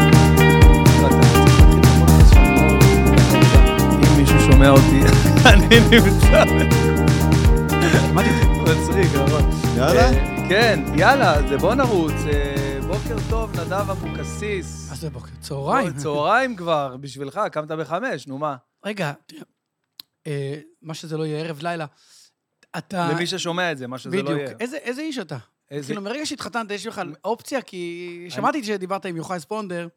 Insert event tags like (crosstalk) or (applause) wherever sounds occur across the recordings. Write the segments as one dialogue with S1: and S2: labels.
S1: (laughs)
S2: שמעתי את זה.
S1: מצחיק, נכון.
S2: יאללה?
S1: אה, כן, יאללה, אז בוא נרוץ. אה, בוקר טוב, נדב אבוקסיס.
S3: מה זה בוקר? צהריים.
S1: לא, צהריים כבר, בשבילך, קמת בחמש, נו מה.
S3: רגע, תראה, אה, מה שזה לא יהיה ערב לילה, אתה...
S1: למי ששומע את זה, מה שזה לא יהיה.
S3: אה, בדיוק. איזה- איזה איש אתה?
S1: איזה-
S3: כאילו, מרגע שהתחתנת, יש לך אופציה, כי שמעתי שדיברת עם יוחאי ספונדר,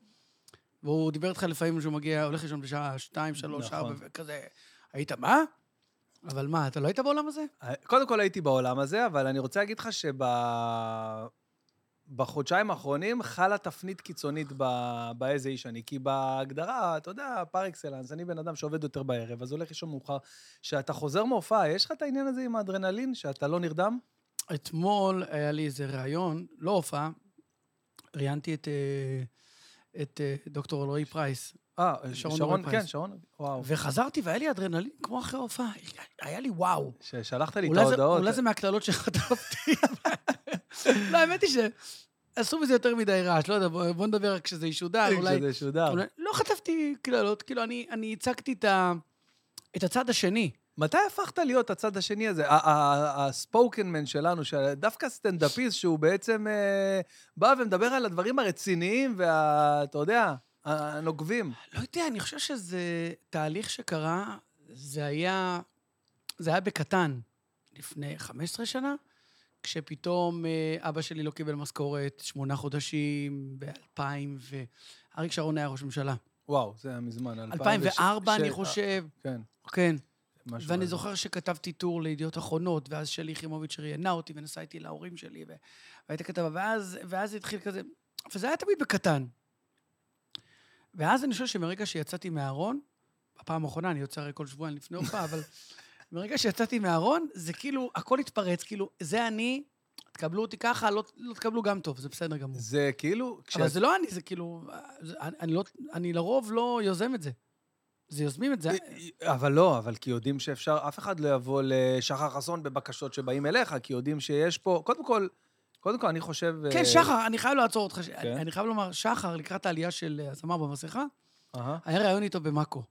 S3: והוא דיבר איתך לפעמים שהוא מגיע, הולך לישון בשעה 2, 3,
S1: נכון.
S3: 4, וכזה. היית, מה? אבל מה, אתה לא היית בעולם הזה?
S1: קודם כל הייתי בעולם הזה, אבל אני רוצה להגיד לך שבחודשיים האחרונים חלה תפנית קיצונית ב- באיזה איש אני. כי בהגדרה, אתה יודע, פר אקסלנס, אני בן אדם שעובד יותר בערב, אז הולך לישון מאוחר. כשאתה חוזר מהופעה, יש לך את העניין הזה עם האדרנלין, שאתה לא נרדם?
S3: אתמול היה לי איזה ראיון, לא הופעה, ראיינתי את, אה, את אה, דוקטור אלרועי פרייס,
S1: אה,
S3: שרון
S1: שרון,
S3: אלפיים.
S1: כן, שרון, וואו.
S3: וחזרתי והיה לי אדרנלין כמו אחרי ההופעה, היה לי וואו.
S1: ששלחת לי את
S3: אולי זה,
S1: ההודעות.
S3: אולי
S1: (laughs)
S3: זה מהקללות שחטפתי. לא, האמת היא שעשו מזה יותר מדי רעש, לא יודע, בוא, בוא נדבר רק כשזה ישודר, אולי...
S1: כשזה שודר.
S3: אולי... לא חטפתי קללות, כאילו, אני, אני הצגתי את, ה, את הצד השני.
S1: מתי הפכת להיות הצד השני הזה, ה- ה- הספוקנמן שלנו, שדווקא סטנדאפיסט שהוא בעצם אה, בא ומדבר על הדברים הרציניים וה... אתה יודע, הנוקבים.
S3: לא יודע, אני חושב שזה תהליך שקרה, זה היה, זה היה בקטן, לפני 15 שנה, כשפתאום אה, אבא שלי לא קיבל משכורת שמונה חודשים, ב-2000, ואריק שרון היה ראש ממשלה.
S1: וואו, זה היה מזמן.
S3: 2004, אני
S1: ש-
S3: חושב,
S1: כן,
S3: כן.
S1: משהו
S3: ואני
S1: כזה.
S3: זוכר שכתבתי טור לידיעות אחרונות, ואז שלי יחימוביץ' ראיינה אותי ונסעה איתי להורים שלי, ו- והייתה כתבה, ואז, ואז התחיל כזה, וזה היה תמיד בקטן. ואז אני חושב שמרגע שיצאתי מהארון, בפעם האחרונה, אני יוצא הרי כל שבועיים לפני הופעה,
S1: (laughs)
S3: אבל מרגע שיצאתי מהארון, זה כאילו, הכל התפרץ, כאילו, זה אני, תקבלו אותי ככה, לא, לא תקבלו גם טוב, זה בסדר גמור.
S1: זה כאילו...
S3: אבל
S1: כשאת-
S3: זה לא אני, זה כאילו, זה- אני, אני, לא, אני לרוב לא יוזם את זה. זה יוזמים את זה.
S1: אבל לא, אבל כי יודעים שאפשר, אף אחד לא יבוא לשחר חסון בבקשות שבאים אליך, כי יודעים שיש פה... קודם כל, קודם כל, אני חושב... אה,
S3: כן, שחר, אני חייב לעצור אותך.
S1: כן.
S3: אני אני חייב לומר, שחר, לקראת העלייה של אה, הזמר במסכה,
S1: אהה.
S3: היה ראיון איתו במאקו.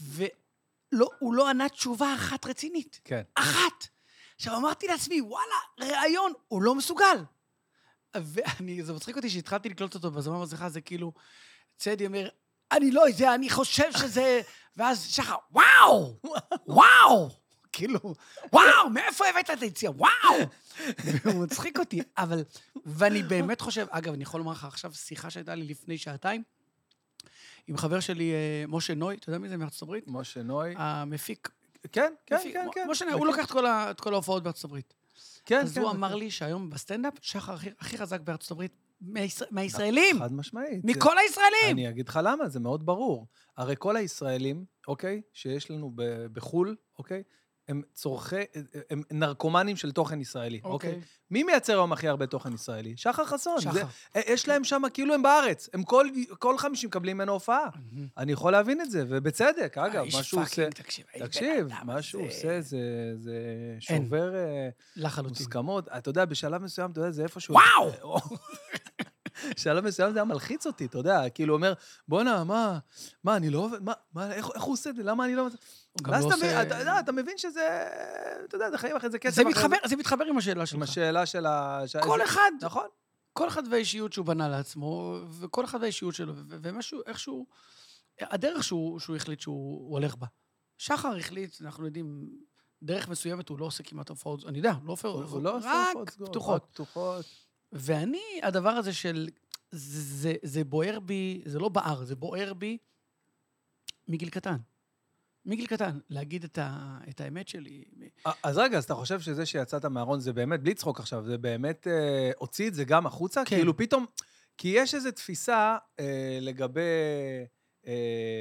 S3: והוא לא ענה תשובה אחת רצינית.
S1: כן.
S3: אחת. עכשיו, אמרתי לעצמי, וואלה, ראיון, הוא לא מסוגל. ואני, זה מצחיק אותי שהתחלתי לקלוט אותו בזמן במסכה, זה כאילו, צדי אומר, אני לא יודע, אני חושב שזה... ואז שחר, וואו! וואו! כאילו, וואו, מאיפה הבאת את היציאה? וואו! הוא מצחיק אותי, אבל... ואני באמת חושב, אגב, אני יכול לומר לך עכשיו שיחה שהייתה לי לפני שעתיים, עם חבר שלי, אה, משה נוי, אתה יודע מי זה מארצות הברית?
S1: משה נוי.
S3: המפיק.
S1: כן, כן,
S3: מפיק,
S1: כן,
S3: אה, מ-
S1: כן.
S3: משה נוי, הוא לוקח את כל ה- את כל ההופעות בארצות הברית.
S1: כן,
S3: אז
S1: כן,
S3: הוא
S1: זה-
S3: אמר לי שהיום בסטנדאפ, שחר הכי- הכי חזק בארצות הברית, מהישראל- מהישראלים,
S1: חד כן. משמעית. זה-
S3: מכל הישראלים!
S1: אני אגיד לך למה, זה מאוד ברור. הרי כל הישראלים, אוקיי, שיש לנו ב- בחו"ל, אוקיי, הם צורכי, הם נרקומנים של תוכן ישראלי, אוקיי?
S3: אוקיי.
S1: אוקיי. מי מייצר היום הכי הרבה תוכן ישראלי? שחר חסון.
S3: שחר.
S1: זה, אה, יש להם שם, כאילו הם בארץ. הם כל, כל חמישים מקבלים ממנו הופעה. אני יכול להבין את זה, ובצדק, אגב,
S3: האיש
S1: מה שהוא עושה...
S3: פאקינג, תקשיב, האיש בן
S1: תקשיב,
S3: אדם
S1: מה שהוא
S3: הזה.
S1: עושה זה זה
S3: אין.
S1: שובר אה,
S3: לחלוטין.
S1: מוסכמות. אתה יודע, בשלב מסוים, אתה יודע, זה איפשהו... (laughs)
S3: וואו!
S1: בשלב מסוים זה היה מלחיץ אותי, אתה יודע, כאילו אומר, בואנה, מה, מה, אני לא עובד, מה, מה, איך, איך הוא עושה את זה, למה אני לא...
S3: גם
S1: ואז
S3: לא
S1: אתה,
S3: עושה-
S1: מבין- אתה, אתה, אתה מבין שזה, אתה יודע, זה חיים אחרי זה קצב.
S3: זה
S1: אחרי
S3: מתחבר, זה מתחבר עם השאלה
S1: עם
S3: שלך.
S1: השאלה של ה... שה-
S3: כל
S1: זה-
S3: אחד,
S1: נכון.
S3: כל אחד והאישיות שהוא בנה לעצמו, וכל אחד והאישיות שלו, ו- ומשהו, איכשהו, הדרך שהוא, שהוא החליט שהוא הוא הולך בה. שחר החליט, אנחנו יודעים, דרך מסוימת הוא לא עושה כמעט הופעות, אני יודע, לא עופר,
S1: הוא- הוא לא עושה הופעות
S3: רק
S1: סגורות,
S3: פתוחות.
S1: רק פתוחות.
S3: ואני, הדבר הזה של... זה, זה, זה בוער בי, זה לא בער, זה בוער בי מגיל קטן. מגיל קטן, להגיד את, ה, את האמת שלי.
S1: א- אז רגע, אז אתה חושב שזה שיצאת מהארון זה באמת, בלי צחוק עכשיו, זה באמת אה, הוציא את זה גם החוצה?
S3: כן.
S1: כאילו פתאום, כי יש איזו תפיסה אה, לגבי אה,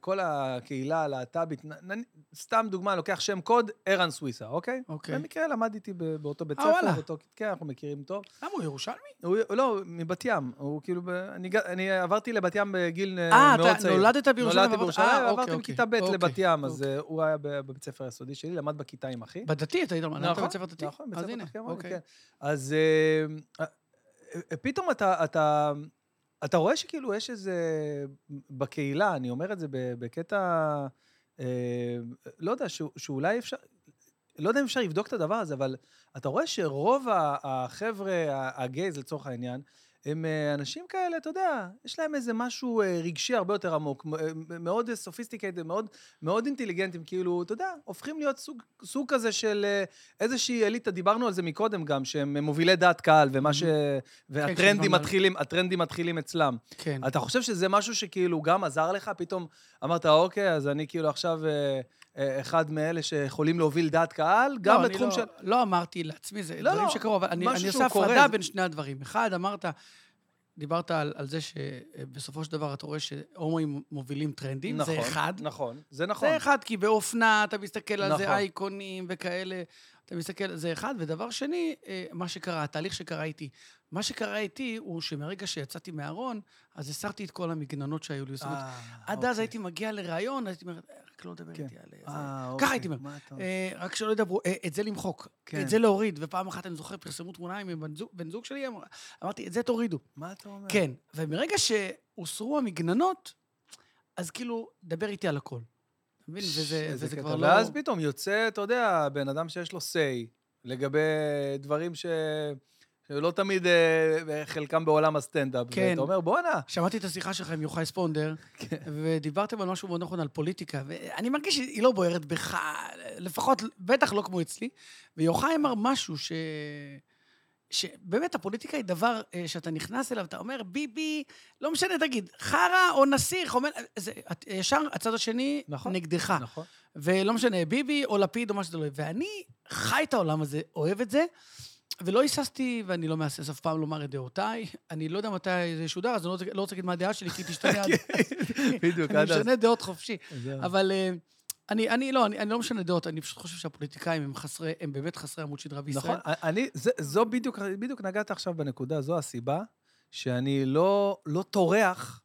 S1: כל הקהילה הלהט"בית, נ- נ- סתם דוגמה, אני לוקח שם קוד, ערן סוויסה, אוקיי?
S3: אוקיי.
S1: במקרה למד איתי ב- באותו בית
S3: אה,
S1: ספר,
S3: וואלה.
S1: באותו, כן, אנחנו מכירים טוב.
S3: למה הוא ירושלמי?
S1: הוא, הוא לא, מבת ים, הוא כאילו, ב, אני, ג- אני עברתי לבת ים בגיל
S3: אה,
S1: אה, מאוד
S3: אתה
S1: צעיר.
S3: נולדת בירושלים?
S1: נולדתי
S3: ועברת-
S1: בירושלים,
S3: אה,
S1: עברתי
S3: אוקיי,
S1: מכיתה ב'
S3: אוקיי,
S1: לבת ים, אז
S3: אוקיי.
S1: אה, הוא היה ב- בבית ספר היסודי שלי, למד בכיתה עם אחי.
S3: בדתי אתה היית, למדת
S1: נכון,
S3: לא בית ספר דתי?
S1: נכון, בית
S3: אז
S1: ספר
S3: הנה,
S1: דתי אמרנו,
S3: אוקיי.
S1: כן. אז אה, אה, פתאום אתה, אתה, אתה רואה שכאילו יש איזה, בקהילה, אני אומר את זה ב- בקטע אה, אה, לא יודע, ש- שאולי אפשר, לא יודע אם אפשר לבדוק את הדבר הזה, אבל אתה רואה שרוב ה- החבר'ה, ה- הגייז לצורך העניין, הם אה, אנשים כאלה, אתה יודע, יש להם איזה משהו אה, רגשי הרבה יותר עמוק, מ- אה, מאוד סופיסטיקטד, מאוד, מאוד אינטליגנטים, כאילו, אתה יודע, הופכים להיות סוג, סוג כזה של אה, איזושהי אליטה, דיברנו על זה מקודם גם, שהם מובילי דעת קהל, ומה ש... והטרנדים
S3: דיברנו על-
S1: מתחילים, הטרנדים מתחילים אצלם.
S3: כן.
S1: אתה חושב שזה משהו שכאילו גם עזר לך? פתאום אמרת, אוקיי, אז אני כאילו עכשיו אה, אה, אחד מאלה שיכולים להוביל דעת קהל,
S3: לא,
S1: גם
S3: אני
S1: בתחום
S3: לא-
S1: של...
S3: לא אמרתי לעצמי, זה
S1: לא,
S3: דברים
S1: לא,
S3: שקרו, אבל אני
S1: משהו
S3: אני
S1: שהוא
S3: עושה
S1: קורא,
S3: הפרדה
S1: זה-
S3: בין שני הדברים. אחד, אמרת, דיברת על על זה שבסופו של דבר אתה רואה שהומואים מובילים טרנדים, זה אחד.
S1: נכון, זה נכון.
S3: זה אחד, כי באופנה אתה מסתכל על
S1: נכון.
S3: זה, אייקונים וכאלה, אתה מסתכל, זה אחד. ודבר שני, אה, מה שקרה, התהליך שקרה איתי. מה שקרה איתי הוא שמרגע שיצאתי מהארון, אז הסרתי את כל המגננות שהיו לי. זאת אומרת,
S1: אה,
S3: עד אז הייתי מגיע לראיון, הייתי אומר, רק לא לדבר
S1: אוקיי. כן.
S3: איתי על זה.
S1: אה,
S3: ככה הייתי
S1: אוקיי,
S3: אומר.
S1: מה אתה אומר?
S3: אה, רק שלא ידברו, אה, את זה למחוק,
S1: כן.
S3: את זה להוריד. ופעם אחת אני זוכר, פרסמו תמונה עם בן זוג- בן זוג שלי, אמר- אמרתי, את זה תורידו.
S1: מה אתה אומר?
S3: כן, ומרגע שהוסרו המגננות, אז כאילו, דבר איתי על הכל. אתה מבין? וזה,
S1: איזה
S3: וזה
S1: קטע.
S3: כבר לא...
S1: ואז פתאום יוצא, אתה יודע, בן אדם שיש לו say לגבי דברים ש... שלא תמיד אה, חלקם בעולם הסטנדאפ.
S3: כן.
S1: ואתה אומר, בואנה,
S3: שמעתי את השיחה שלך עם יוחאי ספונדר, ודיברתם על משהו מאוד נכון, על פוליטיקה, ואני מרגיש שהיא לא בוערת בך, לפחות, בטח לא כמו אצלי. ויוחאי אמר משהו ש... שבאמת הפוליטיקה היא דבר אה, שאתה נכנס אליו, אתה אומר, ביבי, לא משנה, תגיד, חרא או נסיך, אומר, זה, את- ישר הצד השני
S1: נכון.
S3: נגדך.
S1: נכון. (laughs)
S3: ולא משנה, ביבי או לפיד או מה שזה לא יהיה. ואני חי את העולם הזה, אוהב את זה, ולא היססתי, ואני לא מהסס אף פעם לומר את דעותיי. אני לא יודע מתי זה ישודר, אז אני לא רוצה- לא רוצה להגיד מה הדעה שלי, כי
S1: (laughs)
S3: תשתנה...
S1: בדיוק,
S3: אני
S1: עד כן, אז.
S3: משנה דעות חופשי.
S1: זהו.
S3: אבל אה, אני, אני לא, אני, אני לא משנה דעות, אני פשוט חושב שהפוליטיקאים הם חסרי, הם באמת חסרי עמוד שדרה בישראל.
S1: נכון, אני, זה, זו בדיוק, בדיוק נגעת עכשיו בנקודה, זו הסיבה שאני לא, לא טורח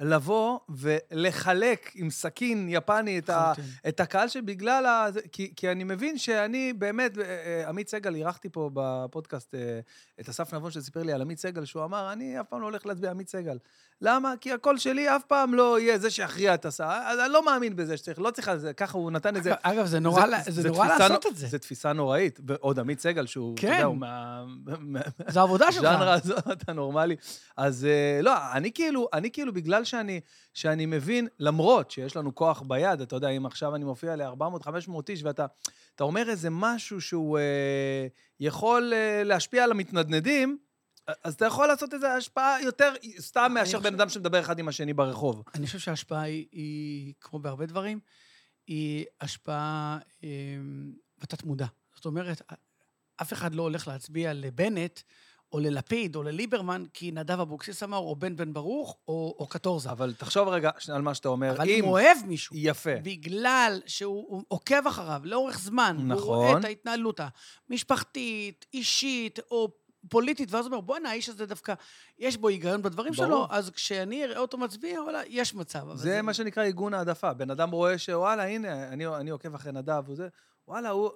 S1: לבוא ולחלק עם סכין יפני את, ה,
S3: לחלוטין.
S1: את הקהל שבגלל ה... זה- כי, כי אני מבין שאני באמת, אה, אה, עמית סגל, אירחתי פה בפודקאסט אה, את אסף נבון שסיפר לי על עמית סגל, שהוא אמר, אני אף פעם לא הולך להצביע עמית סגל. למה? כי הקול שלי אף פעם לא יהיה זה שיכריע את הסעה. אז אני לא מאמין בזה שצריך, לא צריך, אז ככה הוא נתן
S3: (laughs)
S1: את זה.
S3: אגב, אגב, זה נורא, לה- זה נורא
S1: תפיסה
S3: לעשות
S1: נו-
S3: את זה.
S1: זו תפיסה נוראית. ועוד עמית סגל, שהוא, אתה
S3: כן.
S1: יודע, הוא מה... מה-
S3: זו העבודה שלך.
S1: מהז'אנר הזה, אתה נורמלי. אז אה, לא, אני כאילו, אני כאילו, בגלל שאני, שאני מבין, למרות שיש לנו כוח ביד, אתה יודע, אם עכשיו אני מופיע ל-400-500 איש, ואתה אתה אומר איזה משהו שהוא אה, יכול אה, להשפיע על המתנדנדים, אז אתה יכול לעשות איזו השפעה יותר סתם מאשר
S3: חושב-
S1: בן אדם שמדבר אחד עם השני ברחוב.
S3: אני חושב שההשפעה היא, היא, כמו בהרבה דברים, היא השפעה אה, בתת-מודע. זאת אומרת, אף אחד לא הולך להצביע לבנט, או ללפיד, או לליברמן, כי נדב אבוקסיס אמר, או בן בן ברוך, או, או קטורזה. אבל,
S1: אבל תחשוב רגע שנייה על מה שאתה אומר.
S3: אבל
S1: אם... כן.
S3: אם הוא אוהב מישהו,
S1: יפה.
S3: בגלל שהוא הוא עוקב אחריו לאורך זמן, הוא רואה
S1: נכון.
S3: את ההתנהלות המשפחתית, אישית, או פוליטית, ואז הוא אומר, בואנה, האיש הזה דווקא, יש בו היגיון בדברים
S1: ברור.
S3: שלו, אז כשאני אראה אותו מצביע, וואלה, יש מצב. אבל
S1: זה מה שנקרא עיגון העדפה. בן אדם רואה שוואלה, הנה, אני, אני עוקב אחרי נדב וזה, וואלה, הוא...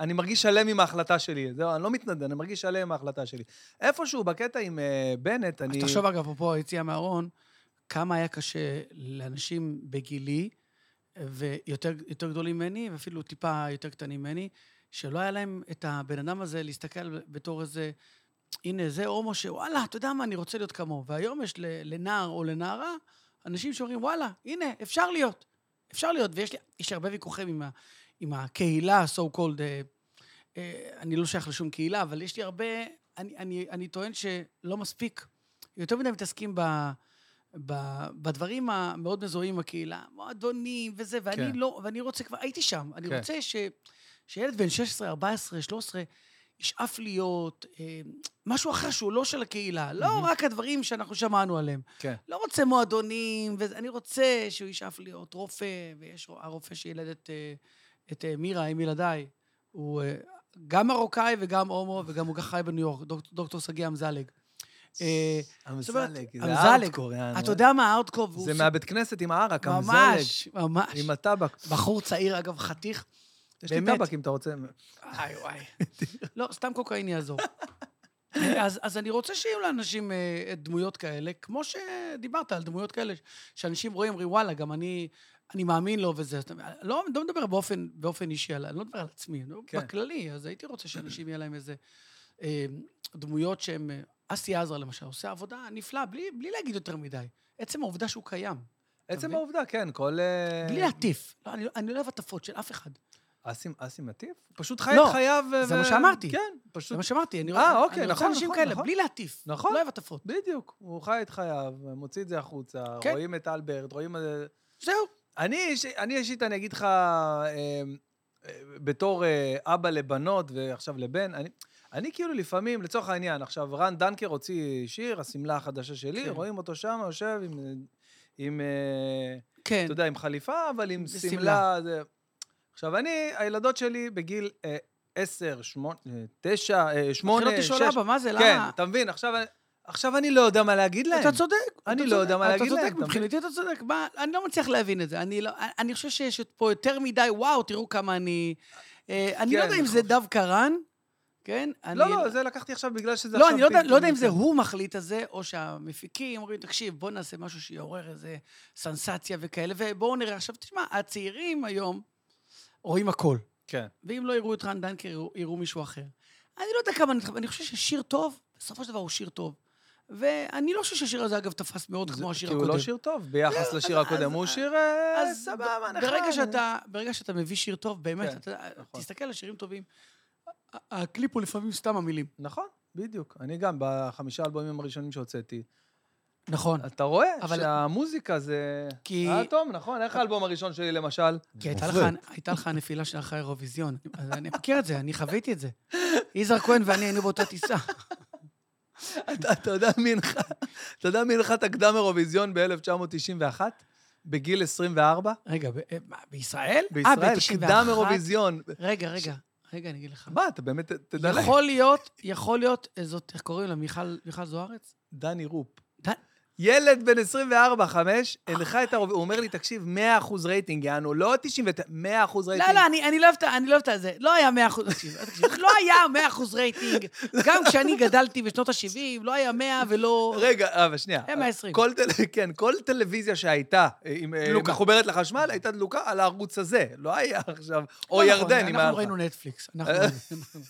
S1: אני מרגיש שלם עם ההחלטה שלי. זהו, אני לא מתנדב, אני מרגיש שלם עם ההחלטה שלי. איפשהו בקטע עם אה, בנט, אני...
S3: אז תחשוב, אגב, אפרופו היציאה מהארון, כמה היה קשה לאנשים בגילי, ויותר יותר גדולים ממני, ואפילו טיפה יותר קטנים ממני, שלא היה להם את הבן אדם הזה להסתכל בתור איזה, הנה, זה הומו שוואלה, אתה יודע מה, אני רוצה להיות כמוהו. והיום יש ל- לנער או לנערה אנשים שאומרים, וואלה, הנה, אפשר להיות. אפשר להיות, ויש לי, יש לי הרבה ויכוחים עם, ה, עם הקהילה ה-so called, אה, אה, אני לא שייך לשום קהילה, אבל יש לי הרבה, אני, אני, אני טוען שלא מספיק יותר מדי מתעסקים ב, ב, בדברים המאוד מזוהים עם הקהילה, מועדונים וזה, ואני
S1: כן.
S3: כן. לא, ואני רוצה כבר, הייתי שם, אני
S1: כן.
S3: כן. רוצה ש, שילד בן 16, 14, 13, ישאף להיות אה, משהו אחר שהוא לא של הקהילה, לא
S1: מהמם.
S3: רק הדברים שאנחנו שמענו עליהם.
S1: כן.
S3: לא רוצה מועדונים, וזה- אני רוצה שהוא ישאף להיות רופא, ויש רו- הרופא שילד את, אה, את אה, מירה, עם ילדיי, הוא אה, גם מרוקאי וגם הומו, וגם הוא חי בניו יורק, דוק, דוקטור שגיא אמזלג. אה, אומרת,
S1: אמזלג, זה
S3: אמזלג.
S1: הארד קוריאן.
S3: אתה יודע מה, הארדקור, והוא
S1: זה מהבית כנסת עם הערק, אמזלג.
S3: ממש, ממש.
S1: עם הטבק.
S3: בחור צעיר, אגב, חתיך.
S1: יש לי
S3: באמת.
S1: טבק אם אתה רוצה.
S3: איי,
S1: (laughs)
S3: וואי. לא, סתם קוקאין יעזור. (laughs) אז, אז אני רוצה שיהיו לאנשים אה, דמויות כאלה, כמו שדיברת על דמויות כאלה, שאנשים רואים, אומרים, וואלה, גם אני, אני מאמין לו וזה. זאת אומרת, לא, לא מדבר באופן, באופן אישי, על- אני לא מדבר על עצמי, אני מדבר
S1: כן.
S3: בכללי, אז הייתי רוצה שאנשים יהיה להם איזה אה, דמויות שהם... אה, אסי עזר למשל, עושה עבודה נפלאה, בלי, בלי להגיד יותר מדי. עצם העובדה שהוא קיים,
S1: עצם
S3: מבין?
S1: העובדה, כן, כל... אה,
S3: בלי להטיף. לא, אני, אני לא אוהב הטפות של אף אחד.
S1: אסים אסים מטיף? פשוט חי
S3: לא,
S1: את חייו... ו-
S3: זה מה
S1: ו-
S3: שאמרתי.
S1: כן,
S3: זה
S1: פשוט...
S3: מה שאמרתי, אני
S1: אה,
S3: אני
S1: אוקיי,
S3: רוצה
S1: נכון,
S3: אנשים
S1: נכון,
S3: כאלה,
S1: נכון.
S3: בלי להטיף.
S1: נכון.
S3: לא אוהב הטפות.
S1: בדיוק, הוא חי את חייו, מוציא את זה החוצה,
S3: כן.
S1: רואים את אלברט, רואים... אה,
S3: זהו.
S1: אני איש- אני אישית, אני אגיד לך, אה, אה, בתור אה, אבא לבנות ועכשיו לבן, אני... אני כאילו לפעמים, לצורך העניין, עכשיו, רן דנקר הוציא שיר, השמלה החדשה שלי,
S3: כן.
S1: רואים אותו שם, יושב עם, אה, עם אה,
S3: כן.
S1: אתה יודע, עם חליפה, אבל עם
S3: בשמלה.
S1: שמלה. זה... עכשיו, אני, הילדות שלי בגיל אה, 10, 8, 9, 8,
S3: התחילות
S1: 6.
S3: לשאול אבא, מה זה,
S1: אה, כן,
S3: למה?
S1: אתה מבין? עכשיו, אני- עכשיו אני לא יודע מה להגיד להם.
S3: אתה צודק.
S1: אני
S3: אתה
S1: לא
S3: צודק,
S1: יודע מה להגיד
S3: אתה
S1: להם,
S3: צודק,
S1: אתה
S3: מבחינתי אתה צודק. מה, אני לא מצליח להבין את זה. אני לא- אני חושב שיש פה יותר מדי, וואו, תראו כמה אני... אה, אני לא
S1: כן,
S3: יודע אם
S1: נכון.
S3: זה דווקא רן, כן? אני-
S1: לא, לא, זה לקחתי עכשיו בגלל שזה
S3: לא,
S1: עכשיו... כן.
S3: אני לא יודע-
S1: פתאום
S3: לא יודע אם זה
S1: יוצא.
S3: הוא מחליט את זה, או שהמפיקים אומרים, תקשיב, בוא נעשה משהו שיעורר איזה סנסציה וכאלה, ובואו נראה. עכשיו, תשמע, הצעירים היום רואים הכל.
S1: כן.
S3: ואם לא יראו את רן דנקר, יראו, יראו מישהו אחר. אני לא יודע כמה, אני, אני חושב ששיר טוב, בסופו של דבר הוא שיר טוב. ואני לא חושב שהשיר הזה, אגב, תפס מאוד
S1: זה-
S3: כמו השיר
S1: כי
S3: הקודם.
S1: הוא לא שיר טוב ביחס
S3: לא,
S1: לשיר
S3: אז-
S1: הקודם,
S3: אז-
S1: הוא שיר אה,
S3: אז
S1: סבבה,
S3: ב-
S1: נחמד.
S3: ברגע שאתה, ברגע שאתה מביא שיר טוב, באמת,
S1: כן,
S3: אתה,
S1: נכון.
S3: תסתכל על שירים טובים. ה- הקליפ הוא לפעמים סתם המילים.
S1: נכון, בדיוק. אני גם, בחמישה אלבומים הראשונים שהוצאתי,
S3: נכון.
S1: אתה רואה
S3: אבל-
S1: שהמוזיקה זה...
S3: כי-
S1: האטום, נכון? איך האלבום הראשון שלי, למשל?
S3: כי הייתה לך,
S2: עובד.
S3: הייתה לך נפילה של אחרי האירוויזיון. אז אני מכיר את זה, אני חוויתי את זה. יזהר כהן ואני היינו באותה טיסה.
S1: אתה, אתה יודע מי הנחה, אתה יודע מי הנחה את הקדם אירוויזיון ב-1991? בגיל 24?
S3: רגע, ב- אה, מה, בישראל? אה,
S1: בישראל,
S3: ב-
S1: קדם
S3: 91?
S1: אירוויזיון.
S3: רגע, רגע, רגע, אני אגיד לך.
S1: מה, אתה באמת, ת- תדע לך,
S3: יכול להיות, יכול להיות, אה, זאת, איך קוראים לה? מיכל, מיכל זוארץ?
S1: דני רופ.
S3: ד-
S1: ילד בן 24-5 הנחה את האירוויזיון, הוא אומר לי, תקשיב, 100% רייטינג, יענו, לא 99, 100%
S3: לא,
S1: רייטינג.
S3: לא, אני, אני לא אוהבת, אני לא אוהבת את זה. לא היה 100 אחוז, תקשיב, אל תקשיב, לא היה 100 אחוז רייטינג. גם כשאני גדלתי בשנות ה-70, לא היה 100 ולא...
S1: רגע, אה, אבל שנייה.
S3: היה 120.
S1: כל טל- כן, כל טלוויזיה שהייתה עם- אה,
S3: דלוקה.
S1: מחוברת לחשמל, הייתה דלוקה על הערוץ הזה. לא היה (laughs) עכשיו, או
S3: לא
S1: ירדן,
S3: נכון,
S1: אם היה
S3: אנחנו
S1: לך.
S3: ראינו נטפליקס. אנחנו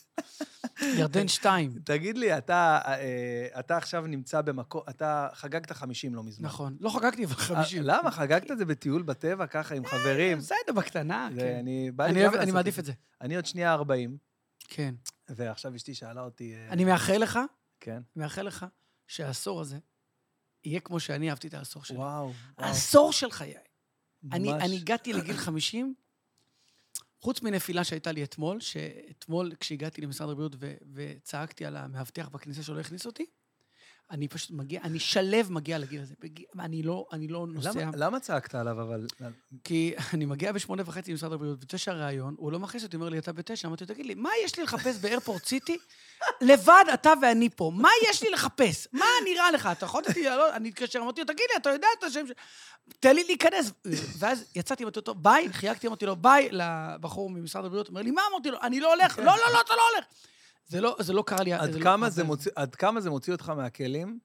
S3: ראינו. ירדן 2.
S1: תגיד לי, אתה, אה, אתה עכשיו נמצא במקום, אתה חגגת 50 לא מזמן.
S3: נכון. לא חגגתי, אבל 50.
S1: אה, למה? חגגת את זה בטיול בטבע, ככה, עם חברים?
S3: בסדר, בקטנה,
S1: זה-
S3: אה, כן.
S1: אני בא לי
S3: אני
S1: גם
S3: אוהב-
S1: לעשות
S3: אני מעדיף את זה.
S1: אני עוד שנייה 40,
S3: כן.
S1: ועכשיו אשתי שאלה אותי... אה,
S3: אני מאחל לך,
S1: כן.
S3: מאחל לך שהעשור הזה יהיה כמו שאני אהבתי את העשור שלי.
S1: וואו, וואו.
S3: עשור של חיי. אני,
S1: ממש.
S3: אני הגעתי לגיל 50, חוץ מנפילה שהייתה לי אתמול, שאתמול כשהגעתי למשרד הבריאות ו- וצעקתי על המאבטח בכניסה שלא הכניס אותי, אני פשוט מגיע, אני שלב מגיע לגיל הזה. בגיל, אני, לא, אני לא נוסע, אה,
S1: למה- למה צעקת עליו, אבל...
S3: כי (laughs) אני מגיע בשמונה וחצי למשרד הבריאות, בתשע ראיון, הוא לא מכניס אותי, אומר לי, אתה בתשע, אמרתי לו, תגיד לי, מה יש לי לחפש באיירפורט סיטי? לבד אתה ואני פה, מה יש לי לחפש? מה נראה לך? אתה יכול אותי, לא, אני אתקשר, אמרתי לו, תגיד לי, אתה יודע את השם ש... תן לי להיכנס. ואז יצאתי, אמרתי לו, ביי, חייגתי, אמרתי לו, ביי, לבחור ממשרד הבריאות, אומר לי, מה אמרתי לו? אני לא הולך, לא, לא, לא, אתה לא הולך. זה לא, זה לא קרה לי...
S1: עד
S3: זה לא-
S1: כמה זה מוציא- עד כמה זה מוציא אותך מהכלים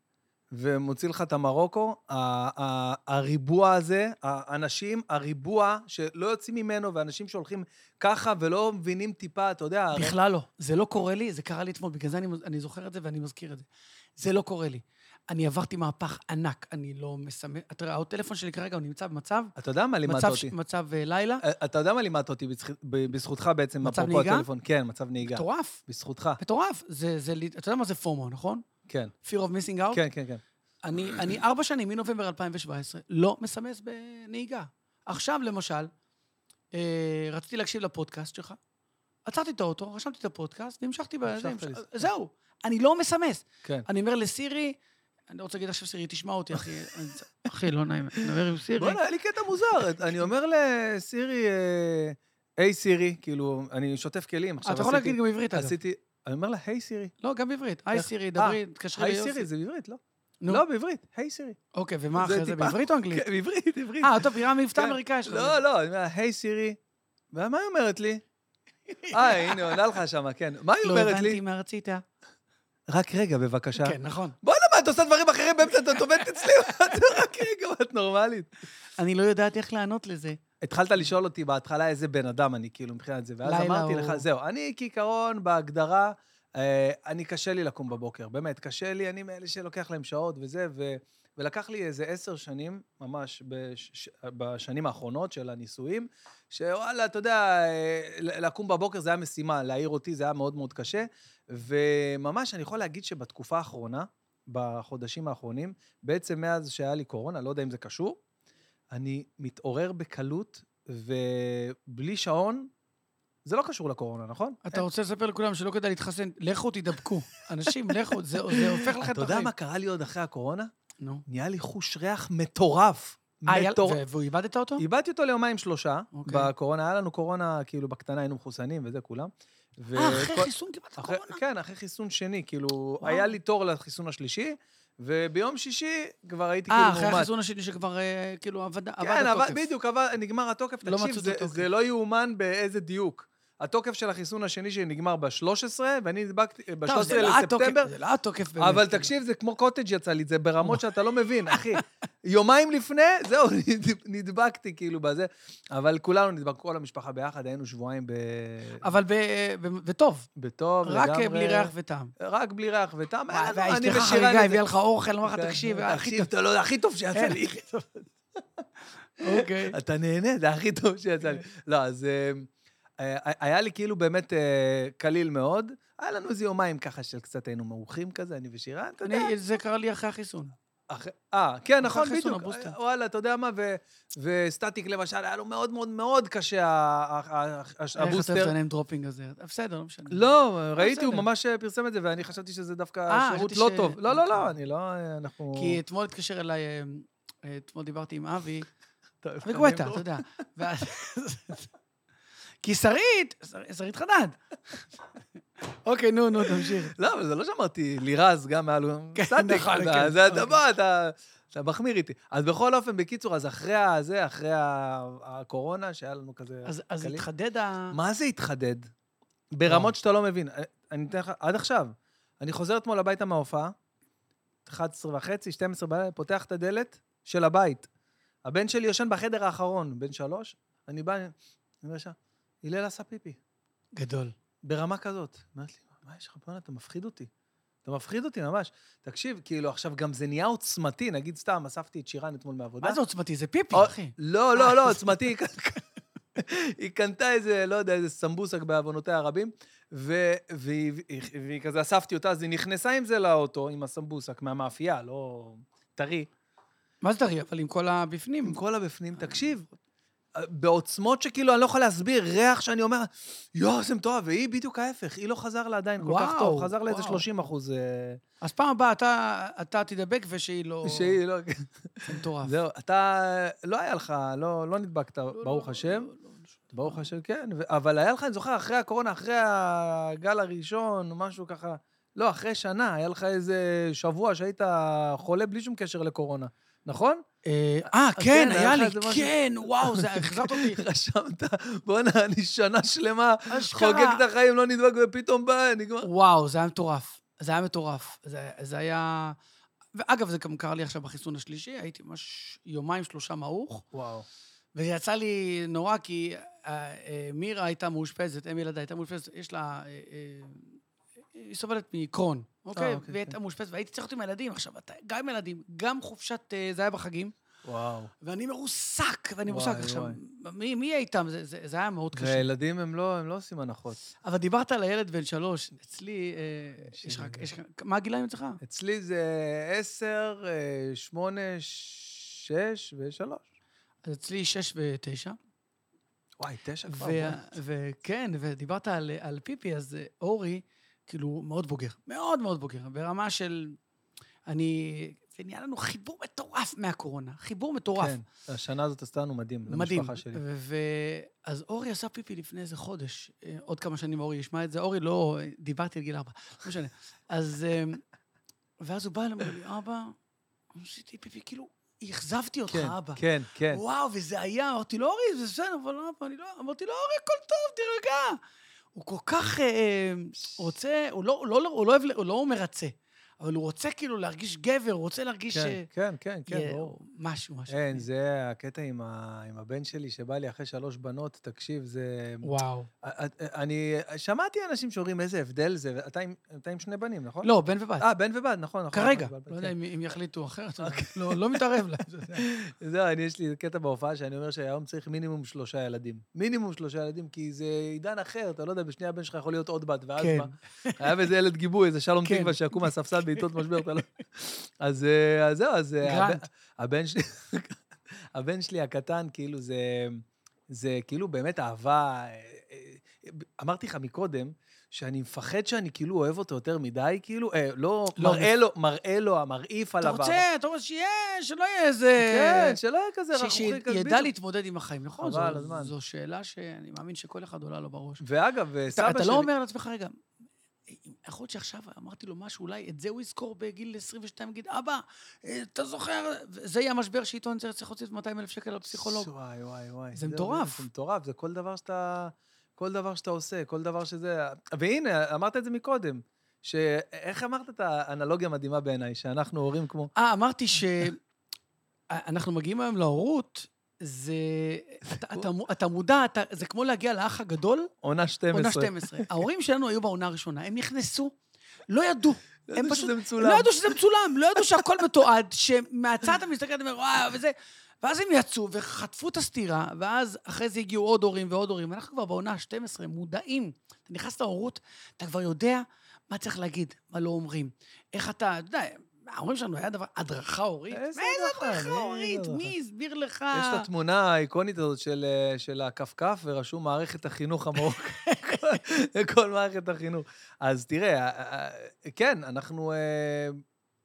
S1: ומוציא לך את המרוקו, ה- ה- הריבוע הזה, האנשים, הריבוע שלא יוצאים ממנו, ואנשים שהולכים ככה ולא מבינים טיפה, אתה יודע... הרי-
S3: בכלל לא. זה לא קורה לי, זה קרה לי אתמול, בגלל זה אני, אני זוכר את זה ואני מזכיר את זה. זה לא קורה לי. אני עברתי מהפך ענק, אני לא מסמס... אתה רואה, הטלפון שלי כרגע, הוא נמצא במצב...
S1: אתה יודע מה לימדת
S3: מצב,
S1: אותי?
S3: מצב אה, לילה,
S1: אה, אתה יודע מה לימדת אותי בזכ- ב- בזכותך בעצם,
S3: מצב
S1: אפרופו
S3: נהיגה?
S1: הטלפון? כן, מצב נהיגה.
S3: מטורף,
S1: בזכותך,
S3: מטורף. זה, זה, לי- אתה יודע מה זה פומו, נכון?
S1: כן.
S3: Fear of missing out?
S1: כן, כן, כן.
S3: אני, אני ארבע שנים, מנובמבר 2017, לא מסמס בנהיגה. עכשיו, למשל, אה, רציתי להקשיב לפודקאסט שלך, עצרתי את האוטו, רשמתי את הפודקאסט, והמשכתי בזה.
S1: המשכת
S3: המש-
S1: לס-
S3: זהו, אני לא מסמס.
S1: כן.
S3: אני אומר לסירי, אני לא רוצה להגיד עכשיו סירי, תשמע
S1: (laughs)
S3: אותי, אחי. אני- אחי, לא נעים, אני מדבר עם סירי.
S1: בוא'נה, היה לי קטע מוזר. אני אומר לסירי, אה, היי סירי, כאילו, אני שוטף כלים. עכשיו
S3: אתה יכול
S1: עשיתי-
S3: להגיד גם בעברית, אגב.
S1: עשיתי... אני אומר לה, היי סירי.
S3: לא, גם בעברית. היי
S1: איך-
S3: סירי,
S1: אה,
S3: דברי, תתקשרי
S1: היי
S3: ליוסי.
S1: סירי, זה בעברית, לא?
S3: נו.
S1: לא, בעברית. היי סירי.
S3: אוקיי, ומה
S1: זה
S3: אחרי זה,
S1: טיפה-
S3: בעברית או אנגלית?
S1: כן, בעברית, בעברית.
S3: אה, טוב, נראה מבטא
S1: כן.
S3: אמריקאי שלך.
S1: לא, לא, אני אומר, לה, היי סירי. ומה היא אומרת לי? אה, הנה, עונה לך שמה, כן. מה היא
S3: לא
S1: אומרת
S3: הבנתי
S1: לי?
S3: מה רצית.
S1: רק רגע, בבקשה.
S3: כן, נכון.
S1: בוא'נה, מה, את עושה דברים (laughs) אחרים באמצע, את עובדת אצלי, מה זה רק רגע, מה, את נורמלית.
S3: אני לא יודעת איך לענות לזה.
S1: התחלת לשאול אותי בהתחלה איזה בן אדם אני, כאילו, מבחינת זה, ואז
S3: לילה
S1: אמרתי
S3: הוא-
S1: לך, זהו, אני כעיקרון, בהגדרה, אה, אני קשה לי לקום בבוקר, באמת, קשה לי, אני מאלה שלוקח להם שעות וזה, ו... ולקח לי איזה עשר שנים, ממש בש... ש- בשנים האחרונות של הנישואים, שוואלה, אתה יודע, אה, ל- לקום בבוקר זה היה משימה, להעיר אותי זה היה מאוד מאוד קשה, וממש אני יכול להגיד שבתקופה האחרונה, בחודשים האחרונים, בעצם מאז שהיה לי קורונה, לא יודע אם זה קשור, אני מתעורר בקלות ובלי שעון. זה לא קשור לקורונה, נכון?
S3: אתה רוצה לספר לכולם שלא כדאי להתחסן,
S1: (laughs)
S3: לכו תידבקו. אנשים, לכו, זה זה הופך לכם את החיים.
S1: אתה יודע מה קרה לי עוד אחרי הקורונה?
S3: נו.
S1: נהיה לי חוש ריח מטורף.
S3: אה, היה-
S1: מטורף.
S3: ו- והוא איבדת אותו?
S1: איבדתי אותו ליומיים-שלושה
S3: אוקיי.
S1: בקורונה. היה לנו קורונה, כאילו, בקטנה היינו מחוסנים וזה, כולם. ו-
S3: אה, אחרי
S1: כל-
S3: חיסון קיבלת
S1: אחרי-
S3: קורונה?
S1: כן, אחרי חיסון שני, כאילו, היה לי תור לחיסון השלישי, וביום שישי כבר הייתי כאילו
S3: אה,
S1: מאומת.
S3: אחרי החיסון השני שכבר אה, כאילו עבד עבד
S1: כן, אבל
S3: התוקף.
S1: בדיוק, אבל נגמר התוקף.
S3: לא
S1: תקשיב,
S3: מצאו את
S1: זה,
S3: התוקף.
S1: זה לא יאומן באיזה דיוק. התוקף של החיסון השני שנגמר ב-13, ואני נדבקתי
S3: טוב,
S1: ב-13
S3: זה לא התוקף,
S1: לספטמבר,
S3: זה לא התוקף באמת.
S1: אבל תקשיב, זה כמו קוטג' יצא לי, זה ברמות שאתה לא
S3: (laughs)
S1: מבין, אחי. יומיים לפני, זהו, (laughs) נדבקתי כאילו בזה. אבל כולנו נדבקנו, כל המשפחה ביחד, היינו שבועיים ב...
S3: אבל ב- ב- וטוב,
S1: בטוב
S3: רק
S1: לגמרי.
S3: אה, בלי ריח וטעם.
S1: רק בלי ריח וטעם. היה לנו- אני ושירן
S3: ואשתך החריגה
S1: איזה-
S3: הביאה לך אוכל, אמרה לך,
S1: כן, (laughs)
S3: תקשיב, אה,
S1: כן,
S3: הכי
S1: תקשיב,
S3: טוב. כן.
S1: אתה לא יודע, הכי טוב שיצא
S3: אין,
S1: לי.
S3: אוקיי.
S1: אתה נהנה, זה הכי טוב שיצא
S3: כן.
S1: לי. לא, אז אה, אה, היה לי כאילו באמת אה, קליל מאוד. היה לנו איזה יומיים ככה של קצת היינו מעוכים כזה, אני ושירן, אתה יודע.
S3: אני- זה קרה לי אחרי החיסון.
S1: אח- אה, כן,
S3: אחרי
S1: נכון,
S3: חיסון
S1: בדיוק.
S3: הבוסטר.
S1: אה, וואלה, אתה יודע מה, ו- וסטטיק למשל, היה לו מאוד מאוד מאוד קשה ה- ה- ה- ה-
S3: איך אתה אוהב
S1: הבוסטר.
S3: את הניים דרופינג הזה? בסדר, לא משנה.
S1: לא, ראיתי, הוא
S3: בסדר.
S1: ממש אה, פרסם את זה, ואני חשבתי שזה דווקא
S3: אה,
S1: שירות
S3: חשבתי
S1: לא
S3: ש-
S1: טוב. לא, לא, לא,
S3: אוקיי.
S1: אני לא, אה, אנחנו...
S3: כי אתמול התקשר אליי, אה, אה, אתמול דיברתי עם
S1: (laughs)
S3: אבי,
S1: טוב,
S3: אבי גואטה, אתה יודע. ואז- כי שרית, שר- שרית חדד. (laughs) אוקיי, נו, נו, תמשיך.
S1: לא, אבל זה לא שאמרתי לירז, גם היה לו...
S3: כן,
S1: סטטיק,
S3: נכון,
S1: אתה-
S3: כן,
S1: זה
S3: אוקיי.
S1: הדבר, אתה... אתה מחמיר איתי. אז בכל אופן, בקיצור, אז אחרי הזה, אחרי ה- הקורונה, שהיה לנו כזה...
S3: אז- אז
S1: קליל.
S3: התחדד ה...
S1: מה זה התחדד? ברמות שאתה לא מבין. אני- אני אתן לך, עד עכשיו. אני חוזר אתמול הביתה מההופעה, 11 וחצי, 12 בלילה, פותח את הדלת של הבית. הבן שלי ישן בחדר האחרון, בן שלוש, אני בא, אני אני אומר שם, הלל עשה פיפי.
S3: גדול.
S1: ברמה כזאת. אמרת לי, מה יש לך, בואנה, אתה מפחיד אותי. אתה מפחיד אותי ממש. תקשיב, כאילו, עכשיו גם זה נהיה עוצמתי, נגיד סתם, אספתי את שירן אתמול מהעבודה.
S3: מה זה עוצמתי? זה פיפי,
S1: או-
S3: אחי.
S1: לא, לא, לא, עוצמתי, היא קנ- היא קנתה איזה, לא יודע, איזה סמבוסק בעוונותיה הרבים, ו- והיא והיא- והיא כזה, אספתי אותה, אז היא נכנסה עם זה לאוטו, עם הסמבוסק, מהמאפייה, לא טרי.
S3: מה זה טרי? אבל עם כל הבפנים.
S1: עם כל הבפנים, תקשיב, בעוצמות שכאילו אני לא יכול להסביר, ריח שאני אומר, יואו, זה מטורף, והיא בדיוק ההפך, היא לא חזר לה עדיין כל כך
S3: וואו,
S1: טוב, חזר לאיזה
S3: וואו.
S1: 30 אחוז. אה,
S3: אז פעם הבאה אתה- אתה תידבק ושהיא לא...
S1: שהיא לא...
S3: זה מטורף.
S1: זהו, אתה, לא היה לך, לא לא נדבקת,
S3: לא, לא,
S1: ברוך
S3: לא,
S1: השם.
S3: לא, לא, לא, שום דבר.
S1: ברוך השם, כן. ו- אבל היה לך, אני זוכר, אחרי הקורונה, אחרי הגל הראשון, משהו ככה... לא, אחרי שנה, היה לך איזה שבוע שהיית חולה בלי שום קשר לקורונה,
S3: (laughs)
S1: נכון?
S3: אה, אה,
S1: כן,
S3: כן,
S1: היה
S3: היה
S1: לך
S3: לי,
S1: איזה משהו-
S3: כן, וואו, זה החזרת אותי.
S1: (laughs) רשמת, בואנה, אני שנה שלמה
S3: אשכרה.
S1: חוגג את החיים, לא נדבק, ופתאום בא, נגמר.
S3: וואו, זה היה מטורף. זה היה מטורף. זה, זה היה... ואגב, זה גם קרה לי עכשיו בחיסון השלישי, הייתי ממש יומיים, שלושה מעוך,
S1: וואו.
S3: וזה יצא לי נורא, כי אה, אה, מירה הייתה מאושפזת, אם ילדה הייתה מאושפזת, יש לה... אה, אה, היא סובלת מקרון, אוקיי?
S1: אוקיי,
S3: והיא הייתה מאושפזת, והייתי צריך להיות עם הילדים. עכשיו, אתה גם עם הילדים, גם חופשת... אה, זה היה בחגים,
S1: וואו. ואני...
S3: ואני מרוסק, ואני מרוסק.
S1: וואי,
S3: עכשיו,
S1: וואי.
S3: מי מי יהיה איתם? זה- זה זה היה מאוד קשה.
S1: וילדים הם לא, הם לא עושים הנחות.
S3: אבל דיברת על הילד בן שלוש, אצלי, אה,
S1: שלי.
S3: יש לך, יש לך, מה הגילאים אצלך?
S1: אצלי זה עשר, אה, שמונה, שש ושלוש.
S3: אז אצלי שש ותשע.
S1: וואי, תשע כבר.
S3: וה-
S1: וואי.
S3: וכן, ודיברת על, על פיפי, אז אה, אורי, כאילו, מאוד בוגר. מאוד מאוד בוגר. ברמה של... אני... זה נהיה לנו חיבור מטורף מהקורונה. חיבור מטורף.
S1: כן, השנה הזאת עשתה לנו מדהים,
S3: מדהים. אה,
S1: למשפחה שלי.
S3: ו- אז אורי עשה פיפי לפני איזה חודש. אה, עוד כמה שנים אורי ישמע את זה. אורי לא... אה, דיברתי על גיל ארבע. לא משנה. אז... אה, ואז הוא בא אליי, אומר לי, אבא, עשיתי פיפי, כאילו, אכזבתי אותך,
S1: כן,
S3: אבא.
S1: כן, כן.
S3: וואו, וזה היה, אמרתי לו, אורי, זה בסדר, אבל לא, אבל אני לא, אמרתי לו, אורי, הכל טוב, תירגע. הוא כל כך אה, אה, רוצה, הוא לא, הוא לא, הוא לא, אוהב, ל- הוא לא מרצה. אבל הוא רוצה כאילו להרגיש גבר, הוא רוצה להרגיש... אה,
S1: כן, כן, כן, כן,
S3: יהיה-
S1: ברור.
S3: משהו, משהו.
S1: אין, זה הקטע עם ה- עם הבן שלי שבא לי אחרי שלוש בנות, תקשיב, זה... אה,
S3: וואו.
S1: אני שמעתי אנשים שאומרים איזה הבדל זה, ואתה עם- אתה עם שני בנים, נכון?
S3: לא, בן ובת.
S1: אה, בן ובת, נכון, נכון.
S3: כרגע.
S1: נכון,
S3: לא
S1: כן. אוקיי.
S3: יודע אם- אם יחליטו אחרת, אבל לא- לא מתערב
S1: (laughs)
S3: להם. זה- זה-
S1: זהו, אני, יש לי קטע בהופעה שאני אומר שהיום צריך מינימום שלושה ילדים. מינימום שלושה ילדים, כי זה עידן אחר, אתה לא יודע, בשנייה הבן שלך יכול להיות עוד בת, ואז
S3: כן.
S1: מה? חייב איזה ילד גיבוי, איזה שלום
S3: כן.
S1: תקווה שיקום מהספסל בעיתות משבר, אתה לא... אז אה, אז זהו, אז... אה, הבן-
S3: גרנט.
S1: הבן שלי... הבן שלי הקטן, כאילו, זה... זה כאילו באמת אהבה... אה, אה, אמרתי לך מקודם, שאני מפחד שאני כאילו אוהב אותו יותר מדי, כאילו, אה, לא,
S3: לא,
S1: מראה לו, מראה לו, המרעיף
S3: אתה
S1: עליו.
S3: רוצה, אתה רוצה שיהיה, שלא יהיה איזה...
S1: כן, שלא יהיה כזה
S3: אה, ש-
S1: רכוכי כזה.
S3: שידע
S1: בדיוק.
S3: להתמודד עם החיים, נכון?
S1: חבל
S3: זו-
S1: הזמן.
S3: זו שאלה שאני מאמין שכל אחד עולה לו בראש.
S1: ואגב, אה,
S3: אתה,
S1: סבא
S3: אתה
S1: שלי...
S3: לא אומר לעצמך, רגע, יכול להיות שעכשיו אמרתי לו משהו, אולי את זה הוא יזכור בגיל 22, יגיד, אבא, אה, אתה זוכר? זה יהיה המשבר שאיתו אני צריך צריך להוציא את 200 אלף שקל לפסיכולוג.
S1: וואי, וואי, וואי.
S3: זה
S1: זהו,
S3: מטורף.
S1: זה מטורף, זה כל דבר שאתה... כל דבר שאתה עושה, כל דבר שזה... והנה, אמרת את זה מקודם. ש... איך אמרת את האנלוגיה המדהימה בעיניי, שאנחנו הורים כמו...
S3: אה, אמרתי שאנחנו מגיעים היום להורות, זה... אתה, אתה, מו- אתה מודע, אתה, זה כמו להגיע לאח הגדול,
S1: עונה 12.
S3: עונה 12. ההורים שלנו היו בעונה הראשונה, הם נכנסו, לא ידעו.
S1: לא
S3: הם
S1: ידעו
S3: פשוט
S1: שזה
S3: לא
S1: מצולם.
S3: ידעו שזה מצולם, לא ידעו שהכל מתועד, שמהצד אתה מסתכל ואתה אומר, וואו, וזה... ואז הם יצאו וחטפו את הסטירה, ואז אחרי זה הגיעו עוד הורים ועוד הורים. אנחנו כבר בעונה ה-12, מודעים. אתה נכנס להורות, אתה כבר יודע מה צריך להגיד, מה לא אומרים. איך אתה, אתה יודע, ההורים שלנו היה דבר, הדרכה הורית.
S1: איזה
S3: מה זה
S1: הדרכה?
S3: הדרכה
S1: איזה
S3: הורית?
S1: הדרכה?
S3: מי הסביר לך?
S1: יש את התמונה האיקונית הזאת של, אה, של הכפכף, ורשום מערכת החינוך המרוק. (laughs) כל מערכת החינוך. אז תראה, אה, אה, כן, אנחנו אה,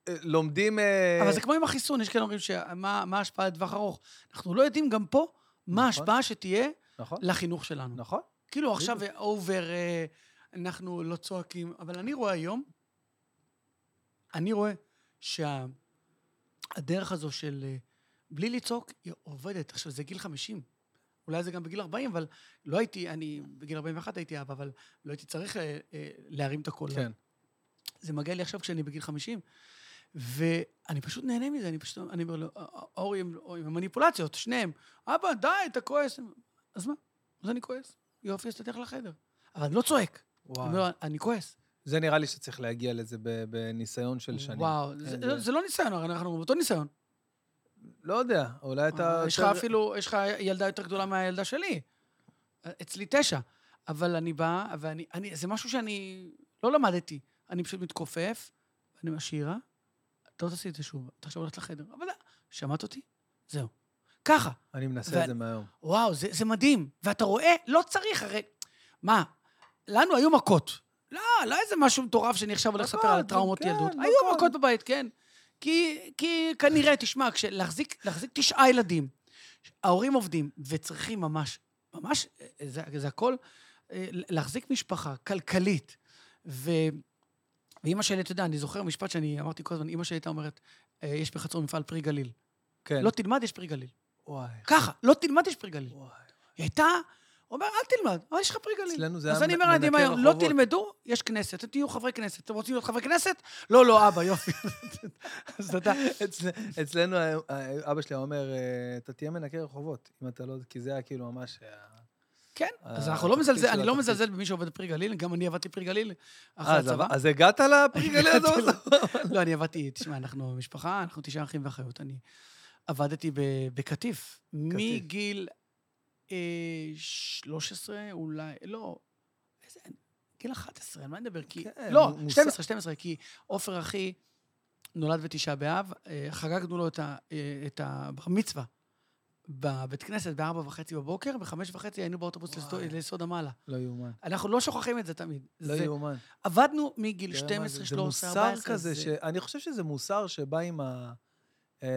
S1: אה, לומדים... אה,
S3: אבל זה כמו עם החיסון, יש כאלה אומרים, שמה- מה ההשפעה לטווח ארוך? אנחנו לא יודעים גם פה מה
S1: נכון.
S3: ההשפעה שתהיה
S1: נכון,
S3: לחינוך שלנו.
S1: נכון.
S3: כאילו עכשיו אובר, אה, אנחנו לא צועקים, אבל אני רואה היום, אני רואה שהדרך הזו של אה, בלי לצעוק, היא עובדת. עכשיו, זה גיל 50. אולי זה גם בגיל 40, אבל לא הייתי, אני בגיל 41 הייתי אבא, אבל לא הייתי צריך אה, אה, להרים את הקול.
S1: כן.
S3: זה מגיע לי עכשיו כשאני בגיל 50, ואני פשוט נהנה מזה, אני פשוט, אני אומר לו, "אה, אורי עם, או עם המניפולציות, שניהם, אבא, די, אתה כועס. אז מה? אז אני כועס. יופי, אז תלך לחדר. אבל אני לא צועק. אני
S1: וואו.
S3: אומר, אני כועס.
S1: זה נראה לי שצריך להגיע לזה ב- בניסיון של שנים. כן,
S3: וואו, זה,
S1: זה-
S3: זה לא ניסיון, הרי אנחנו באותו ניסיון.
S1: לא יודע, אולי אתה...
S3: אה, יש לך
S1: יותר-
S3: אפילו, יש לך ילדה יותר גדולה מהילדה שלי. אצלי תשע. אבל אני בא, ואני, אני, זה משהו שאני לא למדתי. אני פשוט מתכופף, אני משאירה, אתה לא תעשי את זה שוב, אתה עכשיו הולכת לחדר. אבל שמעת אותי? זהו. ככה.
S1: אני מנסה
S3: ואני-
S1: את זה מהיום.
S3: וואו, זה, זה מדהים. ואתה רואה, לא צריך, הרי... מה, לנו היו מכות. לא, לא איזה משהו מטורף שאני עכשיו הולך לספר
S1: מכות,
S3: על טראומות
S1: כן,
S3: ילדות.
S1: מכות.
S3: היו מכות בבית, כן. כי, כי כנראה, תשמע, כשלהחזיק להחזיק תשעה ילדים, ההורים עובדים וצריכים ממש, ממש, אה, זה, זה הכל, אה, להחזיק משפחה כלכלית. ו... ואימא שלי, אתה יודע, אני זוכר משפט שאני אמרתי כל הזמן, אימא שלי הייתה אומרת, אה, יש בחצור מפעל פרי גליל.
S1: כן.
S3: לא תלמד, יש פרי גליל.
S1: וואי.
S3: ככה, לא תלמד, יש פרי גליל.
S1: וואי.
S3: היא הייתה, אומר, אל תלמד, אבל יש לך פרי גליל.
S1: אצלנו זה
S3: אז
S1: היה
S3: אני
S1: מ-
S3: אומר לילדים
S1: מנקה
S3: היום, לא
S1: רחובות."
S3: תלמדו, יש כנסת, אתם תהיו חברי כנסת. אתם רוצים להיות חברי כנסת? לא, לא, אבא, יופי. (laughs) אז אתה יודע,
S1: אצל- אצלנו ה- ה- אבא שלי היה אומר, אה, אתה תהיה מנקה רחובות, אם אתה לא... כי זה היה כאילו ממש... ה-
S3: כן, אז
S1: אה,
S3: אנחנו לא מזלזל,
S1: התפקיד
S3: אני
S1: של
S3: לא
S1: התפקיד.
S3: מזלזל במי שעובד בפרי גליל, גם אני עבדתי בפרי גליל אחרי
S1: אה, אז
S3: הצבא.
S1: עבר- אז הגעת לפרי גליל הזה?
S3: הגעתי (laughs) לא, אני עבדתי, תשמע, אנחנו משפחה, אנחנו תשעה אחים ואחיות. אני עבדתי ב- בקטיף, מגיל אה, 13, אולי, לא, איזה, גיל 11, על מה נדבר? כי...
S1: כן,
S3: לא,
S1: מושג-
S3: 12, 12, כי עופר אחי נולד בתשעה באב, אה, חגגנו לו את ה- אה, את הבר מצווה. בבית כנסת בארבע וחצי בבוקר, בחמש וחצי היינו באוטובוס לסדו-
S1: וואי.
S3: לסוד המעלה.
S1: לא יאומן.
S3: אנחנו לא שוכחים את זה תמיד.
S1: לא
S3: זה-
S1: יאומן.
S3: עבדנו מגיל
S1: תראה כן, מה
S3: 12,
S1: זה,
S3: 13,
S1: זה
S3: 14.
S1: מוסר כזה, ש... אני חושב שזה מוסר שבא עם ה... אה,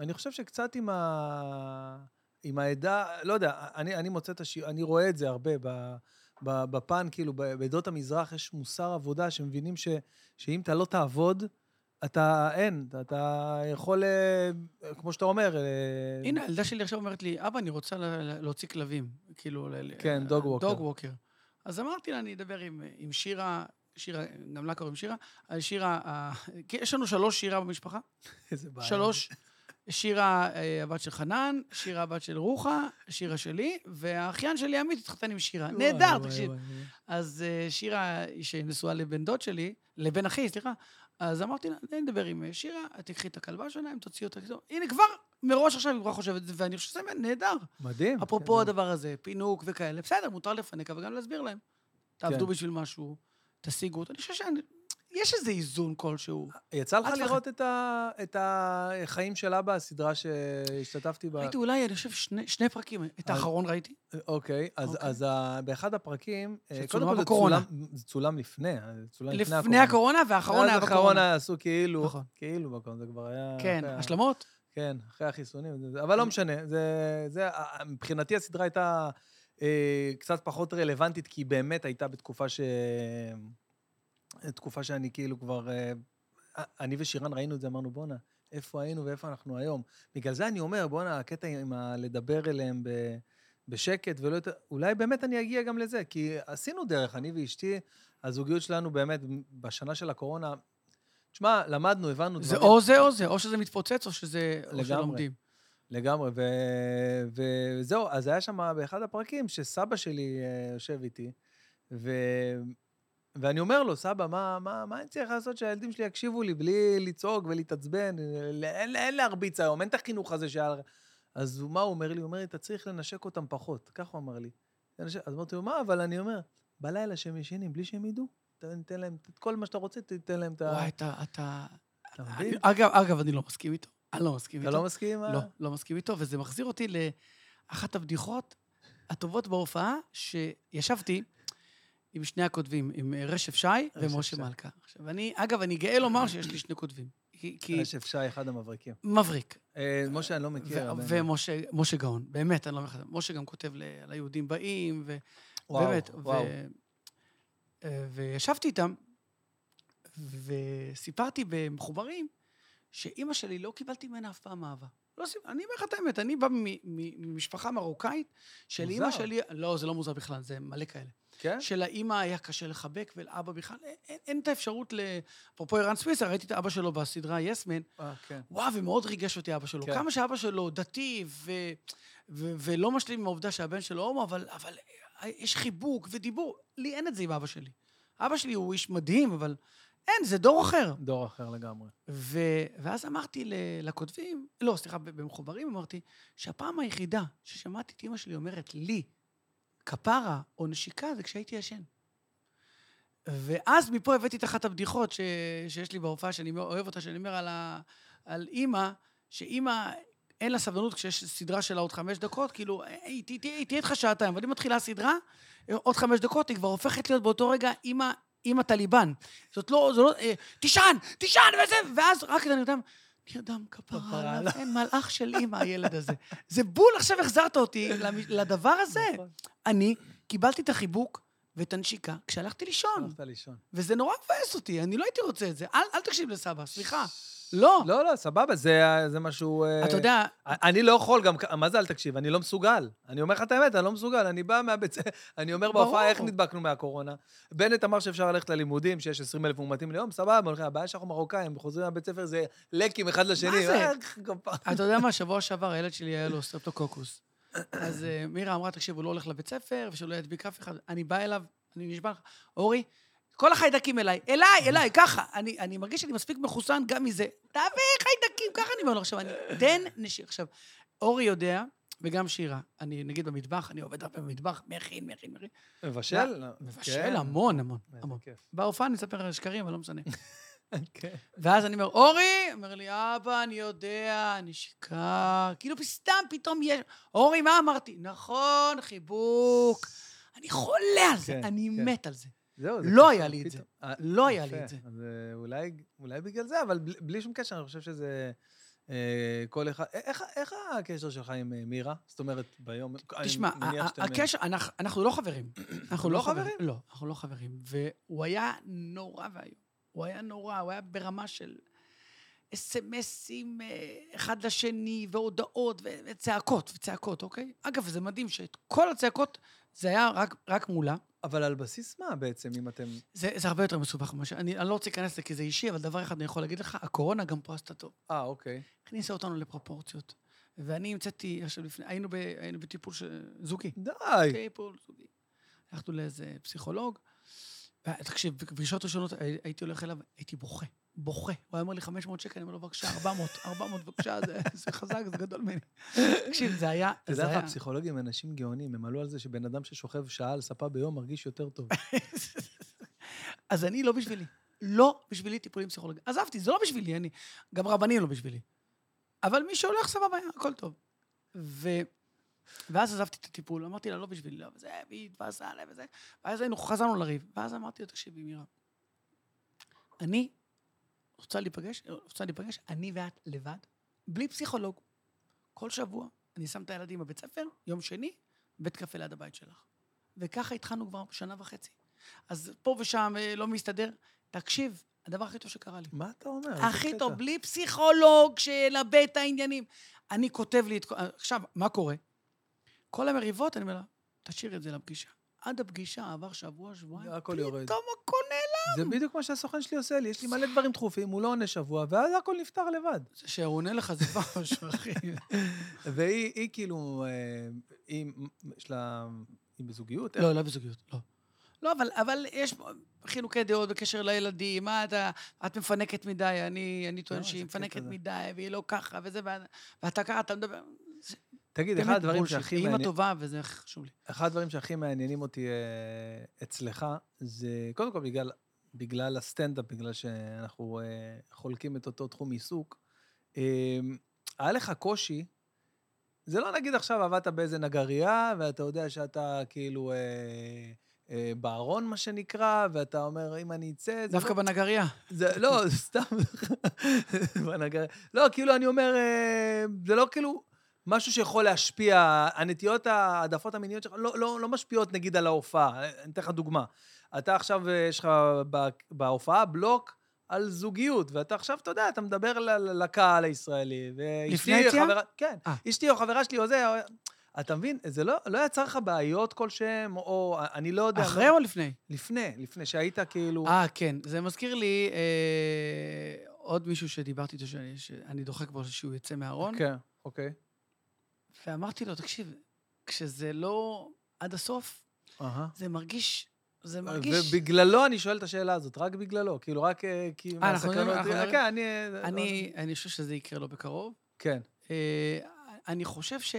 S1: אני חושב שקצת עם ה... עם העדה, לא יודע, אני, אני מוצא את השיר, אני רואה את זה הרבה ב, ב, בפן, כאילו, ב- בעדות המזרח יש מוסר עבודה שמבינים ש, שאם אתה לא תעבוד, אתה אין, אתה יכול, אה, כמו שאתה אומר, אה,
S3: הנה, הילדה שלי עכשיו אומרת לי, אבא, אני רוצה לה- לה- להוציא כלבים. כאילו, ל- ל-
S1: כן, dog walker.
S3: dog walker. אז אמרתי לה, אני אדבר עם, עם שירה, שירה, גם לה קוראים שירה, שירה, ה- כי יש לנו שלוש שירה במשפחה,
S1: איזה בעיה.
S3: שלוש. שירה, אה, הבת של חנן, שירה, הבת של רוחה, שירה שלי, והאחיין שלי, עמית, התחתן עם שירה.
S1: וואי,
S3: נהדר,
S1: וואי,
S3: תקשיב.
S1: וואי, וואי.
S3: אז אה, שירה, שנשואה לבן דוד שלי, לבן אחי, סליחה, אז אמרתי לה, אני אדבר עם אה, שירה, את תקחי את הכלבה שלהם, תוציאי אותה. כאילו, הנה, כבר, מראש עכשיו היא כבר חושבת, ואני חושב שזה נהדר.
S1: מדהים.
S3: אפרופו
S1: כן,
S3: הדבר הזה, פינוק וכאלה, בסדר, מותר לפנק, אבל גם להסביר להם. תעבדו
S1: כן.
S3: בשביל משהו, תשיגו אותו. אני חושב שיש איזה איזון כלשהו.
S1: יצא
S3: את
S1: לך
S3: לך-
S1: לראות את ה- את החיים של אבא, הסדרה שהשתתפתי בה?
S3: ראיתי אולי, אני חושב, שני- שני פרקים. את
S1: אז-
S3: האחרון ראיתי.
S1: אוקיי, אז,
S3: אוקיי.
S1: אז ה... באחד הפרקים, אה,
S3: שצולמה
S1: קודם כל זה
S3: בקורונה.
S1: צולם, זה צולם לפני, אה, זה צולם לפני,
S3: לפני הקורונה והאחרון היה
S1: ואז האחרון
S3: בקורונה.
S1: עשו כאילו,
S3: נכון.
S1: כאילו בקורונה, זה כבר היה...
S3: כן,
S1: אחרי ה-
S3: השלמות?
S1: כן, אחרי החיסונים, זה- זה- אבל לא משנה. זה, זה, ה- מבחינתי הסדרה הייתה אה, קצת פחות רלוונטית, כי היא באמת הייתה בתקופה ש... תקופה שאני כאילו כבר... אה, אני ושירן ראינו את זה, אמרנו, בואנה, איפה היינו ואיפה אנחנו היום. בגלל זה אני אומר, בואנה, הקטע עם ה- לדבר אליהם ב... בשקט ולא יותר... אולי באמת אני אגיע גם לזה, כי עשינו דרך, אני ואשתי, הזוגיות שלנו באמת, בשנה של הקורונה, תשמע, למדנו, הבנו
S3: זה או זה או זה, או שזה מתפוצץ או שזה... או
S1: לגמרי.
S3: שלומדים.
S1: לגמרי, ו... וזהו, אז היה שם באחד הפרקים שסבא שלי אה, יושב איתי, ו... ואני אומר לו, סבא, מה, מה, מה אני צריך לעשות שהילדים שלי יקשיבו לי בלי לצעוק ולהתעצבן? אין, אין, אין להרביץ היום, אין את החינוך הזה שהיה לך. אז הוא- מה הוא אומר לי? הוא אומר לי, אתה צריך לנשק אותם פחות. כך הוא אמר לי. לנשק- אז אמרתי לו, מה? אבל אני אומר, בלילה שהם ישנים, בלי שהם ידעו, תן, תן להם את כל מה שאתה רוצה, תן להם את ה...
S3: וואי, אתה... אתה...
S1: אתה מבין?
S3: אני- אגב, אגב, אני לא מסכים איתו. אני לא מסכים
S1: אתה
S3: איתו.
S1: לא מסכים? אה?
S3: לא, לא מסכים איתו, וזה מחזיר אותי לאחת הבדיחות הטובות בהופעה, שישבתי עם שני הכותבים, עם אה, רשף שי ומשה
S1: שי.
S3: מלכה. עכשיו, אני, אגב, אני גאה לומר שיש לי שני כותבים. כי, כי
S1: רשף שי, אחד המבריקים.
S3: מבריק.
S1: אה, משה, אני לא מכיר. אבל-
S3: ו- ומשה משה גאון, באמת, אני לא מחזק. משה גם כותב ל- על היהודים באים, ו...
S1: וואו,
S3: באמת,
S1: וואו.
S3: ו... וישבתי איתם, וסיפרתי במחוברים שאימא שלי לא קיבלתי ממנה אף פעם אהבה. לא, סיפ- אני אומר לך את האמת, אני בא מ- מ- ממשפחה מרוקאית, שלאימא
S1: מוזר.
S3: שלי... לא, זה לא מוזר בכלל, זה מלא כאלה.
S1: כן?
S3: שלאימא היה קשה לחבק, ולאבא בכלל, אין- אין, אין את האפשרות ל... אפרופו ערן סוויסה, ראיתי את אבא שלו בסדרה יסמן,
S1: אה, כן.
S3: וואו, ומאוד ריגש אותי אבא שלו.
S1: כן.
S3: כן. כמה שאבא שלו דתי ו, ו, ולא משלים עם העובדה שהבן שלו הומו, אבל, אבל אה, יש חיבוק ודיבור. לי אין את זה עם אבא שלי. אבא שלי הוא איש מדהים, אבל אין, זה דור אחר.
S1: דור אחר לגמרי.
S3: ו, ואז אמרתי ל, לכותבים, לא, סליחה, במחוברים אמרתי, שהפעם היחידה ששמעתי את אמא שלי אומרת לי, כפרה או נשיקה, זה כשהייתי ישן. ואז מפה הבאתי את אחת הבדיחות ש... שיש לי בהופעה, שאני מאוד אוהב אותה, שאני אומר על, ה... על אימא, שאימא, אין לה סבלנות כשיש סדרה שלה עוד חמש דקות, כאילו, היא תה- תהיה תהיה איתך שעתיים, אבל אם מתחילה הסדרה, עוד חמש דקות, היא כבר הופכת להיות באותו רגע אימא, אימא טליבן. זאת לא, זה לא, אה, תישן, תישן, וזה, ואז רק אתה נרדם, נרדם
S1: כפרה
S3: כפרה עליו,
S1: עליו."
S3: אין מלאך של אימא, הילד הזה. זה בול, עכשיו החזרת אותי למ- לדבר הזה.
S1: נכון.
S3: אני קיבלתי את החיבוק ואת הנשיקה כשהלכתי לישון,
S1: הלכת לישון.
S3: וזה נורא מבאס אותי, אני לא הייתי רוצה את זה. אל, אל תקשיב לסבא, סליחה. לא.
S1: לא, לא, סבבה, זה זה משהו... אה,
S3: אתה יודע,
S1: אני לא יכול גם... כ- מה זה אל תקשיב? אני לא מסוגל. אני אומר לך את האמת, אני לא מסוגל. אני בא מהבית... ס- (laughs) אני אומר
S3: ברור.
S1: בהופעה איך נדבקנו מהקורונה. בנט אמר שאפשר ללכת ללימודים, שיש 20 אלף מאומתים ליום, סבבה, הולכים, הבעיה שאנחנו מרוקאים, חוזרים מהבית ספר, זה לקים אחד לשני.
S3: זה?
S1: אה, כפרה.
S3: אתה יודע מה, שבוע שעבר הילד שלי היה לו סטרפטוקוקוס. אז אה, מירה אמרה, תקשיב, הוא לא הולך לבית ספר, ושלא ידביק אף אחד. אני בא אליו, אני נשבע לך, אורי, כל החיידקים אליי, אליי, אליי, ככה. אני, אני מרגיש שאני מספיק מחוסן גם מזה. תביא חיידקים, ככה אני אומר לו עכשיו, אני תן נשיר. עכשיו, אורי יודע, וגם שירה, אני נגיד במטבח, אני עובד הרבה במטבח, מכין, מכין, מכין.
S1: מבשל?
S3: מבשל המון, המון,
S1: כן. איזה
S3: המון.
S1: כיף.
S3: בהופעה אני אספר על שקרים, אבל לא משנה.
S1: כן.
S3: ואז אני אומר, אורי, אומר לי, אבא, אני יודע, נשיקה. כאילו, סתם פתאום יש... אורי, מה אמרתי? נכון, חיבוק. אני חולה על זה,
S1: כן,
S3: אני
S1: כן.
S3: מת על זה.
S1: זהו, זה
S3: לא
S1: כיף,
S3: היה
S1: אבל
S3: לי את זה.
S1: פתאום- אה,
S3: לא היה
S1: יפה.
S3: לי את זה.
S1: אז אה, אולי, אולי בגלל זה, אבל בלי, בלי שום קשר, אני חושב שזה... אה, כל אחד... א- איך, איך הקשר שלך עם אה, מירה? זאת אומרת, ביום... אני
S3: תשמע,
S1: מניח
S3: ה-
S1: שאתם,
S3: ה-
S1: אה,
S3: הקשר, אנחנו- אנחנו לא חברים. אנחנו לא
S1: לא
S3: חברים?
S1: חברים?
S3: לא, אנחנו לא חברים. והוא היה נורא ואיום. הוא היה נורא, הוא היה ברמה של אס.אם.אסים אה, אחד לשני, והודעות, ו- וצעקות, וצעקות, אוקיי? אגב, זה מדהים שאת כל הצעקות, זה היה רק, רק מולה.
S1: אבל על בסיס מה בעצם, אם אתם...
S3: זה, זה הרבה יותר מסובך ממה ש... אני, אני לא רוצה להיכנס לזה כי זה אישי, אבל דבר אחד אני יכול להגיד לך, הקורונה גם פה עשתה טוב.
S1: אה, אוקיי.
S3: הכניסה אותנו לפרופורציות. ואני המצאתי, עכשיו לפני, היינו, ב, היינו בטיפול ש... זוגי.
S1: די.
S3: אוקיי, טיפול זוגי. הלכנו לאיזה פסיכולוג, תקשיב, בפגישות ראשונות הי- הייתי הולך אליו, הייתי בוכה, בוכה. הוא היה אומר לי 500 שקל, אני אומר לו, בבקשה, 400, 400, בבקשה, זה, זה חזק, זה גדול ממני. תקשיב, זה היה...
S1: אתה
S3: זה
S1: יודע
S3: היה-
S1: לך, הפסיכולוגים הם אנשים גאונים, הם עלו על זה שבן אדם ששוכב שעה על ספה ביום מרגיש יותר
S3: (laughs)
S1: טוב.
S3: אז אני לא בשבילי. לא בשבילי טיפולים פסיכולוגיים. עזבתי, זה לא בשבילי, אני... גם רבנים לא בשבילי. אבל מי שהולך, סבבה, הכל טוב. ו... ואז עזבתי את הטיפול, אמרתי לה, לא בשבילי, לא, וזה, והיא התבאסה עליי וזה, ואז היינו, חזרנו לריב. ואז אמרתי לו, תקשיבי, מירה, אני רוצה להיפגש, רוצה להיפגש, אני ואת לבד, בלי פסיכולוג. כל שבוע אני שם את הילדים בבית ספר, יום שני, בית קפה ליד הבית שלך. וככה התחלנו כבר שנה וחצי. אז פה ושם אה, לא מסתדר. תקשיב, הדבר הכי טוב שקרה לי.
S1: מה אתה אומר? איזה
S3: הכי
S1: אה, קטע.
S3: טוב, בלי פסיכולוג שילבה את העניינים. אני כותב לי את כל... עכשיו, מה קורה? כל המריבות, אני אומר לה, תשאיר את זה לפגישה. עד הפגישה עבר שבוע, שבועיים,
S1: הכל יורד.
S3: פתאום הכל נעלם.
S1: זה בדיוק מה שהסוכן שלי עושה לי, יש לי מלא דברים דחופים, הוא לא עונה שבוע, ואז הכל נפתר לבד.
S3: זה שעונה לך זה
S1: (laughs)
S3: כבר משהו, אחי.
S1: והיא היא כאילו, אה, היא, יש לה, היא בזוגיות?
S3: לא, לא בזוגיות, לא. לא, אבל, אבל יש חילוקי דעות בקשר לילדים, מה אתה, את מפנקת מדי, אני, אני טוען
S1: לא,
S3: שהיא
S1: איזה קטע
S3: מפנקת
S1: זה.
S3: מדי, והיא לא ככה, וזה, ואת- ואתה ככה, אתה מדבר...
S1: תגיד, אחד
S3: באמת
S1: הדברים
S3: בולשיט.
S1: שהכי
S3: היא
S1: מעניינים...
S3: אימא טובה, וזה חשוב לי.
S1: אחד הדברים שהכי מעניינים אותי אה, אצלך, זה קודם כל בגלל, בגלל הסטנדאפ, בגלל שאנחנו אה, חולקים את אותו תחום עיסוק, אה, היה לך קושי, זה לא נגיד עכשיו עבדת באיזה נגרייה, ואתה יודע שאתה כאילו אה, אה, בארון, מה שנקרא, ואתה אומר, אם אני אצא... זה
S3: דווקא
S1: לא-
S3: בנגרייה.
S1: זה, לא, זה סתם, (laughs) בנגר... לא, כאילו, אני אומר, אה, זה לא כאילו משהו שיכול להשפיע, הנטיות, העדפות המיניות שלך, לא, לא, לא משפיעות נגיד על ההופעה. אה, אני אתן לך דוגמה. אתה עכשיו, אה, יש לך ב- בהופעה בלוק על זוגיות, ואתה עכשיו, אתה יודע, אתה מדבר ל- ל- לקהל הישראלי. ואשתי,
S3: לפני היציאה?
S1: חברה- כן.
S3: אה.
S1: אשתי או חברה שלי או זה, או- אתה מבין? זה לא, לא יצר לך בעיות כלשהם, או אני לא יודע.
S3: אחרי
S1: לא-
S3: או לפני?
S1: לפני, לפני, שהיית כאילו...
S3: אה, כן. זה מזכיר לי אה, עוד מישהו שדיברתי איתו, שאני- שאני דוחק בו שהוא יצא מהארון,
S1: כן, אוקיי.
S3: ואמרתי לו, תקשיב, כשזה לא עד הסוף,
S1: אהה.
S3: זה מרגיש...
S1: אה,
S3: זה מרגיש...
S1: ובגללו אני שואל את השאלה הזאת, רק בגללו, כאילו רק אה, כי
S3: אה, אנחנו מדברים- אנחנו
S1: אה,
S3: מדברים-
S1: כן, אני... אה,
S3: אני, אני חושב שזה יקרה לו בקרוב.
S1: כן.
S3: אה, אני חושב ש...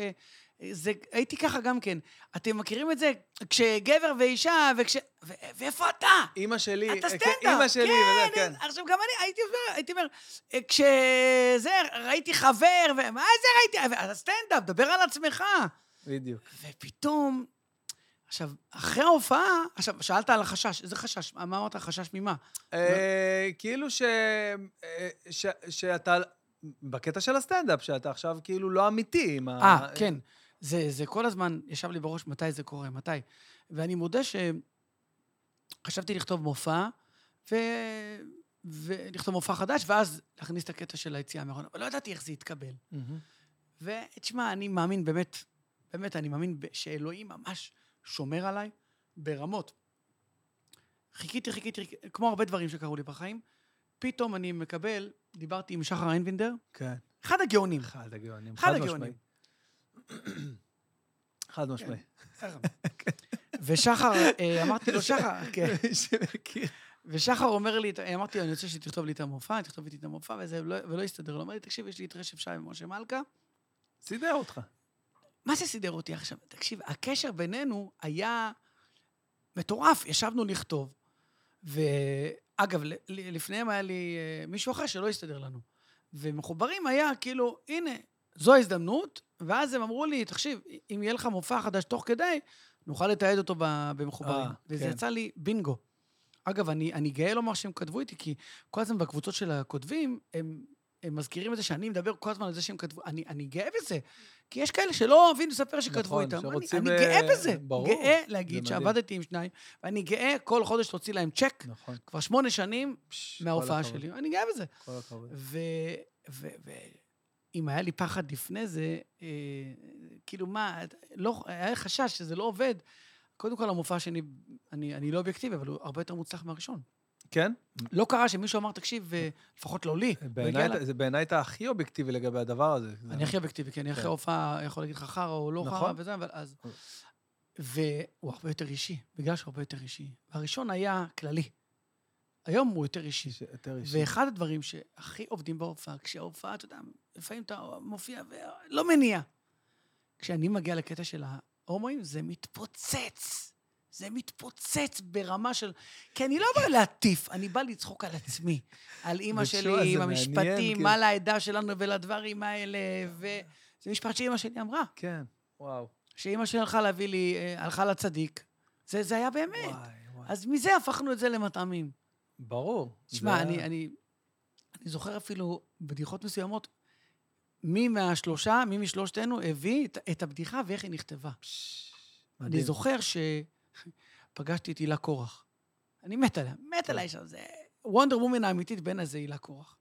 S3: זה, הייתי ככה גם כן. אתם מכירים את זה? כשגבר ואישה, וכש... ו- ואיפה אתה?
S1: אימא שלי,
S3: אתה
S1: אה, כן,
S3: סטנדאפ.
S1: אימא שלי, וזה, כן.
S3: אה, עכשיו, גם אני הייתי אומר, הייתי אומר, אה, כשזה, ראיתי חבר, ומה זה ראיתי? אז סטנדאפ, דבר על עצמך.
S1: בדיוק.
S3: ופתאום, עכשיו, אחרי ההופעה, עכשיו, שאלת על החשש, איזה חשש? מה מה אמרת? חשש ממה?
S1: אה, כאילו ש... אה, ש- שאתה... בקטע של הסטנדאפ, שאתה עכשיו כאילו לא אמיתי עם ה...
S3: אה, כן. זה, זה כל הזמן ישב לי בראש מתי זה קורה, מתי. ואני מודה שחשבתי לכתוב מופע, ו... ולכתוב מופע חדש, ואז להכניס את הקטע של היציאה מהארון. אבל לא ידעתי איך זה יתקבל.
S1: מהמם.
S3: ותשמע, אני מאמין באמת, באמת, אני מאמין ב- שאלוהים ממש שומר עליי ברמות. חיכיתי, חיכיתי, חיכיתי, כמו הרבה דברים שקרו לי בחיים, פתאום אני מקבל, דיברתי עם שחר איינבינדר,
S1: כן.
S3: אחד הגאונים.
S1: אחד הגאונים.
S3: אחד
S1: חד-משמעי.
S3: הגאונים.
S1: (clears throat) חד משמעי.
S3: ושחר, אה, אמרתי לו, שחר, כן.
S1: (laughs) מי שמכיר.
S3: ושחר אומר לי, אמרתי לו, אני רוצה שתכתוב לי את המופע, תכתוב איתי את המופע, וזה, ולא, ולא הסתדר לו. אמר לי, תקשיב, יש לי את רשף שי ומשה מלכה.
S1: סידר אותך.
S3: מה זה סידר אותי עכשיו? תקשיב, הקשר בינינו היה מטורף. ישבנו לכתוב, ואגב, ל- ל- לפניהם היה לי אה, מישהו אחר שלא הסתדר לנו. ומחוברים היה כאילו, הנה, זו ההזדמנות, ואז הם אמרו לי, תקשיב, אם יהיה לך מופע חדש תוך כדי, נוכל לתעד אותו ב- במחוברים.
S1: אה,
S3: וזה
S1: כן.
S3: יצא לי בינגו. אגב, אני, אני גאה לומר שהם כתבו איתי, כי כל הזמן בקבוצות של הכותבים, הם, הם מזכירים את זה שאני מדבר כל הזמן על זה שהם כתבו, אני, אני גאה בזה. כי יש כאלה שלא אוהבים לספר שכתבו
S1: נכון,
S3: איתם. אני,
S1: שרוצים,
S3: אני
S1: אה,
S3: גאה בזה.
S1: ברור,
S3: גאה
S1: זה
S3: להגיד
S1: מדהים.
S3: שעבדתי עם שניים, ואני גאה כל חודש להוציא להם צ'ק,
S1: נכון.
S3: כבר שמונה שנים
S1: פש, כל
S3: מההופעה
S1: הכבוד,
S3: שלי. אני גאה בזה.
S1: כל הכבוד.
S3: ו- ו- ו- אם היה לי פחד לפני זה, אה, כאילו מה, את- לא, היה לי חשש שזה לא עובד. קודם כל, המופע השני, אני, אני לא אובייקטיבי, אבל הוא הרבה יותר מוצלח מהראשון.
S1: כן?
S3: לא קרה שמישהו אמר, תקשיב, אה, לפחות לא לי.
S1: בעיניי
S3: והגיע
S1: אתה- זה בעיניי אתה הכי אובייקטיבי לגבי הדבר הזה.
S3: לה- אני הכי אובייקטיבי, כי אני אחרי
S1: כן.
S3: ההופעה יכול להגיד לך חרא או לא חרא
S1: נכון.
S3: וזה, אבל אז...
S1: אוי.
S3: והוא הרבה יותר אישי, בגלל שהוא הרבה יותר אישי. והראשון היה כללי. היום הוא יותר אישי.
S1: זה יותר אישי.
S3: ואחד הדברים שהכי עובדים בהופעה, כשההופעה, אתה יודע, לפעמים אתה מופיע ולא מניע. כשאני מגיע לקטע של ההומואים, זה מתפוצץ. זה מתפוצץ ברמה של... כי אני לא בא להטיף, אני בא לצחוק על עצמי. על אימא
S1: ותשמע,
S3: שלי,
S1: זה
S3: עם
S1: מעניין,
S3: המשפטים,
S1: כאילו.
S3: מה לעדה שלנו ולדברים האלה, ו... זה משפט שאימא שלי אמרה,
S1: כן, וואו.
S3: שאימא שלי הלכה להביא לי, אה, הלכה לצדיק. זה, זה היה באמת.
S1: וואי, וואי.
S3: אז מזה הפכנו את זה למטעמים.
S1: ברור.
S3: תשמע,
S1: זה-
S3: אני, אני, אני זוכר אפילו בדיחות מסוימות, מי מהשלושה, מי משלושתנו הביא את, את הבדיחה ואיך היא נכתבה.
S1: פש,
S3: אני
S1: מדהים.
S3: זוכר שפגשתי את הילה קורח. אני מת עליה,
S1: כן.
S3: מת עליה שם. זה וונדר וומן האמיתית בין הזה הילה קורח.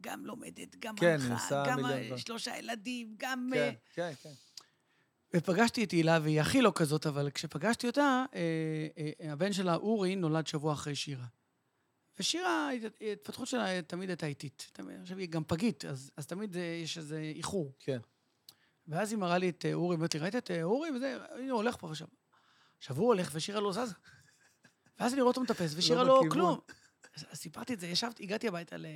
S3: גם לומדת, גם
S1: כן, היא
S3: הלכה,
S1: עושה
S3: גם
S1: מיליון דברים.
S3: שלושה ילדים, גם... אה,
S1: כן, כן, כן.
S3: ופגשתי את הילה, והיא הכי לא כזאת, אבל כשפגשתי אותה, אה, אה, הבן שלה, אורי, נולד שבוע אחרי שירה. ושירה, ההת- ההתפתחות שלה אה, תמיד הייתה איטית. תמיד- עכשיו, היא גם פגית, אז, אז תמיד אה, יש איזה איחור.
S1: כן.
S3: ואז היא מראה לי את אה, אורי, ואומרת לי, ראית את אה, אורי? וזה, הנה, הוא הולך פה עכשיו. עכשיו הוא הולך ושירה לא זזה. ואז אני רואה אותו מטפס, ושירה לא,
S1: בכיוון.
S3: כלום. אז אז סיפרתי את זה, ישבתי, הגעתי הביתה ל...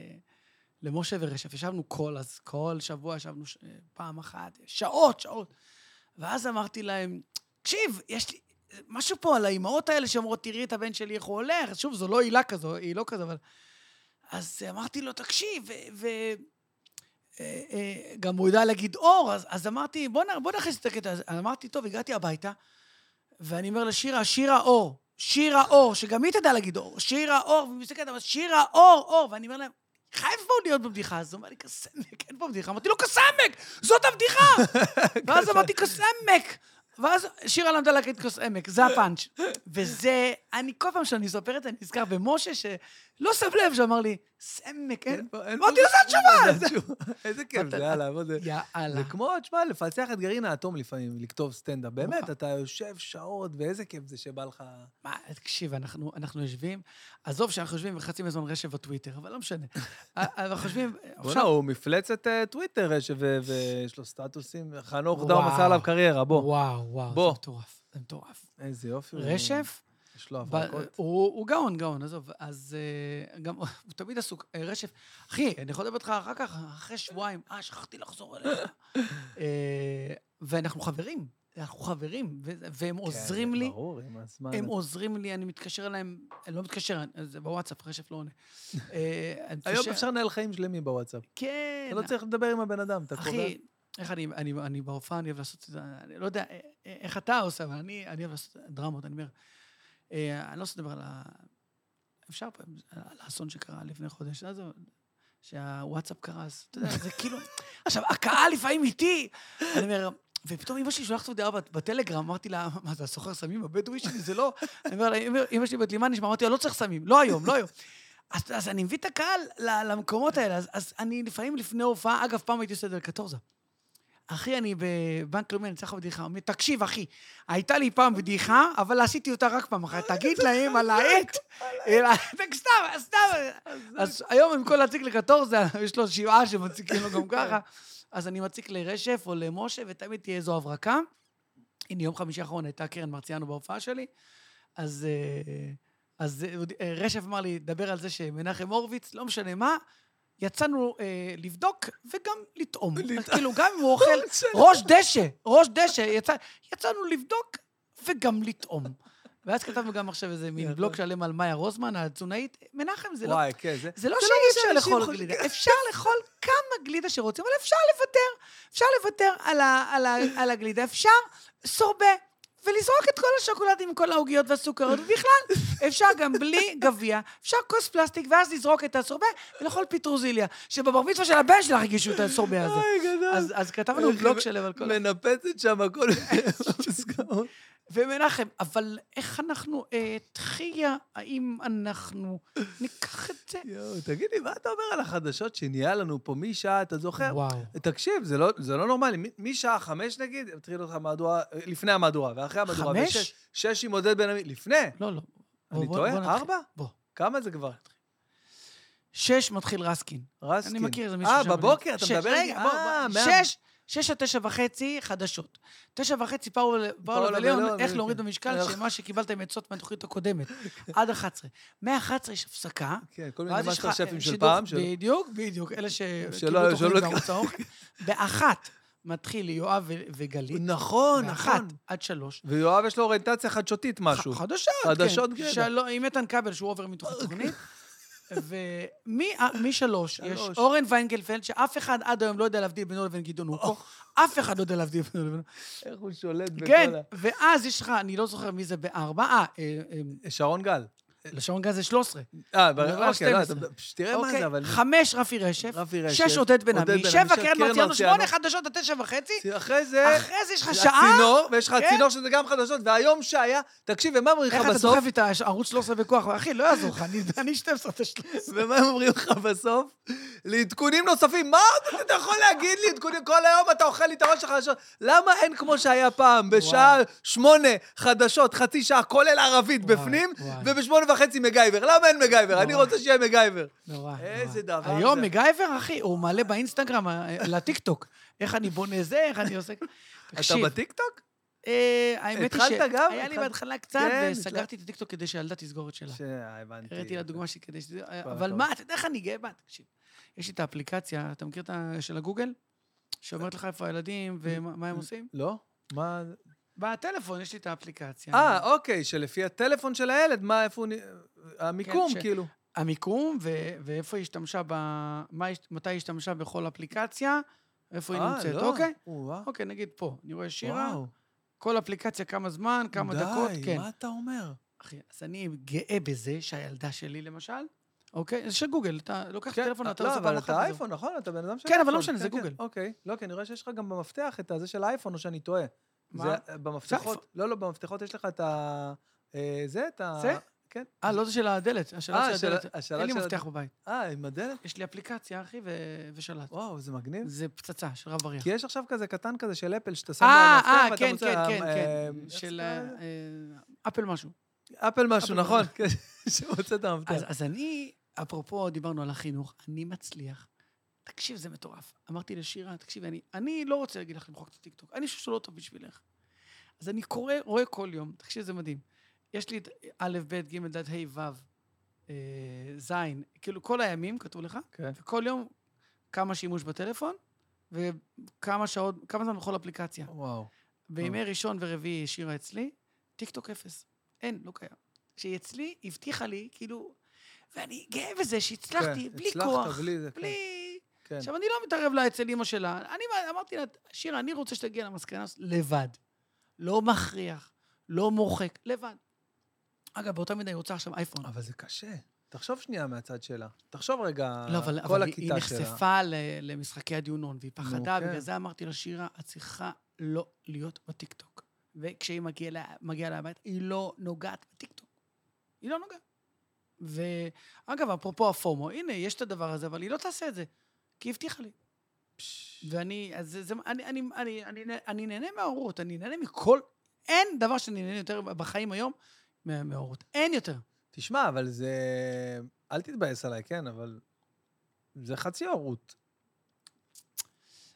S3: למשה ורשף, ישבנו כל, אז כל שבוע ישבנו ש... אה, פעם אחת, שעות, שעות. ואז אמרתי להם, תקשיב, יש לי משהו פה על האימהות האלה שאומרות, תראי את הבן שלי, איך הוא הולך. שוב, זו לא עילה כזו, היא לא כזו, אבל... אז אמרתי לו, תקשיב, ו... ו... אה, אה, גם הוא יודע להגיד אור, אז, אז אמרתי, בוא, נ, בוא נכניס את הקטע הזה. אז אמרתי, טוב, הגעתי הביתה, ואני אומר לשירה, שירה אור, שירה אור, שגם היא תדע להגיד אור, שירה אור, והיא מסתכלת, אבל שירה אור, אור, ואני אומר להם, חייב פה להיות בבדיחה הזו. הוא אומר לי, קסמק, אין פה בדיחה. אמרתי לו, קסמק, זאת
S1: (laughs)
S3: הבדיחה!
S1: כן.
S3: ואז אמרתי, קסמק! ואז שירה למדה להגיד קסמק, זה הפאנץ'. וזה, אני כל פעם שאני מספר את זה, אני נזכר במשה, שלא שם לב, שאמר לי, סמק, אין...
S1: פה- אין
S3: אמרתי לו,
S1: פה-
S3: "זה התשובה!"
S1: זה התשובה.
S3: (laughs)
S1: איזה כיף
S3: אתה-
S1: זה, יאללה, בוא זה...
S3: יאללה.
S1: זה כמו, תשמע, לפצח את גרעין האטום לפעמים, לכתוב סטנדאפ. באמת,
S3: וואו.
S1: אתה יושב שעות, ואיזה כיף זה שבא לך...
S3: מה, תקשיב, אנחנו, אנחנו יושבים, עזוב שאנחנו יושבים חצי מהזמן רשב בטוויטר, אבל לא משנה. אנחנו יושבים,
S1: בוא'נה,
S3: עכשיו...
S1: הוא מפלצת אה, טוויטר, אה, ש- ו- ויש לו סטטוסים. חנוך דאום
S3: וואו.
S1: עשה עליו קריירה, בוא.
S3: וואו, וואו,
S1: בוא. אה,
S3: זה מטורף, זה מטורף.
S1: איזה יופי. הוא-
S3: רשף,
S1: יש לו
S3: ב-
S1: הברקות.
S3: הוא, הוא גאון, גאון, עזוב. אז אה, גם, הוא תמיד עסוק. אה, רשף, אחי, אני יכול לדבר איתך אחר כך, אחרי שבועיים, אה, שכחתי
S1: (laughs)
S3: לחזור אליך. אה, ואנחנו חברים, אנחנו חברים, ו- והם עוזרים
S1: כן,
S3: לי.
S1: ברור, עם הזמן.
S3: הם עוזרים לי, אני מתקשר אליהם, אני לא מתקשר, אני- זה בוואטסאפ, רשף לא עונה. אה, אני
S1: היום
S3: מתקשר-
S1: אפשר לנהל חיים שלמים בוואטסאפ.
S3: כן.
S1: אתה לא צריך לדבר עם הבן אדם, אתה קובע.
S3: אחי, איך אני, אני, אני בהופעה, אני אוהב לעשות את זה, אני לא יודע אה, אה, איך אתה עושה, אבל אני, אני אוהב לעשות דרמות, אני אומר, אה, אני לא רוצה לדבר על ה... אפשר פעם, על האסון שקרה לפני חודש, אז שהוואטסאפ קרס, אתה יודע, זה
S1: (laughs)
S3: כאילו... עכשיו, הקהל לפעמים איתי, אני אומר... ופתאום אמא שלי שולחת הודעה בט- בטלגרם, אמרתי לה, מה זה, הסוחר סמים הבדואי שלי? זה לא... אני אומר לה, "אמא- אמא שלי בת לימה נשמע, אמרתי לה, לא צריך סמים, לא היום, לא היום. אז, אז אני מביא את הקהל ל- למקומות האלה, אז, אז אני לפעמים לפני הופעה, אגב, פעם הייתי עושה את זה לקטורזה. אחי, אני בבנק לאומי, אני צריך בדיחה. הוא אומר, תקשיב, אחי, הייתה לי פעם בדיחה, אבל עשיתי אותה רק פעם אחת. תגיד להם (laughs) על העט. אלא- (laughs) סתם, סתם. אז היום עם כל להציק לקטורזה, יש לו שבעה שמציקים לו (laughs) גם ככה. אז אני מציק לרשף או למשה, ותמיד תהיה איזו הברקה. הנה, יום חמישי האחרון הייתה קרן מרציאנו בהופעה שלי, אז... אה, אז אה, רשף אמר לי, דבר על זה שמנחם הורוביץ, לא משנה מה, יצאנו אה, לבדוק וגם לטעום. אז כאילו, גם אם הוא אוכל ראש דשא, ראש דשא, יצא, יצאנו לבדוק וגם לטעום. ואז כתבנו גם עכשיו איזה מין
S1: יפה.
S3: בלוק שלם על מאיה רוזמן, התזונאית. מנחם, זה לא...
S1: וואי, כן, (laughs) זה...
S3: זה לא
S1: זה לא
S3: שאי
S1: מה
S3: אפשר
S1: שאנשים
S3: לאכול
S1: חושבים.
S3: גלידה, אפשר לאכול כמה גלידה שרוצים, אבל אפשר לוותר. אפשר לוותר על, ה, על, ה, על הגלידה, אפשר סורבה, ולזרוק את כל השוקולדים עם כל העוגיות והסוכריות, ובכלל, אפשר גם בלי גביע, אפשר כוס פלסטיק, ואז לזרוק את הסורבה ולאכול פטרוזיליה, שבר מצווה של הבן שלך הגישו את הסורבה
S1: לא
S3: הזה.
S1: אוי, גדול. אה,
S3: (laughs) אז, אז כתבנו בלוג שלם על כל...
S1: מנפצת שם הכל. מוסכמות.
S3: ומנחם, אבל איך אנחנו, אה, תחייה, האם אנחנו ניקח את זה?
S1: יואו, תגיד לי, מה אתה אומר על החדשות שנהיה לנו פה משעה, אתה זוכר?
S3: וואו.
S1: תקשיב, זה לא, זה לא נורמלי. מ- משעה חמש נגיד, מטריד אותך מהדורה, לפני המהדורה, ואחרי המהדורה.
S3: חמש?
S1: ושש- שש עם עודד בן עמי, לפני.
S3: לא, לא. בוא,
S1: אני
S3: בוא-
S1: טועה?
S3: בוא נתחיל.
S1: ארבע?
S3: בוא.
S1: כמה זה כבר?
S3: שש מתחיל רסקין.
S1: רסקין.
S3: אני מכיר איזה מישהו
S1: אה,
S3: שם.
S1: בבוקר, אתה
S3: שש,
S1: מדבר?
S3: רגע, בוא,
S1: אה,
S3: בוא.
S1: מה-
S3: שש, שש עד תשע וחצי חדשות. תשע וחצי פאולה
S1: פאולה
S3: וליון,
S1: וליאון,
S3: איך
S1: כן.
S3: להוריד במשקל,
S1: איך-
S3: שמה שקיבלתם עצות מהתוכנית הקודמת. עד 11. מ-11 יש הפסקה.
S1: כן, כל מיני
S3: ואז יש לך
S1: מאסטר שפים של
S3: שידור-
S1: פעם. של-
S3: בדיוק, בדיוק. אלה
S1: שלא-
S3: שקיבלו
S1: שלא-
S3: תוכנית בערוץ האוכל. באחת מתחיל יואב ו- וגלית.
S1: נכון,
S3: באחת
S1: נכון.
S3: עד שלוש.
S1: ויואב יש לו אוריינטציה חדשותית משהו.
S3: ח- חדשות,
S1: חדשות אוקיי.
S3: כן.
S1: גדע.
S3: שלו- עם איתן כבל, שהוא עובר מתוך התוכנית. ומשלוש אה, יש
S1: שלוש.
S3: אורן ויינגלפלד, שאף אחד עד היום לא יודע להבדיל בינו לבין גדעון, הוא פה. אף אחד לא יודע להבדיל בינו לבין...
S1: איך הוא שולט בכל
S3: כן, ואז יש לך, אני לא זוכר מי זה בארבע, אה, אה, אה,
S1: ה... שרון גל.
S3: לשעון גל זה 13.
S1: אה,
S3: מדבר
S1: בר-
S3: על
S1: אוקיי, לא,
S3: 12.
S1: אתה- פש, תראה מה
S3: אוקיי,
S1: זה, אבל...
S3: חמש רפי רשף,
S1: רפי רשף,
S3: שש עודד בן
S1: עודד
S3: עמי,
S1: בן עמי,
S3: שבע
S1: שש,
S3: קרן
S1: קרן
S3: מרציאנו,
S1: מרציאנו. אה,
S3: שמונה חדשות עד תשע וחצי,
S1: אחרי זה...
S3: אחרי זה יש לך שעה,
S1: הצינור, ויש לך
S3: כן.
S1: הצינור שזה גם חדשות, והיום שהיה, תקשיב, ומה אומרים
S3: איך
S1: לך
S3: אתה
S1: בסוף?
S3: דוחף את הערוץ 13 בכוח? אחי, לא יעזור
S1: (laughs)
S3: לך, אני- אני 12 עד 13.
S1: ומה הם אומרים לך בסוף? לעדכונים נוספים. מה עוד אתה יכול להגיד לי עדכונים? כל היום אתה אוכל לי את הראש החדשות. למה אין כמו שהיה פעם, בשעה שמונה חדשות, חצי שעה, כולל ערבית
S3: וואי,
S1: בפנים,
S3: וואי.
S1: ובשמונה וחצי מגייבר? למה אין מגייבר? אני
S3: וואי.
S1: רוצה שיהיה מגייבר.
S3: נורא, נורא.
S1: איזה דבר
S3: היום
S1: זה.
S3: מגייבר, אחי, הוא מעלה באינסטגרם, אה, לטיקטוק. איך אני בונה זה, איך אני עושה...
S1: אתה
S3: תקשיב,
S1: בטיקטוק?
S3: אה, האמת היא
S1: התחלת גם?
S3: שהיה לי
S1: התחלת-
S3: בהתחלה קצת,
S1: כן,
S3: וסגרתי את הטיקטוק כדי שהילדה תסגור את שלה.
S1: ש- אה, הבנתי.
S3: הראיתי לה דוגמה שלי כדי שזה... אבל
S1: הטוב.
S3: מה, אתה יודע איך אני גאה בה? תקשיב. יש לי את האפליקציה, אתה מכיר את ה... של הגוגל? שאומרת לך איפה הילדים ומה מה הם עושים?
S1: לא? מה... זה?
S3: בטלפון יש לי את האפליקציה.
S1: אה, אוקיי, שלפי הטלפון של הילד, מה, איפה הוא... נ- המיקום,
S3: כן, ש-
S1: כאילו.
S3: המיקום ו- ואיפה היא השתמשה ב... מה היא- מתי היא השתמשה בכל אפליקציה, איפה היא
S1: אה,
S3: נמצאת,
S1: לא.
S3: אוקיי?
S1: וואו.
S3: אוקיי, נגיד פה, אני רואה שירה,
S1: וואו.
S3: כל אפליקציה כמה זמן, כמה דקות,
S1: די,
S3: כן.
S1: מה אתה אומר?
S3: אחי, אז אני גאה בזה שהילדה שלי, למשל, אוקיי? זה של גוגל, אתה לוקח את הטלפון, אתה
S1: לא,
S3: עושה פעם
S1: אבל
S3: אחת.
S1: אתה
S3: וזהו.
S1: אייפון, נכון? אתה בן אדם של
S3: כן, אבל לא
S1: אייפון.
S3: משנה, זה
S1: כן,
S3: גוגל.
S1: אוקיי. לא, כי אני רואה שיש לך גם במפתח את הזה של האייפון, או שאני טועה.
S3: מה?
S1: זה
S3: זה אייפון.
S1: במפתחות. לא, לא, במפתחות יש לך את ה... אה, זה, את ה...
S3: זה?
S1: כן.
S3: אה, לא זה של הדלת, השלט
S1: אה,
S3: של
S1: של-
S3: הדלת.
S1: השלט
S3: אין לי
S1: של
S3: מפתח
S1: הדלת.
S3: בבית.
S1: אה, עם הדלת?
S3: יש לי אפליקציה, אחי, ו- ושלט.
S1: וואו, זה מגניב.
S3: זה פצצה של רב אריה.
S1: כי יש עכשיו כזה קטן כזה של אפל, שאתה שם לו
S3: אה,
S1: כן, על המפתח ואתה
S3: אה,
S1: מוצא...
S3: כן, כן,
S1: אה,
S3: כן,
S1: אה,
S3: כן.
S1: איך
S3: של
S1: זה
S3: אה,
S1: נקרא?
S3: אה, אפל משהו.
S1: אפל משהו,
S3: אפל
S1: נכון. (laughs)
S3: משהו. אה,
S1: כן, שמוצא את המפתח.
S3: אז אז אני, אפרופו, דיברנו על החינוך, אני מצליח. תקשיב, זה מטורף. אמרתי לשירה, תקשיבי, אני, אני לא רוצה להגיד לך למחוק את הטיקטוק, אני חושב שלא טוב בשבילך. אז אני קורא, רואה כל יום, תקשיב, זה מדהים. יש לי את א', ב', ג', ד', ה', ו', אה, ז', כאילו כל הימים, כתוב לך,
S1: כן.
S3: וכל יום כמה שימוש בטלפון, וכמה שעות, כמה זמן בכל אפליקציה.
S1: וואו. אה.
S3: בימי ראשון ורביעי שירה אצלי, טיקטוק אפס. אין, לא קיים. כשהיא אצלי, היא הבטיחה לי, כאילו... ואני גאה בזה שהצלחתי,
S1: כן,
S3: בלי
S1: הצלחת,
S3: כוח,
S1: בלי זה, כן.
S3: בלי...
S1: כן.
S3: עכשיו, אני לא מתערב לה אצל אימא שלה. אני מה- אמרתי לה, שירה, אני רוצה שתגיע למסקנה הזאת לבד. לא מכריח, לא מוחק, לבד. אגב, באותה מידה היא רוצה עכשיו אייפון.
S1: אבל זה קשה. תחשוב שנייה מהצד שלה. תחשוב רגע,
S3: לא, אבל,
S1: כל
S3: אבל היא- היא
S1: הכיתה שלה.
S3: נחשפה ל, למשחקי הדיונון, והיא פחדה,
S1: כן.
S3: בגלל זה אמרתי לה, שירה, את צריכה לא להיות בטיקטוק. וכשהיא מגיעה לה- מגיעה לה הביתה, היא לא נוגעת בטיקטוק. היא לא נוגעת. ואגב, אפרופו הפומו, הנה, יש את הדבר הזה, אבל היא לא תעשה את זה, כי היא הבטיחה לי. ואני, אז זה, זה, אני, אני, אני, אני, נה- אני נהנה מההורות, אני נהנה מכל, אין דבר שאני נהנה יותר בחיים היום מה- מההורות. אין יותר.
S1: תשמע, אבל זה... אל תתבאס עליי, כן, אבל... זה חצי הורות.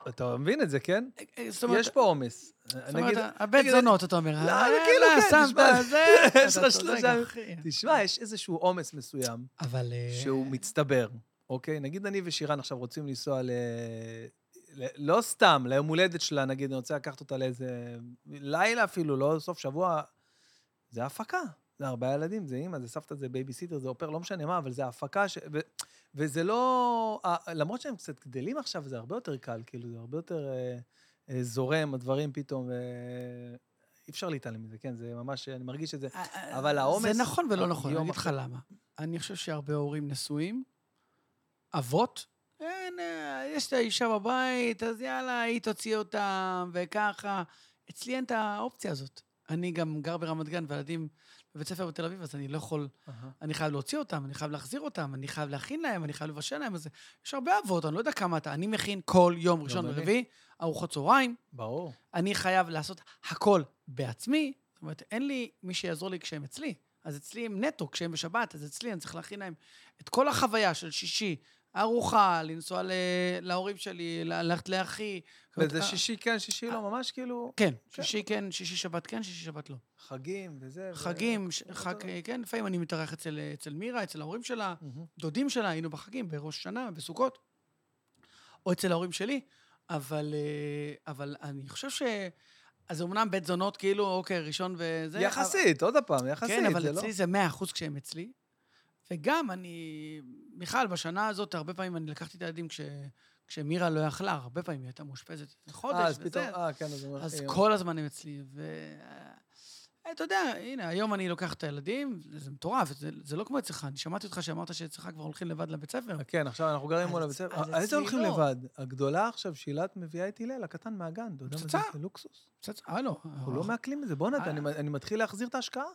S1: אתה מבין את זה, כן?
S3: זאת אומרת,
S1: יש פה עומס.
S3: זאת
S1: נגיד,
S3: אומרת, הבן
S1: נגיד-
S3: זונות, אתה אומר.
S1: לא,
S3: אה,
S1: אבל כאילו,
S3: לא,
S1: כן,
S3: שמת
S1: תשמע,
S3: זה,
S1: (laughs) יש
S3: אתה
S1: לך
S3: צודק,
S1: שלושה-
S3: אחי.
S1: תשמע, יש איזשהו עומס מסוים
S3: אבל... אה,
S1: שהוא מצטבר, אוקיי? נגיד אני ושירן עכשיו רוצים לנסוע ל... ל- לא סתם, ליום הולדת שלה, נגיד, אני רוצה לקחת אותה לאיזה לילה אפילו, לא סוף שבוע. זה הפקה. זה ארבעה ילדים, זה אימא, זה סבתא, זה בייביסיטר, זה אופר, לא משנה מה, אבל זה הפקה ש... ו... וזה לא... ה- למרות שהם קצת גדלים עכשיו, זה הרבה יותר קל, כאילו, זה הרבה יותר אה, אה, זורם, הדברים פתאום, ו... אי אפשר להתעלם מזה, כן, זה ממש, אני מרגיש את זה.
S3: אה, אה,
S1: אבל העומס- אה,
S3: זה נכון ולא נכון, אני
S1: יום
S3: אגיד לך למה. אני חושב שהרבה הורים נשואים, אבות, אין, אה, יש את האישה בבית, אז יאללה, היא תוציא אותם, וככה. אצלי אין את האופציה הזאת. אני גם גר ברמת גן, והילדים בבית ספר בתל אביב, אז אני לא יכול... אני חייב להוציא אותם, אני חייב להחזיר אותם, אני חייב להכין להם, אני חייב לבשל להם. אז יש הרבה אבות, אני לא יודע כמה אתה. אני מכין כל יום ראשון
S1: אני.
S3: ורביעי, ארוחות צהריים,
S1: ברור.
S3: אני חייב לעשות הכל בעצמי. זאת אומרת, אין לי מי שיעזור לי כשהם אצלי. אז אצלי הם נטו, כשהם בשבת, אז אצלי אני צריך להכין להם את כל החוויה של שישי, ארוחה, לנסוע ל... להורים שלי, ל- ללכת לאחי.
S1: וזה שישי כן, שישי לא, ממש כאילו
S3: כן, שישי כן, שישי שבת כן, שישי שבת לא.
S1: חגים וזה. ו-
S3: חגים, ש-
S1: אותו
S3: חג,
S1: דבר.
S3: כן, לפעמים אני מתארח אצל, אצל מירה, אצל ההורים שלה,
S1: מהמם.
S3: דודים שלה, היינו בחגים, בראש שנה, בסוכות, או אצל ההורים שלי, אבל, אה, אבל אני חושב ש... אז אמנם בית זונות, כאילו, אוקיי, ראשון וזה...
S1: יחסית, עוד פעם, יחסית,
S3: כן, אבל
S1: זה לא...
S3: אצלי זה 100 אחוז כשהם אצלי. וגם אני... מיכל, בשנה הזאת, הרבה פעמים אני לקחתי את הילדים כש... כשמירה לא יכלה, הרבה פעמים היא הייתה מאושפזת חודש
S1: אה, אז
S3: וזה,
S1: פתאום, אה, כן, אז... אומר,
S3: אז
S1: אה,
S3: כל הזמן הם אצלי, ו... אה, אתה יודע, הנה, היום אני לוקח את הילדים, זה מטורף, זה, זה לא כמו אצלך. אני שמעתי אותך שאמרת שאצלך כבר הולכים לבד לבית ספר.
S1: כן, עכשיו אנחנו גרים
S3: אז-
S1: מול הבית ספר.
S3: אז
S1: אה, איזה
S3: אצלי
S1: הולכים
S3: לא.
S1: לבד? הגדולה עכשיו, שילת מביאה את הלל, הקטן מהגן. אתה יודע מה זה?
S3: פצצה.
S1: זה לוקסוס.
S3: בסדר, הלו.
S1: אנחנו לא מעכלים את זה. בואנה,
S3: אה.
S1: אני- אני מתחיל להחזיר את
S3: (laughs)
S1: ההשקעה.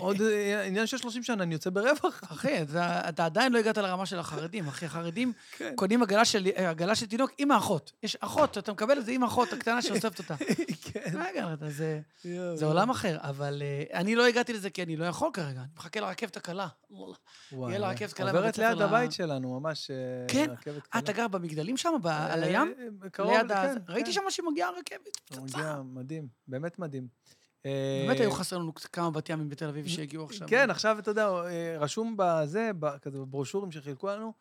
S1: עוד אה, עניין של 30 שנה, אני יוצא ברווח. (laughs)
S3: אחי, אתה, אתה עדיין לא הגעת לרמה של החרדים, אחי. החרדים
S1: (laughs) כן.
S3: קונים עגלה של, אה, עגלה של תינוק עם האחות. יש אחות, אתה מקבל את זה עם האחות הקטנה שאוספת
S1: (laughs)
S3: אותה.
S1: כן.
S3: רגע, אתה- זה, אה,
S1: לא,
S3: זה עולם אחר, אבל אה, אני לא הגעתי לזה כי אני לא יכול כרגע, אני מחכה לרכבת הקלה.
S1: וואי,
S3: יהיה לה רכבת קלה בבית
S1: עוברת
S3: ספר
S1: ליד
S3: ל-
S1: הבית שלנו, ממש אה,
S3: כן?
S1: רכבת
S3: אה, אתה גר במגדלים שם, ב- על הים?
S1: אה, קרוב,
S3: ליד ה...
S1: כן,
S3: ראיתי
S1: כן.
S3: שם שמגיעה הרכבת. פצצה.
S1: מגיע, מדהים, באמת מדהים.
S3: באמת
S1: אה,
S3: היו חסר לנו כמה בת ימים בתל אביב שהגיעו עכשיו.
S1: כן, עכשיו, אתה יודע, אה, רשום בזה, ב- כזה בברושורים שחילקו לנו,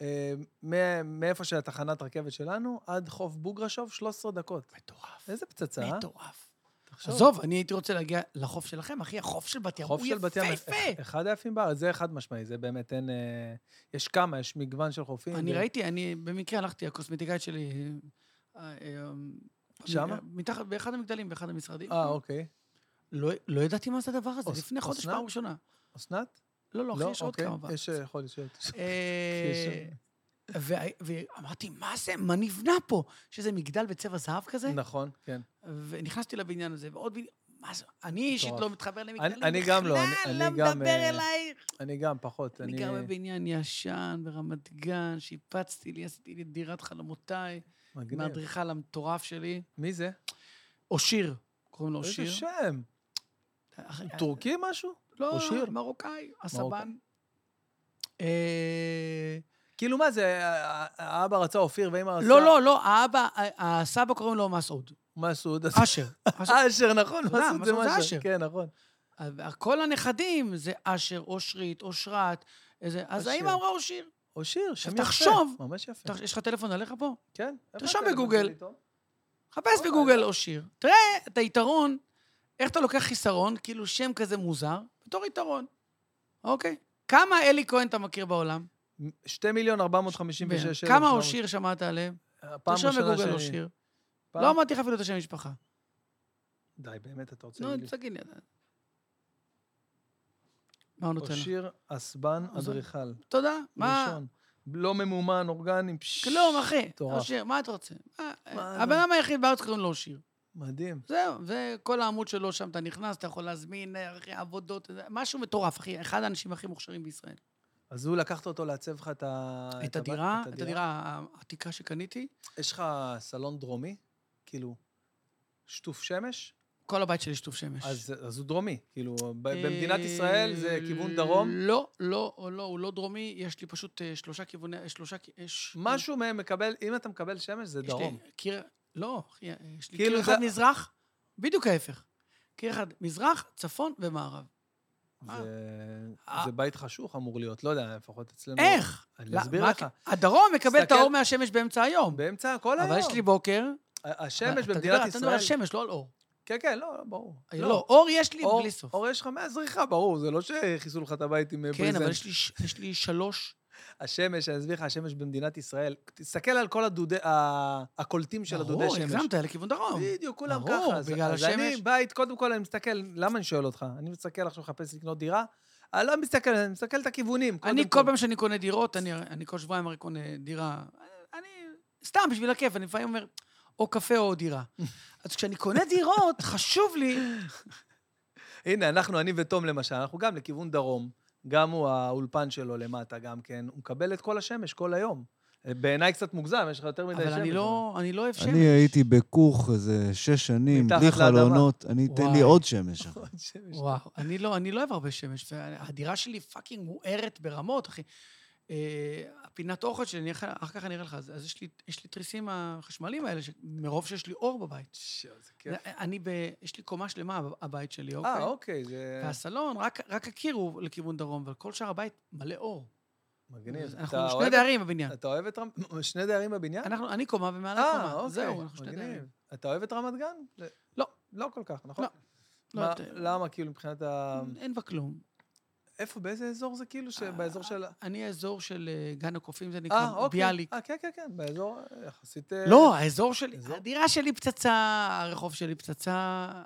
S1: אה, מ- מאיפה שהתחנת רכבת שלנו, עד חוף בוגרשוב, 13 דקות.
S3: מטורף.
S1: איזה פצצה, אה?
S3: מטורף.
S1: תחשוב.
S3: עזוב, אני הייתי רוצה להגיע לחוף שלכם, אחי, החוף של בת ים.
S1: חוף של בת ים, אה,
S3: הוא
S1: אח-
S3: יפהפה.
S1: אחד היפים בארץ, זה חד משמעי, זה באמת אין... אה, יש כמה, יש מגוון של חופים.
S3: אני
S1: ו-
S3: ראיתי, אני במקרה הלכתי, הקוסמטיקאית שלי... אה, אה,
S1: שמה?
S3: מתחת, באחד המגדלים, באחד המשרדים.
S1: אה, אוקיי.
S3: לא- לא ידעתי מה זה הדבר הזה,
S1: אוס-
S3: לפני חודש,
S1: אסנת?
S3: פעם ראשונה.
S1: אסנת?
S3: לא, לא, אחי, יש עוד
S1: אוקיי.
S3: כמה בארץ.
S1: יש, אה, יכול להיות שיש.
S3: אה,
S1: יש-
S3: וה- ואמרתי, מה זה, מה נבנה פה? שזה מגדל בצבע זהב כזה?
S1: נכון, כן.
S3: ונכנסתי לבניין הזה, ועוד בניין... מה זה? אני אישית
S1: מטורף.
S3: לא מתחבר למגדלים
S1: אני גם לא, אני-
S3: בכלל,
S1: אני
S3: לא
S1: גם,
S3: מדבר
S1: אה,
S3: אלייך.
S1: אני גם, פחות.
S3: אני גר בבניין ישן ברמת גן, שיפצתי לי, עשיתי לי את דירת חלומותיי, עם
S1: מגניב.
S3: האדריכל המטורף שלי.
S1: מי זה?
S3: אושיר, קוראים לו
S1: איזה
S3: אושיר.
S1: שם.
S3: אחי,
S1: הוא טורקי משהו?
S3: לא,
S1: אושיר?
S3: מרוקאי, הסבן. אה,
S1: כאילו מה זה, אה, האבא רצה אופיר ואמא רצה...
S3: לא, לא, לא, האבא, הסבא קוראים לו מסעוד.
S1: מסעוד. אז- (laughs)
S3: אשר. אשר.
S1: אשר, נכון,
S3: אתה יודע,
S1: מסעוד זה
S3: מסעוד זה
S1: משהו.
S3: אשר.
S1: כן, נכון.
S3: אבל כל הנכדים זה אשר, אושרית, אושרת, איזה... אז
S1: אשר.
S3: האמא אמרה אושיר.
S1: אושיר, שם יפה.
S3: תחשוב.
S1: ממש יפה.
S3: אתה- יש לך טלפון עליך פה?
S1: כן. איפה
S3: תרשום
S1: אתה?
S3: בגוגל.
S1: אתה יכול
S3: חפש
S1: וואלה.
S3: בגוגל אושיר. תראה את היתרון, איך אתה לוקח חיסרון, כאילו שם כזה מוזר, בתור יתרון. אוקיי? כמה אלי כהן אתה מכיר בעולם? כן.
S1: לטעום? שתי מיליון ארבע מאות חמישים ושש אלף.
S3: כמה אושיר שמעת עליהם?
S1: הפעם
S3: תרשום
S1: הראשונה
S3: בגוגל
S1: שאני-
S3: אושיר.
S1: פעם-
S3: לא אמרתי לך אפילו את השם משפחה.
S1: די, באמת, אתה רוצה
S3: נו,
S1: להגיד לי.
S3: תגיד לי. אתה. מה הוא נותן לך?
S1: אושיר אסבן
S3: עזוב.
S1: אדריכל.
S3: תודה. מה?
S1: ראשון. לא ממומן, אורגני. פשש.
S3: כלום, אחי.
S1: מטורף.
S3: אושיר, מה אתה רוצה? מה-
S1: מה-
S3: הבן אדם היחיד בארץ קוראים לו אושיר.
S1: מדהים.
S3: זהו, זה כל העמוד שלו שם, אתה נכנס, אתה יכול להזמין, אה, אחי, עבודות, זה- משהו מטורף, אחי. אחד האנשים הכי מוכשרים בישראל.
S1: אז הוא לקחת אותו לעצב לך אה, את ה...
S3: את
S1: הבית-
S3: הדירה, את הדירה העתיקה שקניתי,
S1: יש לך סלון דרומי? כאילו, שטוף שמש?
S3: כל הבית שלי שטוף שמש.
S1: אז, אז הוא דרומי. כאילו, ב-
S3: אה,
S1: במדינת ישראל זה כיוון דרום.
S3: לא, לא, או לא, הוא לא דרומי, יש לי פשוט אה, שלושה כיווני, אה, שלושה... כ- אה, ש-
S1: משהו מהם מקבל, אם אתה מקבל שמש, זה
S3: יש לי
S1: דרום.
S3: קיר, לא, אחי, אה, יש לי
S1: כאילו
S3: קיר
S1: זה-
S3: אחד מזרח, בדיוק ההפך. קיר אחד מזרח, צפון ומערב. אה.
S1: זה,
S3: אה.
S1: זה בית חשוך אמור להיות, לא יודע, לפחות אצלנו.
S3: איך?
S1: אני
S3: לא,
S1: אסביר
S3: מה-
S1: לך.
S3: הדרום מקבל את
S1: תסתכל-
S3: האור מהשמש באמצע היום.
S1: באמצע כל היום.
S3: אבל יש לי בוקר.
S1: ה-
S3: אתה
S1: השמש
S3: מדבר-
S1: במדינת
S3: אתה מדבר על
S1: ישראל...
S3: שמש, לא על אור.
S1: כן, כן, לא, לא, ברור.
S3: לא, אור יש לי
S1: אור-
S3: בלי סוף.
S1: אור יש לך מהזריחה, ברור, זה לא שכיסו לך את הבית עם אה,
S3: כן, אבל
S1: ברזנט.
S3: יש לי ש- יש לי שלוש
S1: השמש, אני אסביר לך, השמש במדינת ישראל, תסתכל על כל הדודי, ה- הקולטים של הדודי
S3: ברור,
S1: שמש.
S3: הגזמת, לכיוון דרום.
S1: בדיוק, כולם ככה.
S3: נכון, ברור,
S1: אז-
S3: בגלל
S1: אז אני
S3: השמש.
S1: בית, קודם כל אני מסתכל, למה אני שואל אותך? אני מסתכל עכשיו, מחפש לקנות דירה, אני לא מסתכל, אני מסתכל את הכיוונים. קודם
S3: אני כל פעם שאני קונה דירות, אני, אני כל שבועיים הרי קונה דירה. אני, סתם, בשביל הכיף, אני לפעמים אומר, או קפה
S1: (laughs)
S3: או דירה. אז כשאני קונה דירות, חשוב לי...
S1: הנה, אנחנו, אני ותום למשל, אנחנו גם לכיוון דרום. גם הוא, האולפן שלו למטה גם כן, הוא מקבל את כל השמש כל היום. אה, בעיניי קצת מוגזם, יש לך יותר מדי שמש.
S3: אבל אני לא אני לא אוהב שמש.
S4: אני הייתי בכוך איזה שש שנים,
S1: מתחת
S4: בלי
S1: לאדמה.
S4: חלונות, אני אתן
S3: וואי.
S4: לי עוד
S1: (laughs)
S4: שמש. אחי.
S1: שמש.
S3: וואו, אני לא, אני לא אוהב הרבה שמש, והדירה שלי פאקינג מוארת ברמות, אחי. אה, הפינת אוכל שלי, אני אחר אחר כך אני אראה לך, אז אז יש לי, יש לי תריסים החשמליים האלה, ש- מרוב שיש לי אור בבית.
S1: שו, זה כיף.
S3: אני ב... יש לי קומה שלמה, הב- הבית שלי, אוקיי?
S1: אה, אוקיי, זה
S3: והסלון, רק, רק הקיר הוא לכיוון דרום, אבל כל שאר הבית מלא אור.
S1: מגניב.
S3: אנחנו
S1: אתה
S3: שני
S1: אוהב-
S3: דיירים בבניין.
S1: אתה אוהב את רמת... שני דיירים בבניין?
S3: אנחנו, אני קומה ומעלה
S1: אה,
S3: קומה.
S1: אוקיי.
S3: זהו, אנחנו שני
S1: מגניב.
S3: דיירים.
S1: אתה אוהב את רמת גן? זה-
S3: לא.
S1: לא כל כך, נכון?
S3: לא. לא,
S1: מה-
S3: אתה-
S1: למה, כאילו, מבחינת ה...
S3: אין בה כלום.
S1: איפה, באיזה אזור זה כאילו? שבאזור של...
S3: אני האזור של אה, גן הקופים, זה
S1: אה,
S3: נקרא
S1: אוקיי.
S3: ביאליק.
S1: אה, כן, כן, כן, באזור אה, יחסית... אה,
S3: לא, האזור שלי,
S1: אזור?
S3: הדירה שלי פצצה, הרחוב שלי פצצה,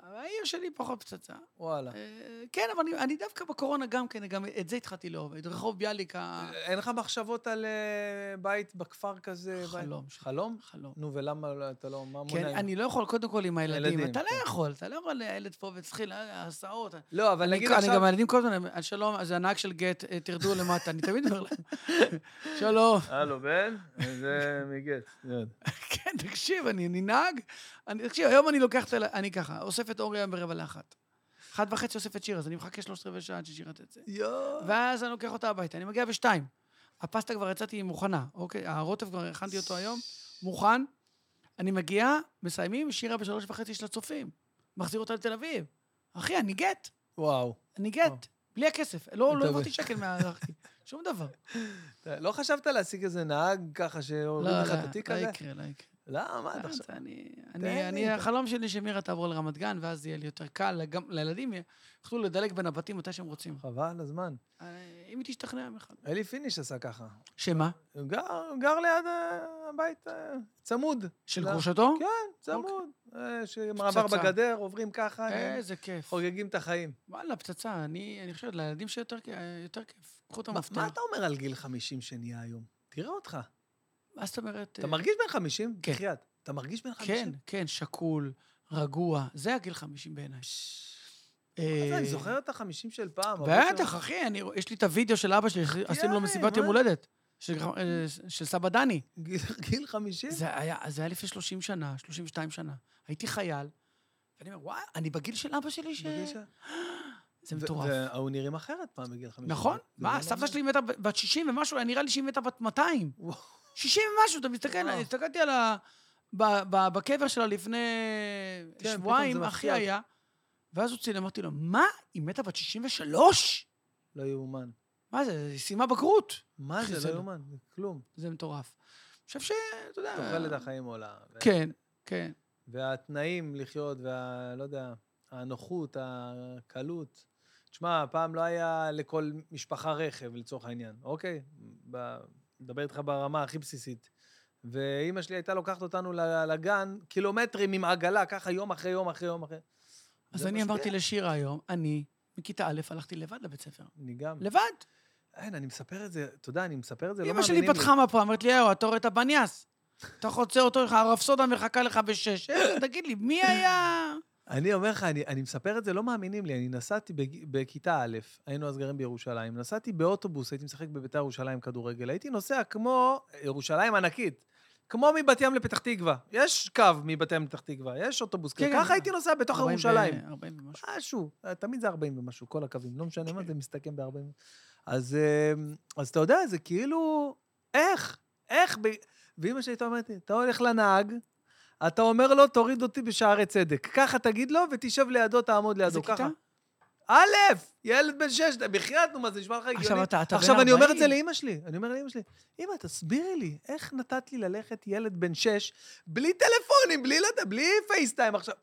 S3: העיר שלי פחות פצצה.
S1: וואלה.
S3: אה, כן, אבל אני, אני דווקא בקורונה גם כן, גם את זה התחלתי לאהוב, את רחוב ביאליק ה-
S1: אין לך מחשבות על אה, בית בכפר כזה? בית-
S3: חלום.
S1: חלום?
S3: חלום.
S1: נו, ולמה לא- אתה לא... מה
S3: כן,
S1: מונע?
S3: אני לא יכול, קודם כל עם הילדים.
S1: הילדים,
S3: אתה לא
S1: כן.
S3: יכול, אתה לא יכול, הילד פה ותתחיל, אה, הסעות.
S1: לא, אבל
S3: אני
S1: נגיד
S3: אני
S1: עכשיו...
S3: גם, הילדים כל הזמן, אה, שלום, זה הנהג של גט, אה, תרדו למטה, אני תמיד אומר להם, שלום.
S1: הלו, בן? זה (laughs) מגט.
S3: כן, תקשיב, אני אני נהג. אני- תקשיב, היום אני לוקח את ה... אני ככה, אוסף את אורי היום ברבע לאחת. אחת וחצי אוסף את שירה, אז אני מחכה שלושת רבעי שעה עד ששירה תצא.
S1: יואו.
S3: ואז אני לוקח אותה הביתה, אני מגיע בשתיים. הפסטה כבר יצאתי מוכנה, אוקיי? הרוטב כבר הכנתי אותו היום, מוכן. אני מגיע, מסיימים, שירה בשלוש וחצי של הצופים. מחזיר אותה לתל אביב. אחי, אני גט,
S1: וואו.
S3: אני
S1: וואו.
S3: גט. בלי הכסף. לא, לא
S1: מקווה.
S3: הבאתי שקל מה... שום
S1: (laughs)
S3: דבר.
S1: אתה- לא חשבת להשיג איזה נהג ככה
S3: לא,
S1: שהוריד
S3: לא,
S1: לך את התיק
S3: לא
S1: הזה?
S3: יקרה, לא יקרה.
S1: למה? אתה
S3: אז
S1: חושב?
S3: אני,
S1: לי
S3: אני, אני,
S1: את ה-
S3: החלום שלי שמירה תעבור לרמת גן, ואז יהיה לי יותר קל, גם לילדים יהיה- יוכלו לדלג בין הבתים מתי שהם רוצים.
S1: חבל על הזמן.
S3: אה, אם היא תשתכנע יום אחד.
S1: אלי פיניש עשה ככה.
S3: שמה?
S1: הוא גר, הוא גר ליד אה, הבית, אה, צמוד.
S3: של
S1: לא.
S3: גרושתו?
S1: כן, צמוד. אה, שמעבר
S3: אוקיי. פצצה.
S1: בגדר, עוברים ככה, נהנים,
S3: איזה כיף.
S1: חוגגים את החיים.
S3: וואלה, פצצה. אני אני חושב, לילדים שיותר כ- אה, יותר כיף. קחו את
S1: מה- מה
S3: המפתח.
S1: אתה אומר על גיל 50 שנהיה היום? תראה אותך.
S3: מה זאת אומרת?
S1: אתה
S3: אה,
S1: מרגיש בן 50?
S3: כן.
S1: בחייאת. אתה מרגיש בן 50?
S3: כן, כן, שקול, רגוע. זה הגיל 50 בעיניי.
S1: מה זה,
S3: אה,
S1: אני זוכר את החמישים של פעם. הרבה
S3: בטח,
S1: שם-
S3: אחי, אני- יש לי את הוידאו של אבא שלי, עשינו לו מסיבת
S1: מה? כן.
S3: יום הולדת. של גר- אה, של סבא דני.
S1: גיל- גיל 50?
S3: זה היה, זה היה לפני 30 שנה, 32 שנה. הייתי חייל, ואני אומר, וואי, אני בגיל של אבא שלי ש...
S1: בגיל ש-
S3: זה
S1: ו-
S3: מטורף.
S1: וההוא נראים אחרת פעם בגיל 50.
S3: נכון?
S1: זה לא
S3: מה, סבתא
S1: נורמלי.
S3: שלי מתה ב- בת 60 ומשהו, היה נראה לי שהיא מתה בת 200.
S1: וואו.
S3: 60 ומשהו, אתה מסתכל,
S1: וואו.
S3: אני הסתכלתי על ה... ב- ב- בקבר שלה לפני
S1: כן, פתאום זה
S3: שבועיים, אחי
S1: מפתיע אותי.
S3: היה, ואז הוא צילם, אמרתי לו, מה, היא מתה בת 63?
S1: לא יאומן.
S3: מה זה, היא סיימה בגרות.
S1: מה
S3: אחי,
S1: זה,
S3: זה
S1: לא
S3: לא-
S1: יאומן, זה כלום.
S3: זה מטורף. אני חושב שאתה יודע...
S1: תוחלת החיים עולה. ו-
S3: אה. כן, כן.
S1: והתנאים לחיות, וה... לא יודע, הנוחות, הקלות. תשמע, פעם לא היה לכל משפחה רכב, לצורך העניין, אוקיי? ב- מדבר איתך ברמה הכי בסיסית. ואימא שלי הייתה לוקחת אותנו ל- לגן, קילומטרים עם עגלה, ככה יום אחרי יום אחרי יום אחרי.
S3: אז
S1: זה
S3: אני
S1: משפיע.
S3: אמרתי לשירה היום, אני מכיתה א' הלכתי לבד לבית ספר.
S1: אני גם.
S3: לבד.
S1: אין, אני מספר את זה, אתה יודע, אני מספר את זה, לא
S3: אמא
S1: מאמינים לי.
S3: לא- שלי פתחה מפה, אמרת לי, יאו, אתה רואה את הבניאס. אתה חוצה אותו, יש לך הרפסודה מחכה לך בשש. "אה, תגיד לי, מי היה...
S1: אני אומר לך, אני, אני מספר את זה, לא מאמינים לי. אני נסעתי בג... בכיתה א', היינו אז גרים בירושלים, נסעתי באוטובוס, הייתי משחק בביתר ירושלים כדורגל, הייתי נוסע כמו, ירושלים ענקית, כמו מבת ים לפתח תקווה. יש קו מבת ים לפתח תקווה, יש אוטובוס
S3: כן,
S1: כזה.
S3: כן.
S1: ככה הייתי נוסע בתוך
S3: 40 ו-
S1: ירושלים.
S3: 40 ומשהו.
S1: משהו, אה, תמיד זה 40 ומשהו, כל הקווים, לא משנה מה,
S3: כן.
S1: זה מסתכם ב-40. אז, אמ, אז אתה יודע, זה כאילו, איך? איך? ב... ואימא שלי הייתה אומרת לי, אתה הולך לנהג, אתה אומר לו, תוריד אותי בשערי צדק. ככה תגיד לו, ותשב לידו, תעמוד לידו.
S3: איזה כיתה?
S1: ככה. א', ילד בן שש, בחייאת, נו, מה זה נשמע לך הגיוני?
S3: עכשיו אתה- אתה בן
S1: עכשיו, אני אומר את זה
S3: 40.
S1: לאימא שלי. אני אומר לאימא שלי, אימא, תסבירי לי, איך נתת לי ללכת ילד בן שש, בלי טלפונים, בלי, לא יודע, בלי פייסטיים עכשיו?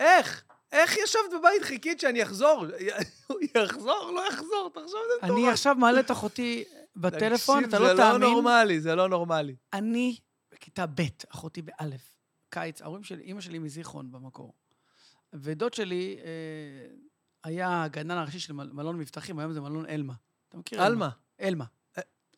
S1: איך? איך ישבת בבית, חיכית שאני אחזור? (laughs) הוא יחזור, לא יחזור, תחשוב, זה
S3: אני
S1: מטורף.
S3: עכשיו מעלה את אחותי בטלפון,
S1: תקשיב,
S3: אתה לא
S1: זה לא
S3: תאמין.
S1: נורמלי, זה לא נורמלי.
S3: אני בכיתה ב', אחותי באלף, קיץ, ההורים שלי, אימא שלי מזיכרון במקור. ודוד שלי אה, היה הגנן הראשי של מל- מלון מבטחים, היום זה מלון אלמה. אתה מכיר?
S1: עלמה,
S3: אלמה.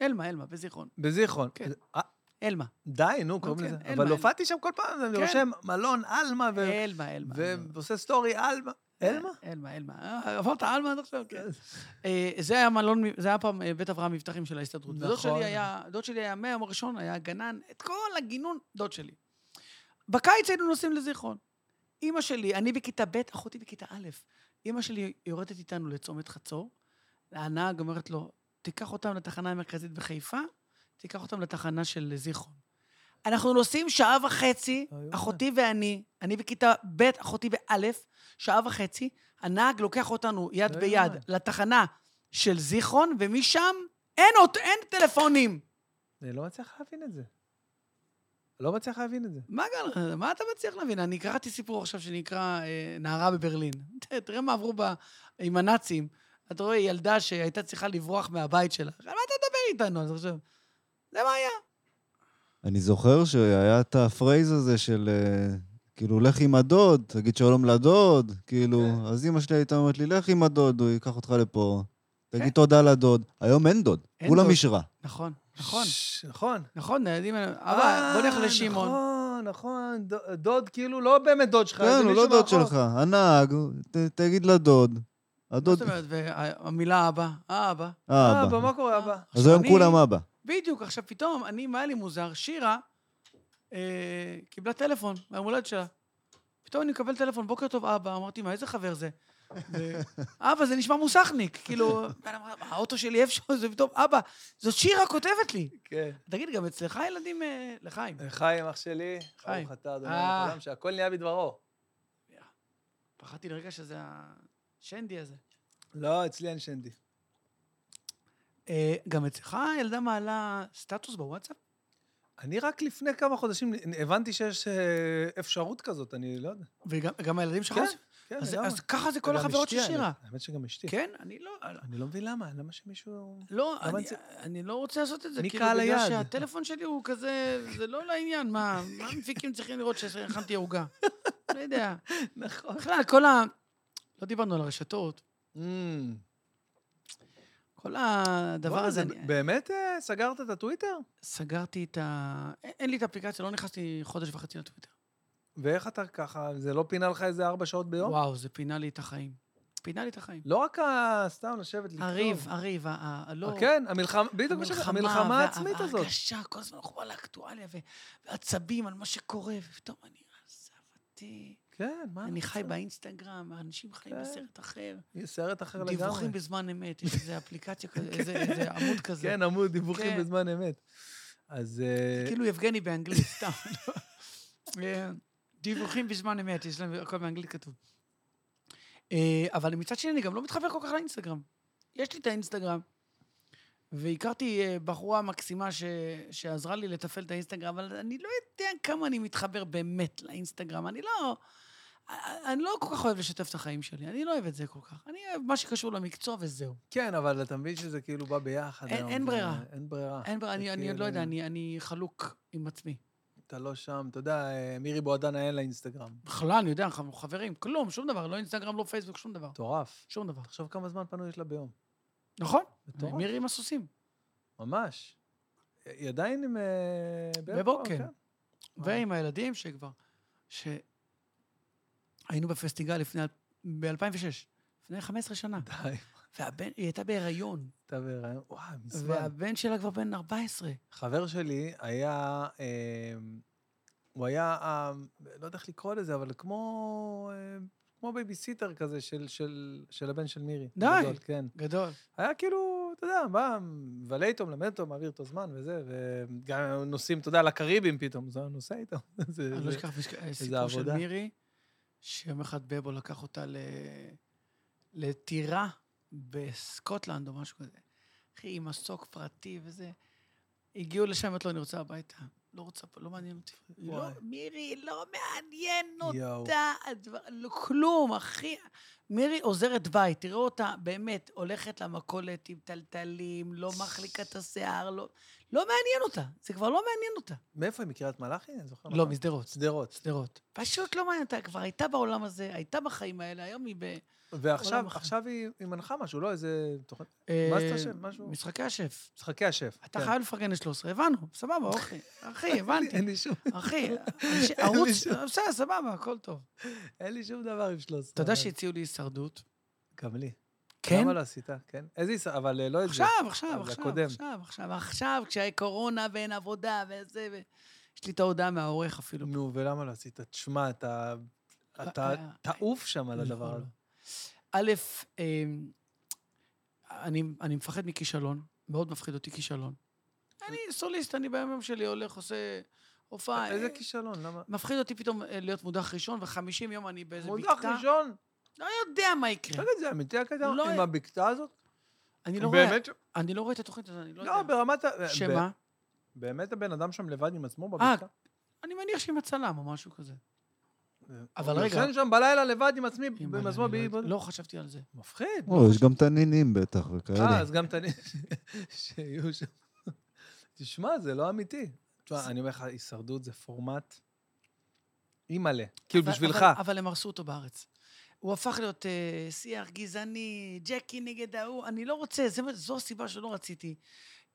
S3: אלמה, אלמה, בזיכרון.
S1: בזיכרון.
S3: כן.
S1: אה,
S3: אלמה.
S1: די, נו, קוראים
S3: כן,
S1: לזה.
S3: אלמה,
S1: אבל
S3: אלמה.
S1: הופעתי שם כל פעם, אני
S3: כן.
S1: רושם מלון, עלמה, ו-
S3: אלמה, אלמה. אלמה.
S1: ועושה סטורי, עלמה. אלמה?
S3: אלמה, אלמה. אה, עברת אלמה עד עכשיו, כן. אה, זה היה מלון, זה היה פעם אה, בית אברהם מבטחים של ההסתדרות. ודוד
S1: נכון.
S3: שלי היה, דוד שלי היה מהיום הראשון, היה גנן, את כל הגינון, דוד שלי. בקיץ היינו נוסעים לזיכרון. אימא שלי, אני בכיתה ב', אחותי בכיתה א', אימא שלי יורדת איתנו לצומת חצור, הנהג אומרת לו, תיקח אותם לתחנה המרכזית בחיפה, תיקח אותם לתחנה של זיכרון. אנחנו נוסעים שעה וחצי,
S1: אוי, וואי.
S3: אחותי ואני, אני בכיתה ב', אחותי באלף, שעה וחצי, הנהג לוקח אותנו יד
S1: אוי,
S3: ביד
S1: וואי.
S3: לתחנה של זיכרון, ומשם אין, אות- אין טלפונים.
S1: אני לא מצליח להבין את זה. לא מצליח להבין את זה.
S3: מה, גל, מה אתה מצליח להבין? אני קראתי סיפור עכשיו שנקרא אה, נערה בברלין. ת- תראה מה עברו ב, עם הנאצים. אתה רואה ילדה שהייתה צריכה לברוח מהבית שלה. על מה אתה מדבר איתנו? אז עכשיו, זה מה היה.
S4: אני זוכר שהיה את הפרייז הזה של אה, כאילו, לך עם הדוד, תגיד שלום לדוד, כאילו, אז אימא שלי הייתה אומרת לי, לך עם הדוד, הוא ייקח אותך לפה,
S3: כן.
S4: תגיד תודה לדוד. היום אין דוד,
S3: אין
S4: כולם
S3: דוד.
S4: אישרה.
S3: נכון, נכון,
S1: ש- נכון.
S3: נכון, הילדים האלה... אבא, בוא נלך
S1: אה,
S3: לשמעון.
S1: נכון, נכון. ד- דוד, כאילו, לא באמת דוד שלך,
S4: כן,
S1: זה
S4: הוא לא
S1: מישהו
S4: דוד
S1: מאחור.
S4: שלך, הנהג, ת- תגיד לדוד.
S3: מה זאת
S4: הדוד,
S3: אומרת? והמילה אבא, אה, אבא.
S1: אבא,
S4: אה, אבא.
S1: מה קורה, אבא?
S4: אז היום
S3: אני-
S4: כולם אבא.
S3: בדיוק, עכשיו פתאום, אני, מה היה לי מוזר? שירה אה, קיבלה טלפון מהיום הולדת שלה. פתאום אני מקבל טלפון, בוקר טוב, אבא. אמרתי, מה, איזה חבר זה?
S4: (laughs)
S3: ו- אבא, זה נשמע מוסכניק. כאילו, בן אמר, "מה, האוטו שלי איפשהו, זה פתאום, אבא, זאת שירה כותבת לי.
S1: כן.
S3: תגיד, גם אצלך ילדים, אה, לחיים.
S1: חיים, אח שלי.
S3: חיים.
S1: ברוך אתה, אדוני
S3: אה.
S1: העולם, שהכל נהיה בדברו.
S3: פחדתי לרגע שזה השנדי הזה.
S1: לא, אצלי אין שנדי.
S3: אה, גם אצלך ילדה מעלה סטטוס בוואטסאפ?
S1: אני רק לפני כמה חודשים הבנתי שיש אה, אפשרות כזאת, אני לא יודע.
S3: וגם גם הילדים שלך?
S1: כן,
S3: עושים?
S1: כן,
S3: אז-
S1: למה?
S3: אז ככה זה כל
S1: וגם
S3: החברות
S1: אשתי,
S3: של שירה.
S1: האמת- האמת שגם אשתי.
S3: כן, אני לא...
S1: אני לא מבין למה, למה שמישהו...
S3: לא,
S1: אבל
S3: אני,
S1: זה-
S3: אני לא רוצה לעשות את זה.
S1: מי
S3: כאילו,
S1: קהל
S3: בגלל
S1: היעד?
S3: שהטלפון שלי הוא כזה, זה לא לעניין, מה, מה המפיקים צריכים לראות שהכנתי עוגה? לא יודע.
S1: נכון.
S3: בכלל, כל ה... לא דיברנו על הרשתות. כל הדבר הזה, אני
S1: באמת אה, סגרת את הטוויטר?
S3: סגרתי את ה... אין- אין לי את האפליקציה, לא נכנסתי חודש וחצי לטוויטר.
S1: ואיך אתה ככה, זה לא פינה לך איזה ארבע שעות ביום?
S3: וואו, זה פינה לי את החיים. פינה לי את החיים.
S1: לא רק ה- סתם לשבת לכתוב.
S3: הריב, לא. הריב, ה- ה- הלא...
S1: אה, כן, המלחמה, בדיוק מה שאתה- המלחמה
S3: וה-
S1: העצמית הזאת.
S3: וההרגשה, כל הזמן אנחנו על האקטואליה, ו- ועצבים על מה שקורה, ופתאום אני אה, עזב אותי.
S1: כן, מה?
S3: אני
S1: אתה
S3: חי
S1: רוצה?
S3: באינסטגרם, אנשים חיים
S1: כן.
S3: בסרט אחר.
S1: יהיה סרט אחר לגמרי.
S3: דיווחים בזמן אמת, יש
S1: (laughs)
S3: איזה אפליקציה כזה, איזה- איזה עמוד כזה.
S1: כן, עמוד דיווחים
S3: כן.
S1: בזמן אמת. אז... אה,
S3: כאילו יבגני באנגלית, סתם. לא. אה, דיווחים בזמן אמת, יש להם הכל באנגלית כתוב. אה, אבל מצד שני, אני גם לא מתחבר כל כך לאינסטגרם. יש לי את האינסטגרם. והכרתי אה, בחורה מקסימה ש... שעזרה לי לתפעל את האינסטגרם, אבל אני לא יודע כמה אני מתחבר באמת לאינסטגרם. אני לא... אני לא כל כך אוהב לשתף את החיים שלי, אני לא אוהב את זה כל כך. אני אוהב מה שקשור למקצוע וזהו.
S1: כן, אבל אתה מבין שזה כאילו בא ביחד.
S3: אין-
S1: היום,
S3: אין
S1: זה-
S3: ברירה.
S1: אין ברירה.
S3: אין בעיה, אני, אני עוד לא יודע, אני, אני חלוק עם עצמי.
S1: אתה לא שם, אתה יודע, אה, מירי בועדנה אין לה אינסטגרם.
S3: בכלל, אני יודע, אנחנו חברים, כלום, שום דבר, לא אינסטגרם, לא פייסבוק, שום דבר.
S1: מטורף.
S3: שום דבר.
S1: תחשוב כמה זמן פנוי יש לה ביום.
S3: נכון?
S1: מטורף.
S3: מירי עם הסוסים.
S1: ממש. היא עדיין עם... אה,
S3: בבוקר.
S1: כן. וואו.
S3: ועם הילדים שכבר, שהיינו בפסטיגל לפני, ב-2006, לפני 15 שנה,
S1: די,
S3: והבן, היא הייתה בהיריון,
S1: (laughs) אתה בהיריון. וואי, מזמן.
S3: והבן שלה כבר בן 14.
S1: חבר שלי היה... אה, הוא היה, אה, לא יודע איך לקרוא לזה, אבל כמו... אה, כמו בייביסיטר כזה של, של, של הבן של מירי.
S3: די.
S1: הגדול, כן.
S3: גדול.
S1: היה כאילו, אתה יודע, בא, מבלה איתו, מלמד אותו, מעביר איתו זמן וזה, וגם היו נוסעים, אתה יודע, לקריבים פתאום, אז הוא נוסע איתו. (laughs) זה,
S3: אני
S1: זה...
S3: לא אשכח מש- סיפור של
S1: עבודה.
S3: מירי, שיום אחד בבו לקח אותה ל... לטירה בסקוטלנד או משהו כזה. אחי, עם מסוק פרטי וזה. הגיעו לשם, אמרת לו, אני רוצה הביתה. לא רוצה פה, לא מעניין אותי. היא לא,
S1: וואי.
S3: מירי, לא מעניין
S1: יואו.
S3: אותה. הדבר, לא, כלום, אחי. מירי עוזרת בית, תראו אותה, באמת, הולכת למכולת עם טלטלים, לא מחליקה את השיער, לא, לא מעניין אותה. זה כבר לא מעניין אותה.
S1: מאיפה היא? מקריית מלאכי? אני זוכר.
S3: לא,
S1: נכון.
S3: משדרות.
S1: שדרות.
S3: שדרות. פשוט לא מעניין אותה. כבר הייתה בעולם הזה, הייתה בחיים האלה, היום היא ב...
S1: ועכשיו
S3: עולם אחר.
S1: עכשיו היא היא מנחה משהו, לא איזה תוכנית.
S3: אה,
S1: זה השם? משהו?
S3: משחקי השף.
S1: משחקי השף.
S3: אתה
S1: כן.
S3: חייב לפרגן ל-13, הבנו, סבבה, אוקיי.
S1: (laughs)
S3: אחי, הבנתי.
S1: אין לי שום-
S3: אחי, אנשי- ערוץ,
S1: שום-
S3: בסדר, סבבה, הכל טוב. אה.
S1: אין לי שום דבר עם 13.
S3: אתה יודע
S1: אבל-
S3: שהציעו לי הישרדות?
S1: גם לי.
S3: כן?
S1: למה לא עשית? כן. איזה ישראל? אבל אה, לא את זה.
S3: עכשיו, עכשיו,
S1: אבל
S3: עכשיו,
S1: הקודם.
S3: עכשיו, עכשיו, עכשיו, כשהקורונה ואין עבודה וזה, ו... יש לי את ההודעה מהעורך אפילו.
S1: נו, ולמה לא עשית? תשמע, אתה... אתה
S3: אה,
S1: תעוף שם על
S3: לא,
S1: הדבר
S3: לא.
S1: הזה.
S3: א', אמ, אני, אני מפחד מכישלון, מאוד מפחיד אותי כישלון. אני סוליסט, אני ביום יום שלי הולך, עושה הופעה.
S1: איזה
S3: אה,
S1: כישלון? למה?
S3: מפחיד אותי פתאום אה, להיות מודח ראשון, וחמישים יום אני באיזה בקתה.
S1: מודח ראשון?
S3: לא יודע מה יקרה.
S1: תגיד, זה אמיתי הקטע?
S3: לא-
S1: עם הבקתה הזאת?
S3: אני לא רואה,
S1: באמת? ש-
S3: אני לא רואה את התוכנית הזאת, אני לא
S1: לא,
S3: יודע.
S1: ברמת ה...
S3: שמה?
S1: באמת הבן אדם שם לבד עם עצמו
S3: אה,
S1: בבקתה?
S3: אני מניח שהיא מצלם או משהו כזה. אבל
S1: הוא
S3: רגע.
S1: ישן שם בלילה לבד עם עצמי,
S3: אם
S1: עם
S3: אני
S1: עצמו,
S3: לא יודע.
S1: ב-
S3: לא חשבתי על זה.
S1: מפחיד.
S4: או, לא, יש גם תנינים בטח
S3: לא
S1: אה,
S4: וכאלה.
S1: אז גם תנינים (laughs) שיהיו שם. תשמע, זה לא אמיתי. תשמע, אני אומר לך, הישרדות זה פורמט אימא'לה. כאילו,
S3: אבל-
S1: בשבילך.
S3: אבל- אבל הם הרסו אותו בארץ. הוא הפך להיות אה, שיח גזעני, ג'קי נגד ההוא, אני לא רוצה, זה, מה- זו הסיבה שלא רציתי.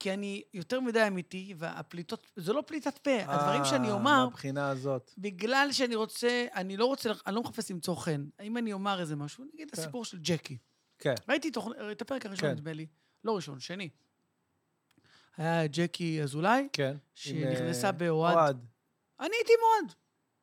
S3: כי אני יותר מדי אמיתי, והפליטות, זה לא פליטת פה, הדברים שאני
S1: אה,
S3: אומר,
S1: מהבחינה הזאת.
S3: בגלל שאני רוצה, אני לא רוצה, אני לא מחפש למצוא חן. אם אני אומר איזה משהו, נגיד
S1: כן.
S3: הסיפור של ג'קי.
S1: כן.
S3: ראיתי תוכנ... את הפרק הראשון,
S1: כן.
S3: נדמה לי, לא ראשון, שני. היה ג'קי אזולאי,
S1: כן. עם, אה,
S3: שנכנסה באוהד.
S1: אוהד.
S3: אני הייתי מאוד.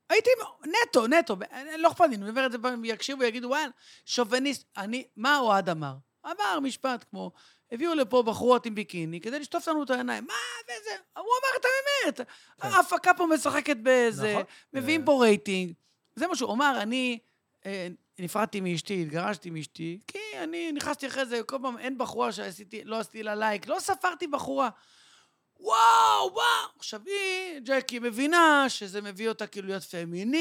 S3: הייתי מ- נטו, נטו, אני- לא אכפת לי, אני אומר את זה, פעם, יקשיבו, יגידו, וואן, שוביניסט. אני, מה אוהד אמר? אמר משפט כמו, הביאו לפה בחורות עם ביקיני כדי לשטוף לנו את העיניים. מה, וזה, הוא אמר את האמת.
S1: כן.
S3: ההפקה פה משחקת באיזה,
S1: נכון.
S3: מביאים
S1: אה.
S3: פה רייטינג. זה מה שהוא אמר, אני אה, נפרדתי מאשתי, התגרשתי מאשתי, כי אני נכנסתי אחרי זה, כל פעם אין בחורה שעשיתי, לא עשיתי לה לייק, לא ספרתי בחורה. וואו, וואו. עכשיו היא, ג'קי, מבינה שזה מביא אותה כאילו להיות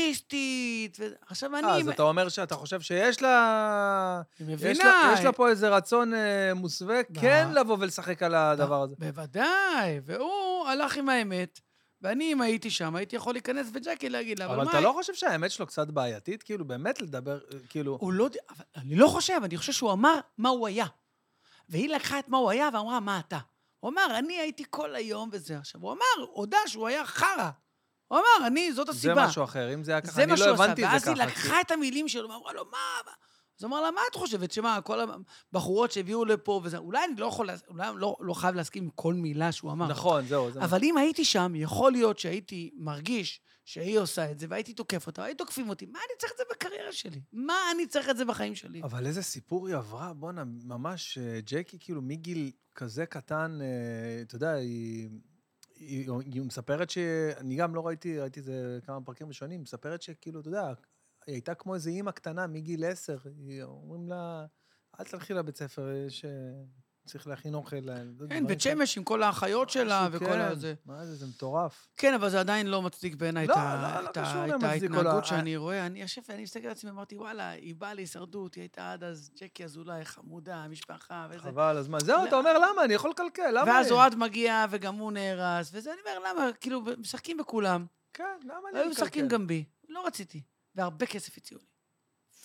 S3: פמיניסטית. ו... עכשיו אני,
S1: אה, אז אתה אומר שאתה חושב שיש לה...
S3: היא
S1: יש
S3: מבינה.
S1: לה, יש לה פה איזה רצון אה, מוסווה
S3: מה?
S1: כן לבוא ולשחק על הדבר הזה.
S3: אה, בוודאי, והוא הלך עם האמת, ואני, אם הייתי שם, הייתי יכול להיכנס בג'קי להגיד לה, אבל,
S1: אבל
S3: מה...
S1: אתה לא חושב שהאמת שלו קצת בעייתית? כאילו, באמת לדבר, אה, כאילו...
S3: הוא לא... יודע- אבל אני לא חושב, אני חושב שהוא אמר מה הוא היה. והיא לקחה את מה הוא היה ואמרה, מה אתה? הוא אמר, אני הייתי כל היום וזה. עכשיו, הוא אמר, הודה שהוא היה חרא. הוא אמר, אני, זאת
S1: זה
S3: הסיבה.
S1: משהו אחר. אם זה היה ככה,
S3: זה
S1: אני
S3: מה
S1: לא
S3: שהוא עשה,
S1: הבנתי את זה
S3: ואז
S1: ככה. כאילו.
S3: היא לקחה את המילים שלו, ואמרה לו, מה... מה?" אז הוא אמר לה, מה את חושבת? שמה, כל הבחורות שהביאו לפה וזה, אולי אני לא יכול, לה- אולי אני לא, לא חייב להסכים עם כל מילה שהוא אמר.
S1: נכון, זהו, זה מה
S3: אבל אם הייתי שם, יכול להיות שהייתי מרגיש שהיא עושה את זה, והייתי תוקף אותה, היו תוקפים אותי. מה אני צריך את זה בקריירה שלי? מה אני צריך את זה בחיים שלי?
S1: אבל איזה סיפור היא עברה, בואנה, ממש, אה, ג'קי, כאילו, מגיל כזה קטן, אה, אתה יודע, היא, היא, היא מספרת ש... אני גם לא ראיתי, ראיתי איזה כמה פרקים ראשונים, מספרת שכאילו, אתה יודע, היא הייתה כמו איזה אימא קטנה מגיל עשר, היא- אומרים לה, אל תלכי לבית ספר, יש... אה, צריך להכין אוכל. ל- דברים
S3: כן, בית
S1: כאלה."
S3: שמש עם כל האחיות שלה
S1: משהו,
S3: וכל
S1: כן.
S3: הזה.
S1: מה זה, זה מטורף.
S3: כן, אבל זה עדיין לא מצדיק בעיניי את
S1: לא,
S3: ה-
S1: לא, לא
S3: את
S1: קשור
S3: ה- את
S1: למצדיק או לא.
S3: ההתנהגות שאני רואה. אני יושב ואני מסתכל על עצמי, אמרתי, וואלה, היא באה להישרדות, היא הייתה עד אז ג'קי אזולאי, חמודה, משפחה וזה.
S1: חבל, אז מה, זהו,
S3: לא.
S1: אתה אומר, למה? אני יכול לקלקל, למה?
S3: ואז
S1: לי?"
S3: אוהד מגיע, וגם הוא נהרס, וזה, אני אומר, למה? כאילו, משחקים בכולם.
S1: כן, למה אני
S3: היו משחקים גם בי. לא רציתי. והרבה כסף הציעו לי.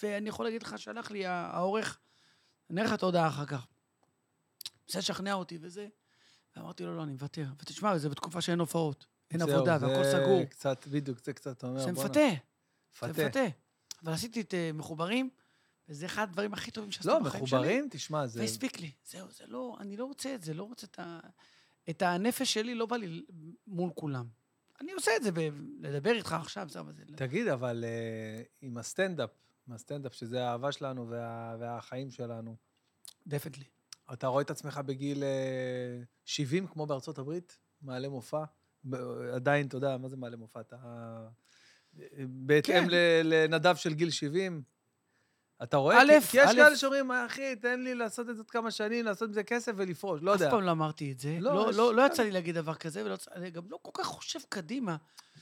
S3: ואני יכול להגיד לך, שלח לי ה- העורך, אני אראה לך את ההודעה אחר כך. ניסה לשכנע אותי וזה. ואמרתי לו, לא, אני מוותר. ותשמע, זה בתקופה שאין הופעות. אין
S1: זהו,
S3: עבודה, והכל
S1: זה
S3: סגור.
S1: קצת, בדיוק, זה קצת, אתה אומר,
S3: זה
S1: "בואנה,
S3: מפתה, זה
S1: מפתה.
S3: מפתה. אבל עשיתי את אה, מחוברים, וזה אחד הדברים הכי טובים שעשיתי
S1: לא,
S3: בחיים שלי.
S1: מחוברים, תשמע, זה...
S3: והספיק לי. זהו, זה לא, אני לא רוצה את זה, לא רוצה את ה... את הנפש שלי לא בא לי מול כולם. אני עושה את זה, ב... לדבר איתך עכשיו, סבא זה...
S1: תגיד, אבל אה, עם הסטנדאפ, עם הסטנדאפ, שזה האהבה שלנו וה- והחיים שלנו,
S3: דפנטלי.
S1: אתה רואה את עצמך בגיל אה, 70, כמו בארצות הברית, מעלה מופע? ב- עדיין, אתה יודע, מה זה מעלה מופע? אתה... אה, בהתאם
S3: כן.
S1: ל- לנדב של גיל 70? אתה רואה?
S3: א',
S1: כי- כי יש
S3: א'.
S1: כאלה שאומרים, אחי, תן לי לעשות את זה עוד כמה שנים, לעשות מזה כסף ולפרוש, לא יודע.
S3: אף פעם לא אמרתי את זה.
S1: לא,
S3: לא,
S1: יש-
S3: לא, לא יצא לי להגיד דבר כזה, ולא יצא- אני גם לא כל כך חושב קדימה.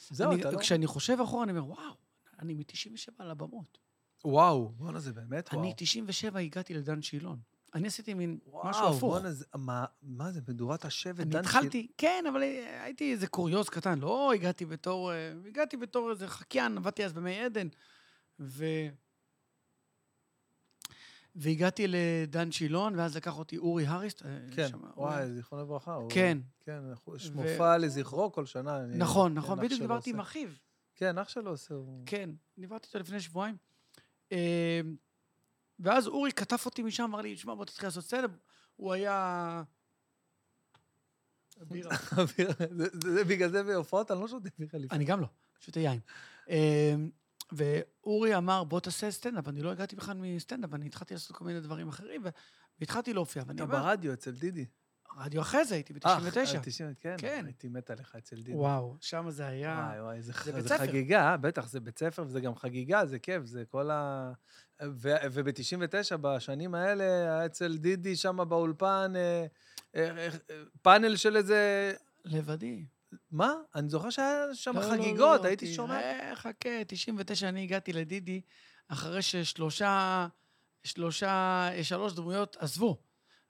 S1: זהו,
S3: אני-
S1: אתה לא...
S3: כשאני חושב אחורה, אני אומר, וואו, אני מ-97 על הבמות.
S1: וואו, בואנה, זה באמת וואו.
S3: אני 97 הגעתי לדן שילון. אני עשיתי מין משהו
S1: וואו,
S3: הפוך.
S1: בואנה, זה- מה- מה זה, מדורת השבט?
S3: אני
S1: דן
S3: התחלתי, כן, אבל אה, הייתי איזה קוריוז קטן, לא הגעתי בתור, אה, הגעתי בתור איזה חקיין, עבדתי אז במי עדן, ו... והגעתי לדן שילון, ואז לקח אותי אורי האריס. אה,
S1: כן,
S3: שם, אורי-
S1: וואי, זיכרונו לברכה. הוא-
S3: כן,
S1: כן, אנחנו- יש
S3: ו-
S1: מופע לזכרו כל שנה. אני-
S3: נכון,
S1: כן,
S3: נכון,
S1: אח
S3: בדיוק
S1: שלו
S3: דיברתי עם
S1: עושה.
S3: אחיו.
S1: כן, אח שלו עושה. הוא-
S3: כן, דיברתי איתו לפני שבועיים. אה, ואז אורי כתב אותי משם, אמר לי, שמע, בוא תתחיל לעשות סטנדאפ. הוא היה... (laughs) בירה.
S1: (laughs) אוויר, זה- זה- זה בגלל זה בהופעות אני לא שותה בירה לפני.
S3: כן. אני גם לא, שותה יין. אה, ואורי אמר, בוא תעשה סטנדאפ. אני לא הגעתי בכלל מסטנדאפ, אני התחלתי לעשות כל מיני דברים אחרים, ו- והתחלתי להופיע. ואני
S1: אתה
S3: אומר,
S1: ברדיו אצל דידי.
S3: רדיו אחרי זה, הייתי
S1: אה,
S3: ב-99.
S1: אה, 90, כן,
S3: כן.
S1: הייתי מת עליך אצל דידי.
S3: וואו, שם זה היה...
S1: וואי, וואי, זה, ח-
S3: בית
S1: זה
S3: ספר.
S1: חגיגה, אה? בטח, זה בית ספר, וזה גם חגיגה, זה כיף, זה כל ה... וב-99, בשנים האלה, היה אצל דידי שם באולפן, אה, אה, אה, פאנל של איזה...
S3: לבדי.
S1: מה? אני זוכר שהיה שם
S3: לא, לא,
S1: חגיגות,
S3: לא,
S1: הייתי
S3: תראה,
S1: שומע...
S3: חכה, 99, אני הגעתי לדידי אחרי ששלושה, שלושה, אה, שלוש דמויות עזבו.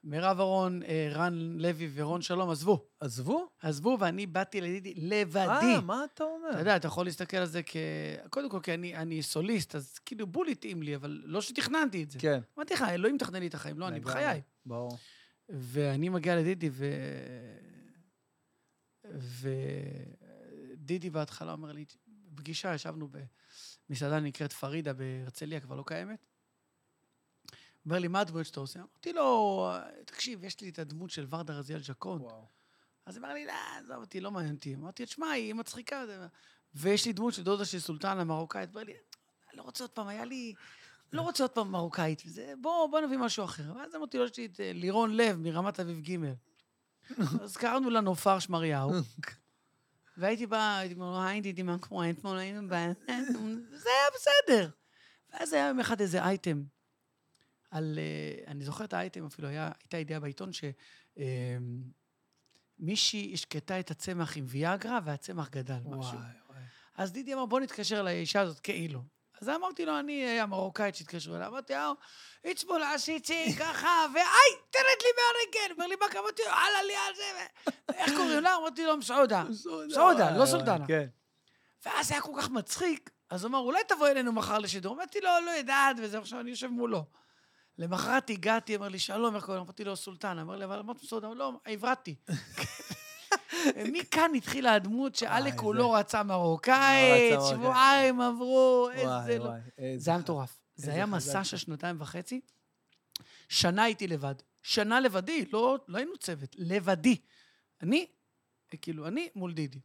S3: מירב אהרון, אה, רן לוי ורון שלום עזבו.
S1: עזבו?
S3: עזבו, ואני באתי לדידי לבדי.
S1: אה, מה אתה אומר?
S3: אתה יודע, אתה יכול להסתכל על זה כ... קודם כל, כי אני, אני סוליסט, אז כאילו בול התאים לי, אבל לא שתכננתי את זה.
S1: כן.
S3: אמרתי לך, אלוהים מתכנן לי את החיים, לא, אני
S1: לגמרי,
S3: בחיי.
S1: ברור.
S3: ואני מגיע לדידי, ו... ודידי בהתחלה אומר לי, פגישה, ישבנו במסעדה נקראת פרידה בהרצליה, כבר לא קיימת. אומר לי, מה הדמות שאתה עושה? אמרתי לו, תקשיב, יש לי את הדמות של ורדה רזיאל ז'קון.
S1: וואו.
S3: אז הוא אמר לי, לא, עזוב אותי, לא מעניין אותי. אמרתי, תשמע, היא מצחיקה. זה- ויש לי דמות של דודה של סולטן המרוקאית. אמר לי, לא רוצה עוד פעם, היה לי... לא רוצה עוד פעם מרוקאית. זה, בוא, בוא נביא משהו אחר. ואז אמרתי לו, יש לי את אה, לירון לב מרמת אביב ג'. אז קראנו לה נופר שמריהו. והייתי באה, הייתי אומר, היי, דידי, מה קורה אתמול? היינו ב... זה היה בסדר. ואז היה יום אחד איזה אייטם על... אה, אני זוכר את האייטם אפילו, היה- הייתה ידיעה בעיתון ש... אה, מישהי השקטה את הצמח עם ויאגרה, והצמח גדל
S1: וואי,
S3: משהו.
S1: וואי.
S3: אז דידי אמר, בוא נתקשר לאישה הזאת, כאילו. אז אמרתי לו, אני אה, המרוקאית שהתקשרו אליה. אמרתי, אה, איצבול עשיתי ככה, ואי, תרד לי מהרגל. אומר לי, מה קרה? אמרתי לו, הלאה לי על זה. ו- איך קוראים לה? אמרתי לו, מסעודה. סעודה,
S1: וואי,
S3: לא
S1: וואי,
S3: סולטנה.
S1: כן.
S3: ואז היה כל כך מצחיק, אז הוא אמר, אולי תבוא אלינו מחר לשידור. אמרתי לו, לא יודעת, וזה עכשיו אני יושב מולו. למחרת הגעתי, אמר לי, שלום, איך קוראים? אמרתי לו, סולטן. אמר לי, אבל אמרת סולטן, לא,
S1: (laughs)
S3: עברתי. מכאן התחילה הדמות שאלק
S1: וואי,
S3: הוא
S1: זה-
S3: לא רצה מרוקאית,
S1: לא רצה
S3: שבועיים עברו, איזה
S1: וואי,
S3: לא...
S1: וואי. איזה
S3: זה היה
S1: חג.
S3: מטורף. זה
S1: איזה
S3: היה
S1: חזק
S3: מסע
S1: זה.
S3: של שנתיים וחצי. שנה הייתי לבד. שנה לבדי, לא לא היינו צוות, לבדי. אני, כאילו, אני מול דידי.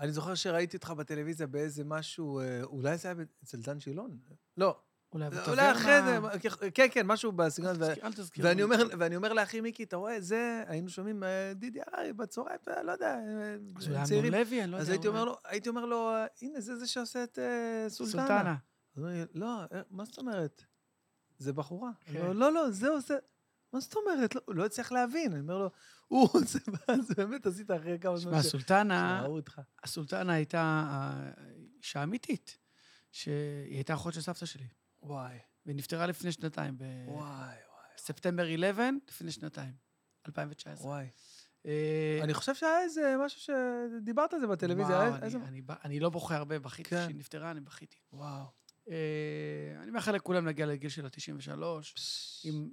S1: אני זוכר שראיתי אותך בטלוויזיה באיזה משהו, אה, אולי זה היה אצל דן שילון? לא,
S3: אולי
S1: אולי אחרי זה,
S3: בטברנה-
S1: כן, כן, משהו בסגנון. הזה.
S3: אל תזכיר.
S1: ואני
S3: לי.
S1: אומר, ואני אומר לאחי מיקי, אתה רואה, זה, היינו שומעים, אה, דידי הררי בצהריים, אתה לא יודע, אה,
S3: אז אולי אמנון
S1: צעירים.
S3: לוי, אני לא יודע.
S1: אז הייתי
S3: אולי.
S1: אומר לו, הייתי אומר לו, אה, הנה, זה זה שעושה את אה, סולטנה.
S3: סולטנה.
S1: אז הוא אומר לי, לא, אה, מה זאת אומרת? זה בחורה.
S3: כן.
S1: אני אומר לו, לא, לא, זה עושה... מה זאת אומרת? לא- הוא לא הצליח להבין. אני אומר לו, (laughs) הוא עושה... אז באמת עשית אחרי כמה זמן
S3: שמע, סולטנה,
S1: שראו אותך.
S3: הסולטנה הייתה אה, אישה אמיתית, שהיא הייתה אחות של סבתא שלי,
S1: וואי,
S3: והיא נפטרה לפני שנתיים,
S1: וואי,
S3: אה, בספטמבר 11, לפני שנתיים, 2019.
S1: וואי.
S3: אה,
S1: אני חושב שהיה איזה משהו שדיברת על זה בטלוויזיה.
S3: וואו,
S1: היה איזה...
S3: אני- אני ב- אני לא בוכה הרבה, בכיתי,
S1: כן.
S3: כשהיא נפטרה, אני בכיתי.
S1: וואו.
S3: אה, אני מאחל לכולם להגיע לגיל של ה-93, עם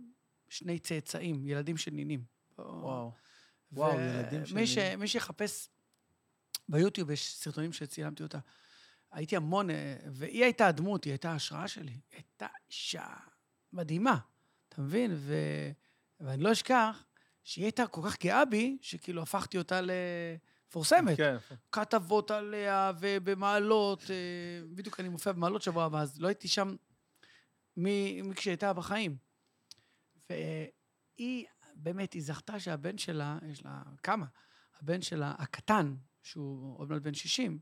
S3: שני צאצאים, ילדים של נינים.
S1: וואו. וואו, ילדים
S3: מי, ש...
S1: שלי.
S3: מי שיחפש ביוטיוב, יש סרטונים שצילמתי אותה. הייתי המון, אה, והיא הייתה הדמות, היא הייתה ההשראה שלי. היא הייתה אישה מדהימה, אתה מבין? ו... ואני לא אשכח שהיא הייתה כל כך גאה בי, שכאילו הפכתי אותה למפורסמת.
S1: כן.
S3: כתבות עליה ובמעלות, אה, בדיוק אני מופיע במעלות שבוע הבא, אז לא הייתי שם מ- מכשהייתה בחיים. והיא, באמת, היא זכתה שהבן שלה, יש לה כמה, הבן שלה הקטן, שהוא עוד מעט בן 60,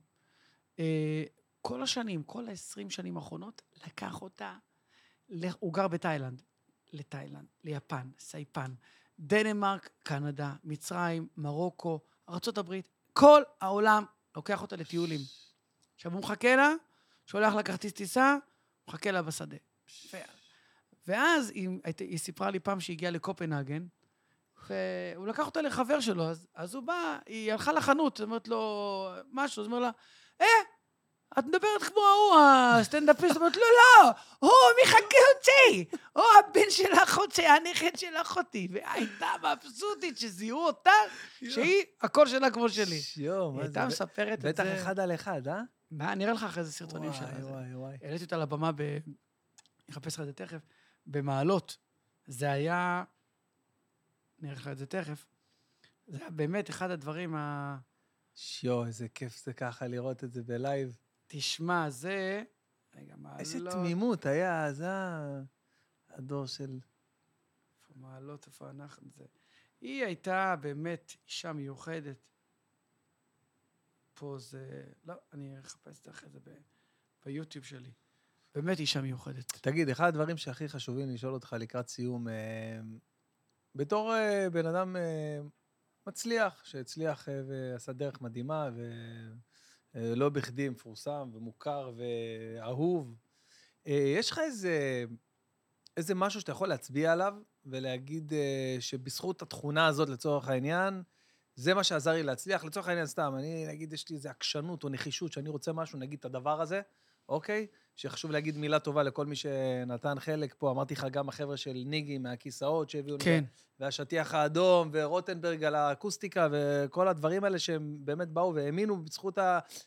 S3: אה, כל השנים, כל ה-20 שנים האחרונות, לקח אותה, ל- הוא גר בתאילנד, לתאילנד, ליפן, סייפן, דנמרק, קנדה, מצרים, מרוקו, ארה"ב, כל העולם לוקח אותה לטיולים. עכשיו, הוא מחכה לה, שולח לה כרטיס טיסה, מחכה לה בשדה. ו- ואז היא, היית- היא סיפרה לי פעם שהיא הגיעה לקופנהגן, והוא לקח אותה לחבר שלו, אז, אז הוא בא, היא הלכה לחנות, היא אומרת לו משהו, אז הוא אומר לה, אה, את מדברת כמו ההוא, הסטנדאפיסט, אומרת, לא, לא, הוא מחכה אותי, או הבן של אחותי, הנכד של אחותי, והייתה מבסוטית שזיהו אותה, שהיא, הקול שלה כמו שלי.
S1: יואו,
S3: היא
S1: מה זה?
S3: הייתה מספרת את זה.
S1: בטח אחד על אחד, אה?
S3: מה, אני אראה לך אחרי זה סרטונים שלה.
S1: וואי,
S3: זה-
S1: וואי, וואי.
S3: העליתי אותה לבמה ב... אני אחפש לך את זה תכף, במעלות. זה היה... אני אראה לך את זה תכף. זה היה באמת אחד הדברים ה...
S1: שיו, איזה כיף זה ככה לראות את זה בלייב.
S3: תשמע, זה... רגע, מעלות...
S1: איזה תמימות היה, זה ה- הדור של...
S3: איפה מעלות, איפה אנחנו... זה... היא הייתה באמת אישה מיוחדת. פה זה... לא, אני אחפש את זה אחרי זה ב... ביוטיוב שלי. באמת אישה מיוחדת.
S1: תגיד, אחד הדברים שהכי חשובים לשאול אותך לקראת סיום, אה, בתור אה, בן אדם אה, מצליח, שהצליח אה, ועשה דרך מדהימה, ולא בכדי מפורסם ומוכר ואהוב, אה, יש לך איזה, איזה משהו שאתה יכול להצביע עליו ולהגיד אה, שבזכות התכונה הזאת, לצורך העניין, זה מה שעזר לי להצליח. לצורך העניין, סתם, אני, נגיד, יש לי איזו עקשנות או נחישות שאני רוצה משהו, נגיד את הדבר הזה, אוקיי? שחשוב להגיד מילה טובה לכל מי שנתן חלק פה. אמרתי לך גם החבר'ה של ניגי מהכיסאות שהביאו לנו,
S3: כן.
S1: והשטיח האדום, ורוטנברג על האקוסטיקה, וכל הדברים האלה שהם באמת באו והאמינו בזכות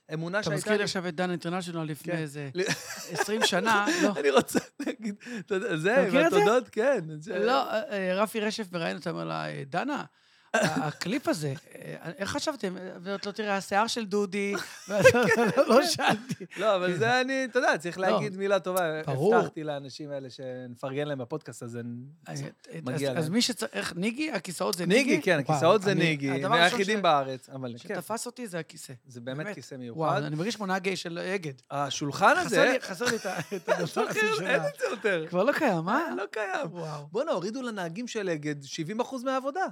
S1: האמונה
S3: אתה
S1: שהייתה
S3: מזכיר לי עכשיו את דן אינטרנשיונל לפני
S1: כן. (laughs)
S3: איזה
S1: לי-
S3: 20 שנה, לא.
S1: אני רוצה להגיד, אתה יודע,
S3: אתה
S1: זה, עם
S3: מכיר את זה?
S1: התודות, כן. זה-
S3: לא, אה, אה, רפי רשף מראיין אותה, אומר לה, "אה, דנה, ה- הקליפ הזה, אה, איך חשבתם? אה, ואת לא תראה, השיער של
S1: (laughs)
S3: דודי, ואז
S1: כן.
S3: (laughs) לא שאלתי.
S1: לא, אבל זה אני, אתה יודע, צריך
S3: לא.
S1: להגיד מילה טובה.
S3: ברור.
S1: הבטחתי לאנשים האלה שנפרגן להם בפודקאסט הזה.
S3: אז- אה,
S1: מגיע
S3: אז
S1: להם.
S3: מי שצריך, ניגי? הכיסאות זה ניגי?
S1: ניגי, כן,
S3: וואו,
S1: הכיסאות זה
S3: אני-
S1: ניגי,
S3: הדבר
S1: מהיחידים
S3: הראשון
S1: בארץ, אבל
S3: ש-
S1: כן,
S3: שתפס אותי זה הכיסא.
S1: זה באמת
S3: באמת.
S1: כיסא
S3: וואו,
S1: מיוחד.
S3: אני מרגיש כמו נהג של אגד.
S1: השולחן
S3: חסר
S1: הזה,
S3: לי- חסר לי את ה-
S1: (laughs)
S3: את הדבר הזה
S1: שחרר, אין
S3: שלה.
S1: את זה יותר.
S3: כבר לא קיים, אה?
S1: לא קיים.
S3: וואו.
S1: בואנה, הורידו לנהגים של אגד 70% מהעבודה.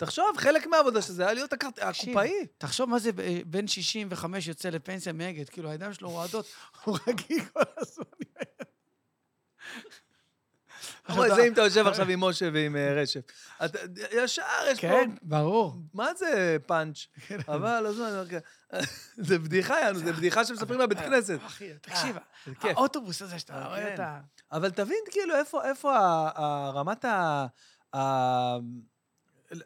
S1: תחשוב, חלק מהעבודה שזה היה להיות הקרט-
S3: תקשיב,
S1: הקופאי.
S3: תחשוב מה זה ב- בן 65 יוצא לפנסיה מאגד, כאילו הידיים שלו רועדות, (laughs) הוא רגיל כל הזמן.
S1: (laughs) אבל זה אם אתה יושב עכשיו עם משה ועם אה, רשף. אתה- ישר יש פה
S3: כן, ברור.
S1: מה זה פאנץ'? אבל הזמן, אני אומר ככה, (laughs) זה בדיחה, יענו, זה בדיחה שמספרים בבית כנסת.
S3: אה, אחי, תקשיב,
S1: זה כיף.
S3: האוטובוס הזה שאתה
S1: אה,
S3: רואה
S1: כן.
S3: את ה...
S1: אבל תבין, כאילו, איפה, איפה ה- ה- רמת ה... ה-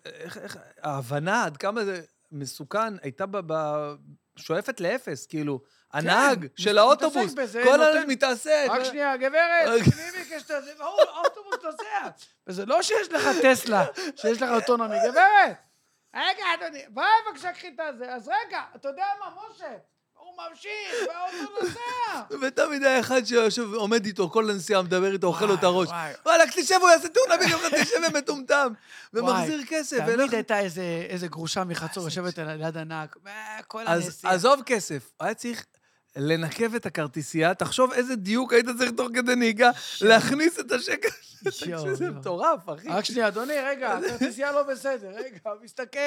S1: איך, איך, ההבנה עד כמה זה מסוכן הייתה ב... ב שואפת לאפס, כאילו, הנהג של האוטובוס,
S3: כן, מתעסק בזה,
S1: כל
S3: נותן-
S1: הזמן מתעסק.
S3: רק שנייה, גברת,
S1: רק-
S3: תגידי לי, כשאתה... זה ברור, האוטובוס נוסע. וזה לא שיש לך טסלה, שיש לך אוטונומי, גברת. רגע, אדוני, בואי בבקשה קחי את הזה. אז רגע, אתה יודע מה, משה? הוא ממשיך, והאוטו נוסע.
S1: ותמיד היה אחד שיושב, עומד איתו, כל הנסיעה מדבר איתו, אוכל לו את
S3: וואי,
S1: הראש.
S3: וואי.
S1: וואלכ, תשב, הוא יעשה תאונה בגלל זה, תשב מטומטם. ומחזיר
S3: וואי,
S1: כסף.
S3: תמיד
S1: ולך-
S3: הייתה איזה, איזה גרושה מחצור יושבת על יד ענק, מה, כל
S1: אז
S3: הנסיעה.
S1: עזוב כסף, היה צריך לנקב את הכרטיסייה, תחשוב איזה דיוק היית צריך תוך כדי נהיגה, להכניס את השקל.
S3: יואו,
S1: תקשיב, זה
S3: יואו.
S1: מטורף, אחי.
S3: רק שנייה, אדוני,
S1: (laughs)
S3: רגע, הכרטיסייה לא בסדר, רגע, מסתכל.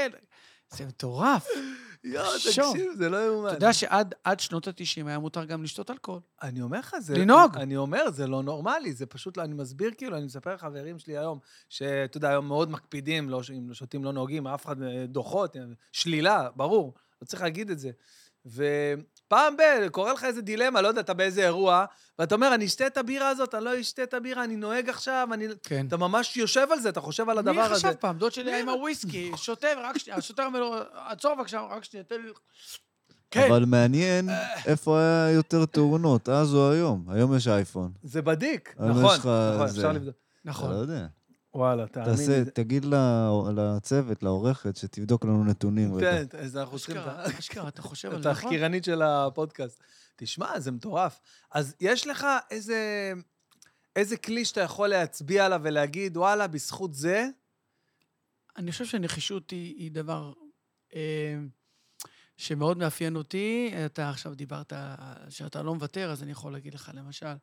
S3: זה מטורף.
S1: כן. יואו,
S3: תחשוב.
S1: תקשיב, זה לא יאומן.
S3: אתה יודע שעד עד שנות ה-90 היה מותר גם לשתות אלכוהול.
S1: אני אומר לך, זה...
S3: לנהוג.
S1: אני אומר, זה לא נורמלי, זה פשוט, לא- אני מסביר, כאילו, אני מספר לחברים שלי היום, שאתה יודע, היום מאוד מקפידים, לא, ש- אם שותים לא נוהגים, אף אחד, אה, דוחות, אה, שלילה, ברור, לא צריך להגיד את זה. ופעם ב... קורה לך איזה דילמה, לא יודע, אתה באיזה אירוע, ואתה אומר, אני אשתה את הבירה הזאת, אני לא אשתה את הבירה, אני נוהג עכשיו, אני...
S3: כן.
S1: אתה ממש יושב על זה, אתה חושב על הדבר
S3: מי
S1: הזה.
S3: חשב פעם? דוד שלי היה עם
S1: (laughs)
S3: הוויסקי, שותה, רק שנייה, השוטר אומר לו, עצור בבקשה, רק שנייה, תן לי... כן.
S4: אבל מעניין
S1: אה.
S4: איפה היה יותר תאונות, אז או היום. היום יש אייפון.
S1: זה בדיק,
S4: היום
S1: נכון,
S4: יש לך
S1: נכון,
S4: זה.
S1: אפשר לבדוק.
S4: אתה לא
S3: נכון.
S4: יודע.
S1: וואלה, תאמין לי.
S4: תעשה, תגיד ל- לצוות, לעורכת, שתבדוק לנו נתונים רגע.
S1: כן, אז אנחנו צריכים... את ה-
S3: אשכרה, אשכרה, אתה חושב על זה, נכון?
S1: התחקירנית של הפודקאסט. תשמע, זה מטורף. אז יש לך איזה, איזה כלי שאתה יכול להצביע עליו ולהגיד, וואלה, בזכות זה,
S3: אני חושב שנחישות היא, היא דבר אה, שמאוד מאפיין אותי. אתה עכשיו דיברת על- שאתה לא מוותר, אז אני יכול להגיד לך, למשל,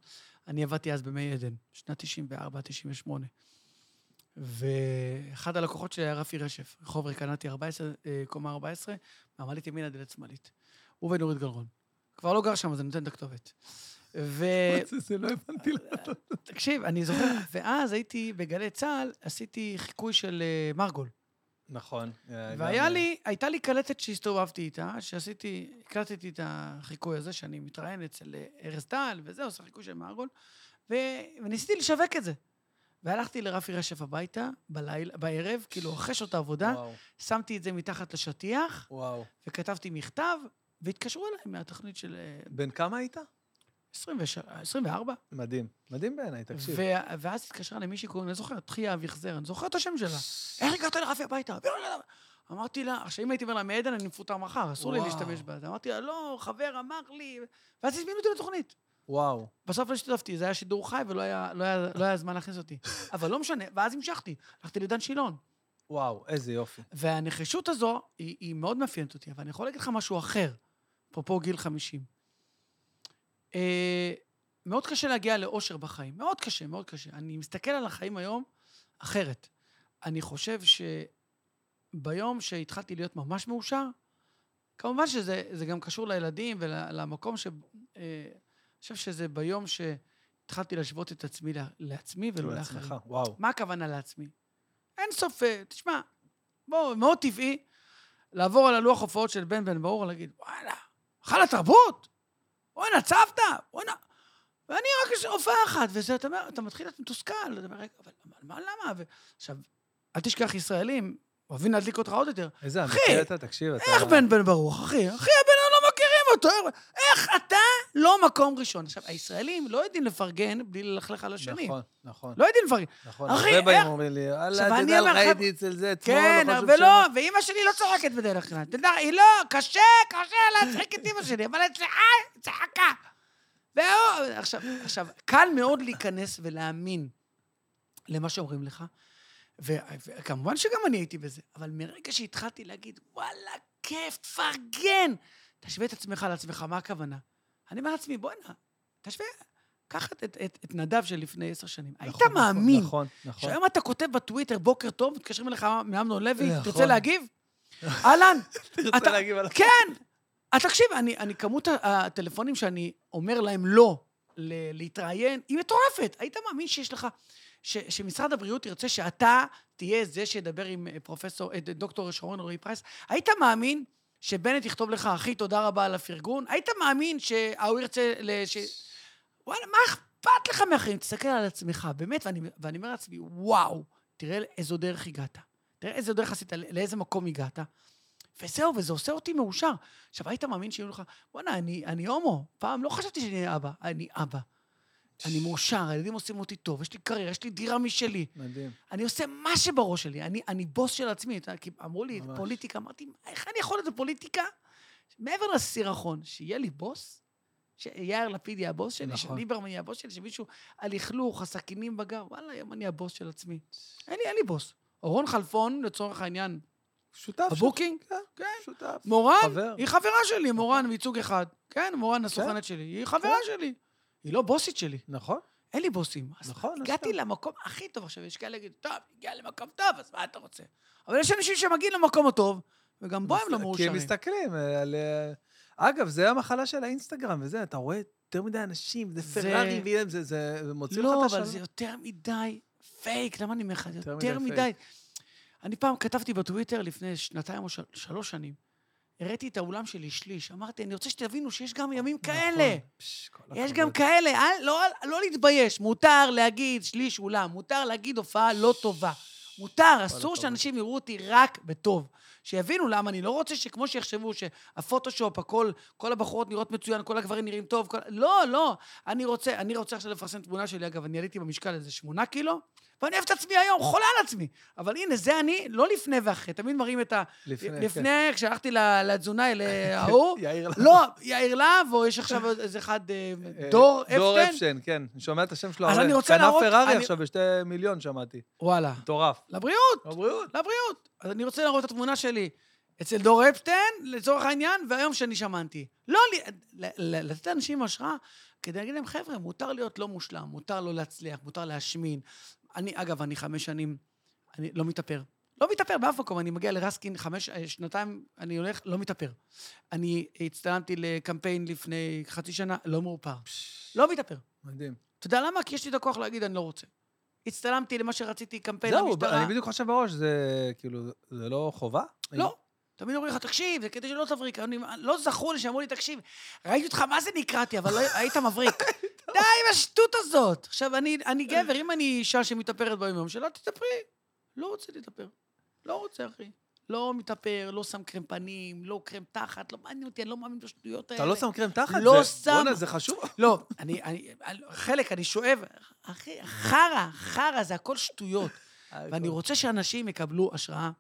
S3: אני עבדתי אז במי עדן, שנת 94-98, ואחד הלקוחות שלי היה רפי רשף, רחוב רקנטי 14, אה, קומה 14, מעמלית ימינה דלת שמאלית. הוא ונורית גלרון. כבר לא גר שם, אז אני נותן את הכתובת. ו-
S1: (laughs) זה- זה לא הבנתי למה.
S3: תקשיב, אני זוכר, ואז הייתי בגלי צה"ל, עשיתי חיקוי של אה, מרגול.
S1: נכון. אה,
S3: והיה
S1: גם-
S3: לי, הייתה לי קלטת שהסתובבתי איתה, שעשיתי, הקלטתי את החיקוי הזה, שאני מתראיין אצל אה, ארז טל, וזה, עושה חיקוי של מרגול, ו... וניסיתי לשווק את זה. והלכתי לרפי רשף הביתה, בלילה, בערב, כאילו, אחרי שעות העבודה,
S1: וואו,
S3: שמתי את זה מתחת לשטיח,
S1: וואו.
S3: וכתבתי מכתב, והתקשרו אליי מהתוכנית של אה,
S1: בן כמה היית?
S3: 26 24.
S1: מדהים. מדהים בעיניי, תקשיב.
S3: ו- ואז התקשרה למישהי קוראים, אני לא זוכר, תחייה אביחזר, אני זוכר את השם שלה. איך הגעת לרפי הביתה? ולא, לא, לא. אמרתי לה, עכשיו אם הייתי אומר לה, מעדן אני מפוטר מחר, אסור לי
S1: וואו.
S3: להשתמש בה. אז אמרתי לה, לא, חבר אמר לי, ואז הזמינו אותי לתוכנית.
S1: וואו.
S3: בסוף לא השתתפתי, זה היה שידור חי ולא היה, לא היה, לא היה זמן להכניס אותי. אבל לא משנה, ואז המשכתי, הלכתי לדן שילון.
S1: וואו, איזה יופי.
S3: והנחישות הזו, היא, היא מאוד מאפיינת אותי, אבל אני יכול להגיד לך משהו אחר, אפרופו גיל 50. אה, מאוד קשה להגיע לאושר בחיים, מאוד קשה, מאוד קשה. אני מסתכל על החיים היום אחרת. אני חושב שביום שהתחלתי להיות ממש מאושר, כמובן שזה זה גם קשור לילדים ולמקום ש... אה, אני חושב שזה ביום שהתחלתי להשוות את עצמי לה- לעצמי ולא לאחרים.
S1: לעצמך, כאילו, וואו.
S3: מה הכוונה לעצמי? אין סוף, אה, תשמע, בוא, מאוד טבעי לעבור על הלוח הופעות של בן בן ברור, להגיד, וואלה, חלה תרבות? וואלה, צוותא? וואלה. ואני רק יש הופעה אחת, וזה, אתה אומר, אתה מתחיל להיות מתוסכל, אתה אומר, רגע, אבל אבל מה, למה? ו- עכשיו, אל תשכח, ישראלים אוהבים להדליק אותך עוד יותר.
S1: איזה
S3: אחי,
S1: אמיתי אתה, תקשיב, אתה...
S3: איך בן בן ברוך, אחי? אחי, הבן אדם לא מכירים אותו. איך אתה לא מקום ראשון? עכשיו, הישראלים לא יודעים לפרגן בלי ללכלך על השני.
S1: נכון, נכון,
S3: לא יודעים לפרגן.
S1: נכון.
S3: אחי,
S1: הרבה באים
S3: איך-
S1: אומרים לי,
S3: עכשיו,
S1: אללה,
S3: אני
S1: תדע
S3: אומר
S1: לך,
S3: לך-
S1: הייתי אצל זה אתמול,
S3: כן,
S1: לא חשוב
S3: ולא,
S1: שם.
S3: ואימא שלי לא צוחקת בדרך כלל. אתה יודע, היא לא, קשה, קשה להצחיק את אימא שלי, אבל אצלך היא צחקה. והוא, עכשיו, עכשיו, קל מאוד להיכנס ולהאמין למה שאומרים לך, ו- וכמובן שגם אני הייתי בזה, אבל מרגע שהתחלתי להגיד, וואלה, כיף, תפרגן, תשווה את עצמך לעצמך, מה הכוונה? אני אומר לעצמי, בוא'נה, תשווה, קח את, את, את, את נדב של לפני עשר שנים. היית
S1: נכון, נכון,
S3: מאמין
S1: נכון, נכון.
S3: שהיום אתה כותב בטוויטר, בוקר טוב, מתקשרים אליך מאמנון לוי,
S1: נכון.
S3: תרצה
S1: (laughs)
S3: להגיב? אהלן,
S1: תרצה
S3: אתה-
S1: להגיב על...
S3: כן. אז תקשיב, אני, אני כמות ה- הטלפונים שאני אומר להם לא ל- להתראיין, היא מטורפת. היית מאמין שיש לך, ש, שמשרד הבריאות ירצה שאתה תהיה זה שידבר עם אה, פרופסור, אה, דוקטור שרון אלרעי פרייס? היית מאמין שבנט יכתוב לך, אחי, תודה רבה על הפרגון? היית מאמין שההוא ירצה... ל- ש... וואלה, מה אכפת לך מאחרים? תסתכל על עצמך, באמת, ואני, ואני אומר לעצמי, וואו, תראה איזו דרך הגעת. תראה איזה דרך עשית, לא- לאיזה מקום הגעת. וזהו, וזה עושה אותי מאושר. עכשיו, היית מאמין שיהיו לך, בואנה, אני, אני הומו. פעם לא חשבתי שאני אהיה אבא. אני אבא. אני מאושר, הילדים עושים אותי טוב, יש לי קריירה, יש לי דירה משלי.
S1: מדהים.
S3: אני עושה מה שבראש שלי, אני, אני בוס של עצמי. אתה, כי אמרו לי,
S1: ממש.
S3: פוליטיקה, אמרתי, "מה, איך אני יכול להיות בפוליטיקה? מעבר לסירחון, שיהיה לי בוס, שיאיר לפיד יהיה הבוס שלי,
S1: נכון.
S3: שליברמן יהיה הבוס שלי, שמישהו, הלכלוך, הסכינים בגב, וואלה, היום אני הבוס של עצמי. אין לי, אין לי בוס. אורון חלפון, לצורך העניין,
S1: שותף שלך.
S3: הבוקינג?
S1: כן,
S3: כן.
S1: שותף.
S3: מורן,
S1: חבר.
S3: (laughs) היא חברה שלי, מורן, מייצוג אחד. כן, מורן הסוכנת שלי, היא חברה
S1: כן?
S3: שלי. היא לא בוסית שלי.
S1: נכון,
S3: אין לי בוסים. אז
S1: נכון.
S3: הגעתי למקום הכי טוב עכשיו, יש כאלה יגידו, טוב, הגיע למקום טוב, אז מה אתה רוצה? אבל יש אנשים שמגיעים למקום הטוב, וגם בו הם לא
S1: כי
S3: מאושרים.
S1: הם מסתכלים אה, על... אה, אגב, זה המחלה של האינסטגרם וזה, אתה רואה יותר מדי אנשים, זה
S3: זה-
S1: פרארי, ואילם, זה- זה זה מוציא לך
S3: לא,
S1: את
S3: אבל זה
S1: השלום.
S3: יותר מדי פייק, למה אני אומר לך?
S1: יותר
S3: יותר
S1: מדי
S3: מדי. אני פעם כתבתי בטוויטר לפני שנתיים או של- שלוש שנים, הראיתי את האולם שלי שליש, אמרתי, אני רוצה שתבינו שיש גם ימים כאלה.
S1: נכון. פש, כל
S3: יש
S1: הכבוד.
S3: גם כאלה, אל, לא, לא להתבייש, מותר להגיד שליש אולם, מותר להגיד הופעה לא טובה. מותר, אסור
S1: הכבוד.
S3: שאנשים יראו אותי רק בטוב. שיבינו למה, אני לא רוצה שכמו שיחשבו שהפוטושופ, הכל, כל הבחורות נראות מצוין, כל הגברים נראים טוב, כל... לא, לא. אני רוצה, אני רוצה עכשיו לפרסם תמונה שלי, אגב, אני עליתי במשקל איזה שמונה קילו, ואני אוהב את עצמי היום, חולה על עצמי. אבל הנה, זה אני, לא לפני ואחרי. תמיד מראים את ה...
S1: לפני, כן.
S3: לפני, כשהלכתי ל- לתזונאי,
S1: (laughs)
S3: להוא,
S1: יאיר להב.
S3: לא, יאיר להב, או יש עכשיו איזה אחד, אה,
S1: אה, דור
S3: דור אפשטיין?
S1: אפשטיין, כן. אני שומע את השם שלו.
S3: אז
S1: הרבה.
S3: אני רוצה להראות-
S1: קנה פרארי
S3: אני-
S1: עכשיו בשתי מיליון, שמעתי.
S3: וואלה.
S1: מטורף. לא
S3: לבריאות,
S1: הבריאות.
S3: לבריאות. אז אני רוצה להראות את התמונה שלי אצל דור אפשטיין, לצורך העניין, והיום שאני שמעתי. לא, ל- ל- ל- לתת לאנשים השראה כדי להגיד להם, חבר'ה, מותר להיות לא מושלם, מותר לא להצליח, מותר להשמין. אני, אגב, אני חמש שנים, אני לא מתאפר. לא מתאפר באף מקום, אני מגיע לרסקין חמש, אה, שנתיים, אני הולך, לא מתאפר. אני הצטלמתי לקמפיין לפני חצי שנה, לא מאופר. לא מתאפר.
S1: מדהים.
S3: אתה יודע למה? כי יש לי את הכוח להגיד, אני לא רוצה. הצטלמתי למה שרציתי, קמפיין
S1: זהו,
S3: למשטרה.
S1: אני בדיוק חושב בראש, זה כאילו, זה לא חובה?
S3: לא. תמיד אומרים לך, תקשיב, זה כדי שלא תבריק. אני, לא זכור לי שאמרו לי, תקשיב, ראיתי אותך, מה זה נקרעתי, אבל לא, היית מבריק.
S1: (laughs)
S3: די עם השטות הזאת. עכשיו, אני, אני גבר, אם אני אישה שמתאפרת ביום-יום שלה, תתאפרי. לא רוצה להתאפר. לא רוצה, אחי. לא מתאפר, לא שם קרם פנים, לא קרם תחת, לא מעניין אותי, אני לא מאמין בשטויות האלה.
S1: אתה לא שם קרם תחת?
S3: לא
S1: זה-
S3: שם.
S1: בואנה, זה חשוב.
S3: לא, אני, אני, חלק, אני שואב. אחי, חרא, חרא, זה הכל שטויות. (laughs) ואני רוצה שאנשים יקבלו השראה.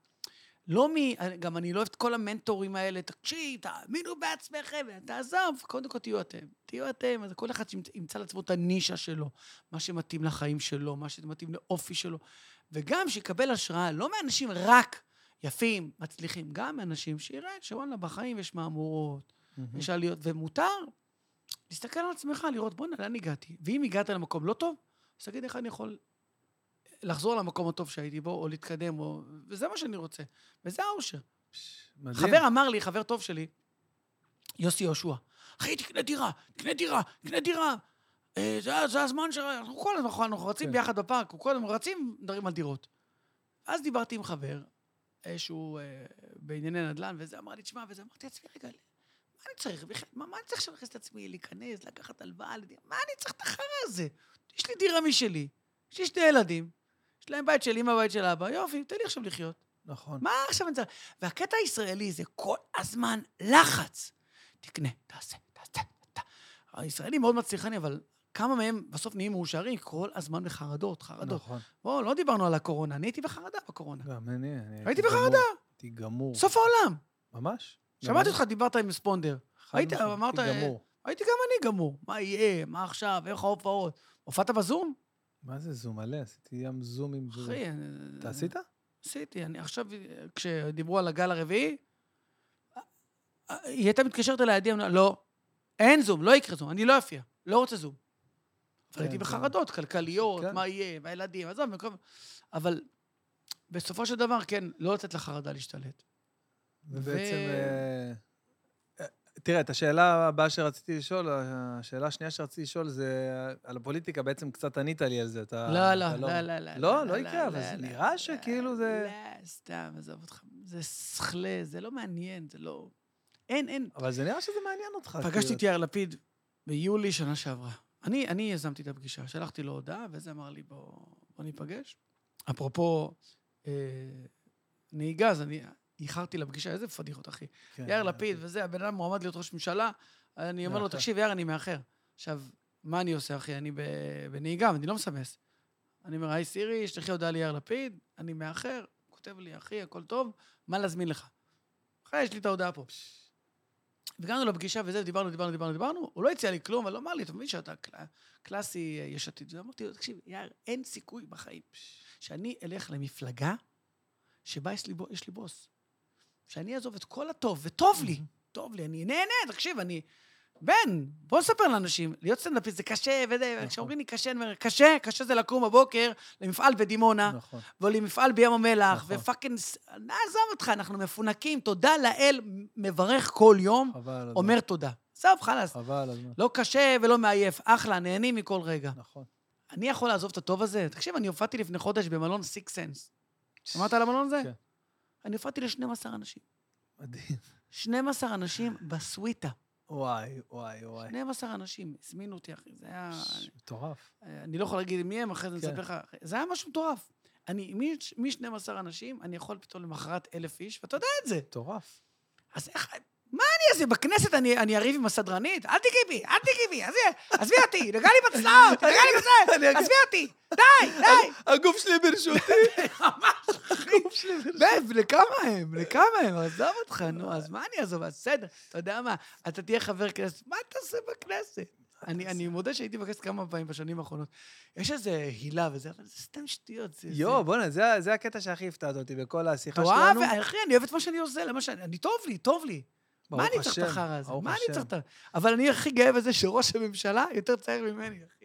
S3: לא מ... גם אני לא אוהב את כל המנטורים האלה, תקשיב, תאמינו בעצמכם, תעזוב, קודם כל תהיו אתם. תהיו אתם, אז כל אחד שימצ- ימצא לעצמו את הנישה שלו, מה שמתאים לחיים שלו, מה שמתאים לאופי שלו. וגם שיקבל השראה, לא מאנשים רק יפים, מצליחים, גם מאנשים שיראה שוואלה, בחיים יש מהמורות,
S1: מהמם.
S3: יש עליות, ומותר להסתכל על עצמך, לראות, בוא'נה, לאן הגעתי? ואם הגעת למקום לא טוב, אז תגיד איך אני יכול לחזור למקום הטוב שהייתי בו, או להתקדם, או... וזה מה שאני רוצה. וזה האושר.
S1: מדהים.
S3: חבר אמר לי, חבר טוב שלי, יוסי יהושע, אחי, תקנה דירה, תקנה דירה, תקנה דירה. אה, זה, זה הזמן ש... אנחנו כל הזמן, אנחנו- אנחנו רצים
S1: כן.
S3: ביחד בפארק, אנחנו כל הזמן רצים, מדברים על דירות. אז דיברתי עם חבר, אה, שהוא אה, בענייני נדל"ן, וזה אמר לי, תשמע, וזה אמרתי לעצמי, רגע, מה אני צריך? בכלל? מה, מה אני צריך עכשיו להכניס את עצמי, להיכנס, לקחת הלוואה? לדירה? מה אני צריך את החרא הזה? יש לי דירה משלי, יש לי שני ילדים, יש להם בית של אמא, בית של אבא, יופי, תן לי עכשיו לחיות.
S1: נכון.
S3: מה עכשיו אני צריך? והקטע הישראלי זה כל הזמן לחץ. תקנה, תעשה, תעשה, תעשה. הישראלים מאוד מצליחני, אבל כמה מהם בסוף נהיים מאושרים? כל הזמן בחרדות, חרדות.
S1: נכון.
S3: בואו, לא דיברנו על הקורונה, אני הייתי בחרדה בקורונה.
S1: גם אני, אני...
S3: הייתי
S1: גמור.
S3: בחרדה.
S1: הייתי גמור.
S3: סוף העולם.
S1: ממש.
S3: שמעתי אותך, דיברת עם ספונדר.
S1: חד
S3: היית,
S1: משמעית,
S3: אמרת, אה,
S1: הייתי גמור.
S3: הייתי גם אני גמור. מה יהיה? מה עכשיו? איך ההופעות? הופעת בזום?
S1: מה זה זום מלא? עשיתי ים זום עם... זה.
S3: אחי...
S1: אתה עשית?
S3: עשיתי, אני עכשיו, כשדיברו על הגל הרביעי, היא הייתה מתקשרת אליי, עדי, אמרה, לא, אין זום, לא יקרה זום, אני לא אופיע, לא רוצה זום.
S1: כן,
S3: אבל הייתי
S1: כן.
S3: בחרדות כלכליות,
S1: כן.
S3: מה יהיה, והילדים, עזוב, במקום... אבל בסופו של דבר, כן, לא לתת לחרדה להשתלט.
S1: ובעצם...
S3: ו-
S1: אה, אה, תראה, את השאלה הבאה שרציתי לשאול, השאלה השנייה שרציתי לשאול זה אה, על הפוליטיקה, בעצם קצת ענית לי על זה. אתה...
S3: לא,
S1: אה, אתה
S3: לא, לא, לא, לא.
S1: לא, לא יקרה, אבל זה
S3: לא,
S1: נראה
S3: לא,
S1: שכאילו זה-
S3: לא, סתם, עזוב אותך. זה שכלה, זה לא מעניין, זה לא... אין, אין.
S1: אבל זה נראה שזה מעניין אותך.
S3: פגשתי
S1: כאילו.
S3: את יאיר לפיד ביולי שנה שעברה. אני, אני יזמתי את הפגישה, שלחתי לו הודעה, וזה אמר לי, בוא, בוא ניפגש. אפרופו אה, נהיגה, אז אני איחרתי לפגישה, איזה פדיחות, אחי.
S1: כן,
S3: יאיר לפיד וזה, הבן אדם מועמד להיות ראש ממשלה, אני אומר לו,
S1: מאחר.
S3: תקשיב, יאיר, אני מאחר. עכשיו, מה אני עושה, אחי? אני ב- בנהיגה, אני לא מסמס. אני אומר, היי סירי, שלחי הודעה ליאיר לפיד, אני מאחר, כותב לי, אחי, הכל טוב, מה להזמין לך? אחי, יש לי את ההודעה פה. הגענו לפגישה וזה, דיברנו, דיברנו, דיברנו, דיברנו, הוא לא הציע לי כלום, אבל הוא אמר לי, אתה מבין שאתה קל- קלאסי אה, יש עתיד. אמרתי לו, תקשיב, יאיר, אין סיכוי בחיים שאני אלך למפלגה שבה יש לי, בו- יש לי בוס. שאני אעזוב את כל הטוב, וטוב לי, טוב לי, אני נהנה, תקשיב, אני... בן, בוא נספר לאנשים, להיות סטנדאפיסט זה קשה, וזה,
S1: נכון.
S3: כשאומרים לי קשה, אני אומר, קשה, קשה זה לקום בבוקר למפעל בדימונה,
S1: נכון.
S3: ולמפעל בים המלח,
S1: נכון.
S3: ופאקינג... ס- נעזוב אותך, אנחנו מפונקים, תודה לאל, מברך כל יום,
S1: חבל על הזמן.
S3: אומר תודה. עזוב, חלאס.
S1: חבל על הזמן.
S3: לא קשה ולא מעייף, אחלה, נהנים מכל רגע.
S1: נכון.
S3: אני יכול לעזוב את הטוב הזה? תקשיב, אני הופעתי לפני חודש במלון סיקס סנס. שמעת על המלון הזה?
S1: כן.
S3: אני הופעתי ל-12 אנשים.
S1: מדהים.
S3: 12 אנשים בסוויטה.
S1: וואי, וואי, אה. וואי.
S3: 12 אנשים, הזמינו אותי, אחי. זה היה...
S1: ש- מטורף.
S3: אני לא יכול להגיד מי הם, אחרי זה
S1: כן.
S3: נספר לך. זה היה משהו מטורף. אני, מ- מ-12 אנשים, אני יכול פתאום למחרת אלף איש, ואתה יודע את זה.
S1: מטורף.
S3: אז איך... מה אני אעשה? בכנסת אני, אני אריב עם הסדרנית? אל תיגעי בי, אל תיגעי בי, עזבי- עזבי אותי, נגע לי בצלעות, נגע לי בצלעות, עזבי אותי, די, די.
S1: הגוף שלי ברשותי.
S3: ממש, אחי. בב, לכמה הם? לכמה הם? עזוב אותך, נו, אז מה אני אעזוב? אז בסדר, אתה יודע מה, אתה תהיה חבר כנסת, מה אתה עושה בכנסת? אני, אני מודה שהייתי בכנסת כמה פעמים בשנים האחרונות. יש איזה הילה וזה, אבל זה סתם שטויות. זה-
S1: (laughs) יואו, בוא'נה, זה- זה הקטע שהכי הפתעת אותי בכל
S3: זה-
S1: השיחה
S3: תורה,
S1: שלנו.
S3: ו- אחי, אני אוהב את מה שאני עושה, למה שאני... אני טוב לי, טוב לי. מה
S1: ברוך
S3: אני צריך את
S1: השם,
S3: החרא הזה?
S1: ברוך
S3: מה אני
S1: השם.
S3: צריך את ה... אבל אני הכי גאה בזה שראש הממשלה יותר צעיר ממני, אחי.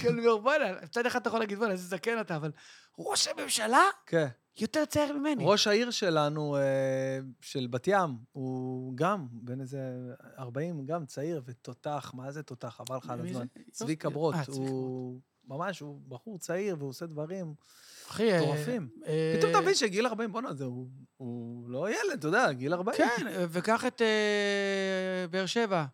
S3: כאילו, בוא'נה, מצד אחד אתה יכול להגיד, בוא'נה, איזה זקן אתה, אבל ראש הממשלה
S1: כן.
S3: יותר צעיר ממני.
S1: ראש העיר שלנו, אה, של בת ים, הוא גם בן איזה 40, גם צעיר ותותח, מה זה תותח? חבל לך על
S3: מי זה?
S1: הזמן.
S3: יופי.
S1: צביקה ברוט,
S3: אה, צביקה
S1: הוא ממש, הוא בחור צעיר והוא עושה דברים
S3: אחי, אה,
S1: מטורפים.
S3: אה,
S1: פתאום תבין שגיל 40, בואנה, זה הוא- הוא לא ילד, אתה יודע, גיל 40.
S3: כן, אה, וקח את אה, באר שבע.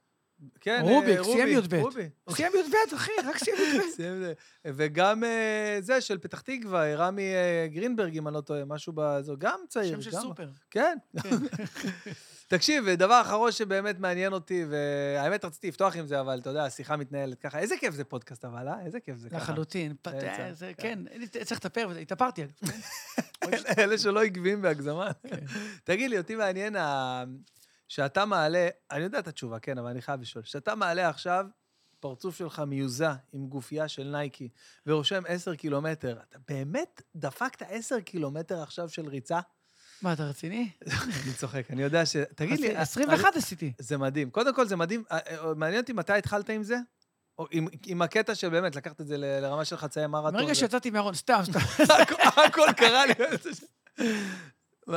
S1: כן,
S3: רוביק,
S1: אה,
S3: סיים י"ב.
S1: רובי.
S3: סיים י"ב, אחי, רק סיים י"ב.
S1: סיים זה. וגם אה, זה של פתח תקווה, רמי אה, גרינברג, אם אני לא טועה, משהו בזה, גם (laughs) צעיר.
S3: שם של
S1: גם-
S3: סופר.
S1: כן. (laughs) תקשיב, דבר אחרון שבאמת מעניין אותי, והאמת רציתי לפתוח עם זה, אבל אתה יודע, השיחה מתנהלת ככה. איזה כיף זה פודקאסט, אבל, אה? איזה כיף זה ככה.
S3: לחלוטין. פ-
S1: באמצע.
S3: אה, זה- כן, אני צריך לטפר, וזה- התאפרתי. אגב.
S1: אלה- אלה שלא עקביים בהגזמה. תגיד לי, אותי מעניין, ה- שאתה מעלה, אני יודע את התשובה, כן, אבל אני חייב לשאול. שאתה מעלה עכשיו פרצוף שלך מיוזע עם גופייה של נייקי, ורושם 10 קילומטר, אתה באמת דפקת 10 קילומטר עכשיו של ריצה?
S3: מה, אתה רציני?
S1: אני צוחק, אני יודע ש... תגיד לי...
S3: עשי- 21 עשיתי.
S1: זה מדהים. קודם כל, זה מדהים. אה, אה, מעניין אותי מתי התחלת עם זה? או עם, עם הקטע של באמת, לקחת את זה ל- לרמה של חצאי מרתון.
S3: ברגע
S1: ו-
S3: שיצאתי מהארון, סתם, סתם.
S1: (laughs) הכל- הכל קרה לי. (laughs)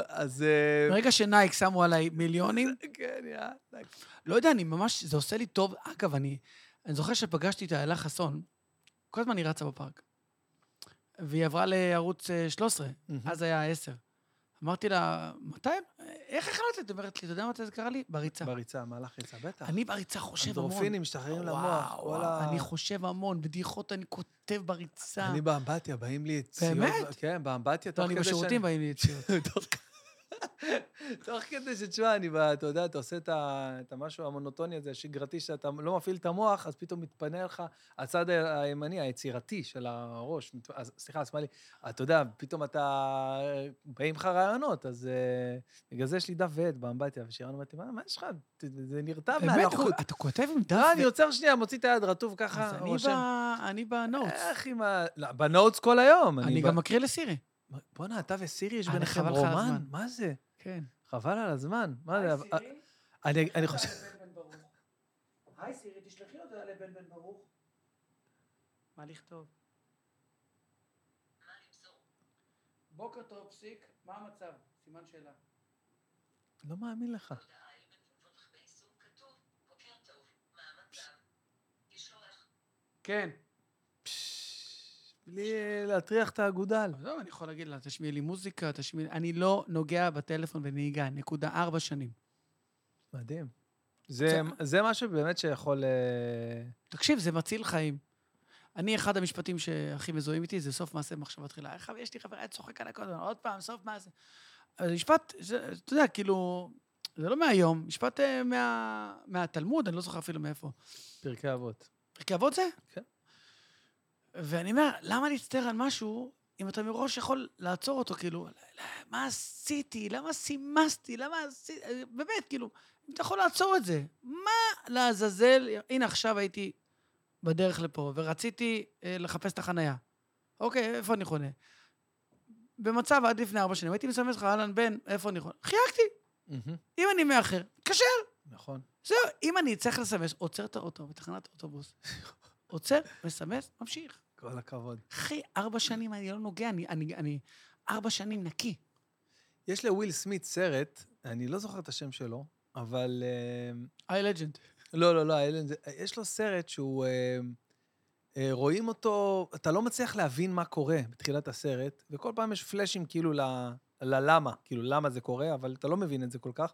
S1: אז... אה,
S3: ברגע שנייק שמו עליי מיליונים, (laughs)
S1: כן, יאללה.
S3: לא יודע, אני ממש, זה עושה לי טוב. אגב, אני, אני זוכר שפגשתי את איילה חסון, כל הזמן היא רצה בפארק. והיא עברה לערוץ אה, 13,
S1: Mm-hmm.
S3: אז היה 10. אמרתי לה, מתי? איך החלטת? היא אומרת לי, אתה יודע מתי זה קרה לי? בריצה.
S1: בריצה, מהלך ריצה, בטח.
S3: אני בריצה חושב המון.
S1: אנדרופינים משתחררים למוח.
S3: וואו,
S1: כל
S3: וואו,
S1: ה-
S3: אני חושב המון, בדיחות אני כותב בריצה.
S1: אני באמבטיה, באים לי ציוד.
S3: באמת?
S1: כן, באמבטיה,
S3: לא,
S1: תוך
S3: אני
S1: כדי שאני...
S3: בשירותים באים לי
S1: (laughs)
S3: יציאות.
S1: תוך- תוך כדי שתשמע, אני, ב- אתה יודע, אתה עושה את ה- את המשהו המונוטוני הזה, השגרתי, שאתה לא מפעיל את המוח, אז פתאום מתפנה לך הצד ה- הימני, היצירתי של הראש, מת- אז- סליחה, השמאלי, אתה יודע, פתאום אתה... באים לך רעיונות, אז אה, בגלל זה יש לי דף ועט באמבטיה, ושירן אומרת לי, מה מה יש לך? ת- זה נרטב
S3: באמת,
S1: מהלחות.
S3: אתה כותב עם דף?
S1: לא,
S3: ו-
S1: אני עוצר שנייה, מוציא את היד רטוב ככה,
S3: אז אני
S1: רושם. אה,
S3: ב- אני בנוטס.
S1: איך עם ה... לא, בנוטס כל היום.
S3: אני
S1: ב-
S3: גם מקריא לסירי.
S1: בואנה, אתה וסירי, יש
S3: אני
S1: ביניכם
S3: חבל לך על
S1: רומן?
S3: הזמן.
S1: מה זה?
S3: כן.
S1: חבל על הזמן. מה
S3: לא
S1: זה? אבל- אה, אני, אני חושב...
S3: היי סירי, תשלחי הודעה לבן בן ברוך. מה לכתוב? בוקר טוב, פסיק, מה המצב? סימן שאלה.
S1: לא מאמין לך.
S3: כן.
S1: פשש, בלי אה, להטריח את האגודל.
S3: עזוב, לא, אני יכול להגיד לה, תשמיעי לי מוזיקה, תשמיעי... אני לא נוגע בטלפון בנהיגה, נקודה ארבע שנים.
S1: מדהים. זה, זה משהו באמת שיכול... אה,
S3: תקשיב, זה מציל חיים. אני, אחד המשפטים שהכי מזוהים איתי, זה סוף מעשה במחשבה תחילה. איך יש לי חברה, היה צוחק עליי כל הזמן, עוד פעם, סוף מעשה. אבל משפט, זה- אתה יודע, כאילו, זה לא מהיום, משפט אה, מה, מהתלמוד, אני לא זוכר אפילו מאיפה.
S1: פרקי אבות.
S3: פרקי אבות זה?
S1: כן.
S3: ואני אומר, למה להצטער על משהו, אם אתה מראש יכול לעצור אותו, כאילו, מה עשיתי? למה סימסתי? למה עשיתי? באמת, כאילו, אם אתה יכול לעצור את זה, מה לעזאזל? הנה, עכשיו הייתי בדרך לפה, ורציתי אה, לחפש את החנייה. אוקיי, איפה אני חונה? במצב עד לפני ארבע שנים, הייתי מסמס לך, אהלן, בן, איפה אני חונה? חייגתי, אם אני מאחר, קשה.
S1: נכון.
S3: זהו, אם אני צריך לסמס, עוצר את האוטו בתחנת אוטובוס. (laughs) עוצר, מסמס, ממשיך.
S1: כל הכבוד.
S3: אחי, ארבע שנים אני לא נוגע, אני, אני, אני ארבע שנים נקי.
S1: יש לוויל סמית סרט, אני לא זוכר את השם שלו, אבל... אה,
S3: איי לג'נד.
S1: לא, לא, לא, האלן זה... יש לו סרט שהוא... אה, אה, רואים אותו, אתה לא מצליח להבין מה קורה בתחילת הסרט, וכל פעם יש פלאשים כאילו ל- ללמה, כאילו למה זה קורה, אבל אתה לא מבין את זה כל כך.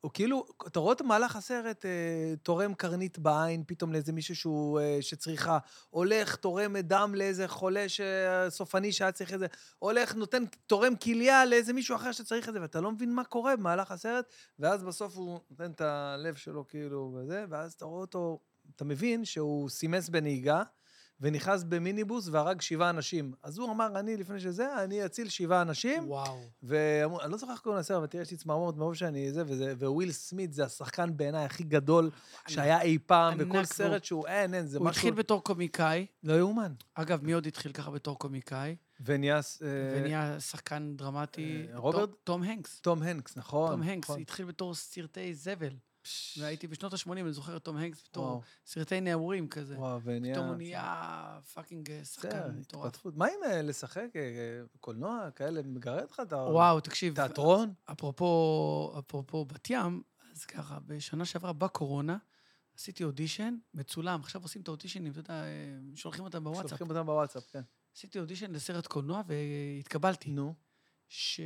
S1: והוא כאילו, אתה רואה אותו במהלך הסרט, אה, תורם קרנית בעין פתאום לאיזה מישהו שהוא, אה, שצריכה, הולך, תורם דם לאיזה חולה ש... סופני שהיה צריך את זה, הולך, נותן, תורם כליה לאיזה מישהו אחר שצריך את זה, ואתה לא מבין מה קורה במהלך הסרט, ואז בסוף הוא נותן את הלב שלו כאילו וזה, ואז אתה רואה אותו, אתה מבין שהוא סימס בנהיגה, ונכנס במיניבוס והרג שבעה אנשים. אז הוא אמר, אני, לפני שזה, אני אציל שבעה אנשים,
S3: וואו.
S1: ואמרו, אני לא זוכר איך קוראים לסרט, אבל תראה, יש לי צמרמורת מרוב שאני זה, וזה, וויל סמית זה השחקן בעיניי הכי גדול שהיה אי פעם,
S3: ענק
S1: וכל
S3: והוא-
S1: סרט שהוא, אין, אין, זה
S3: הוא
S1: משהו
S3: התחיל בתור קומיקאי.
S1: לא יאומן.
S3: אגב, מי עוד התחיל ככה בתור קומיקאי?
S1: ונהיה...
S3: ונהיה שחקן דרמטי.
S1: אה, רוברט?
S3: תום- תום הנקס.
S1: תום הנקס, נכון?
S3: תום הנקס
S1: נכון.
S3: התחיל בתור סרטי זבל. והייתי בשנות ה-80, אני זוכר את תום הנקס
S1: וואו,
S3: בתור סרטי נעורים כזה.
S1: וואו, ונהיה...
S3: פתאום הוא נהיה פאקינג אה,
S1: בסדר,
S3: שחקן מטורף.
S1: התפתחות. מה עם אה, לשחק אה, אה, קולנוע כאלה? מגרד לך את ה...
S3: וואו, תקשיב,
S1: תיאטרון?
S3: אפרופו, אפרופו בת ים, אז ככה, בשנה שעברה בקורונה, עשיתי אודישן מצולם, עכשיו עושים את האודישנים, אתה יודע, אה, שולחים אותם בוואטסאפ.
S1: שולחים אותם בוואטסאפ, כן.
S3: עשיתי אודישן לסרט קולנוע והתקבלתי.
S1: נו,
S3: ש...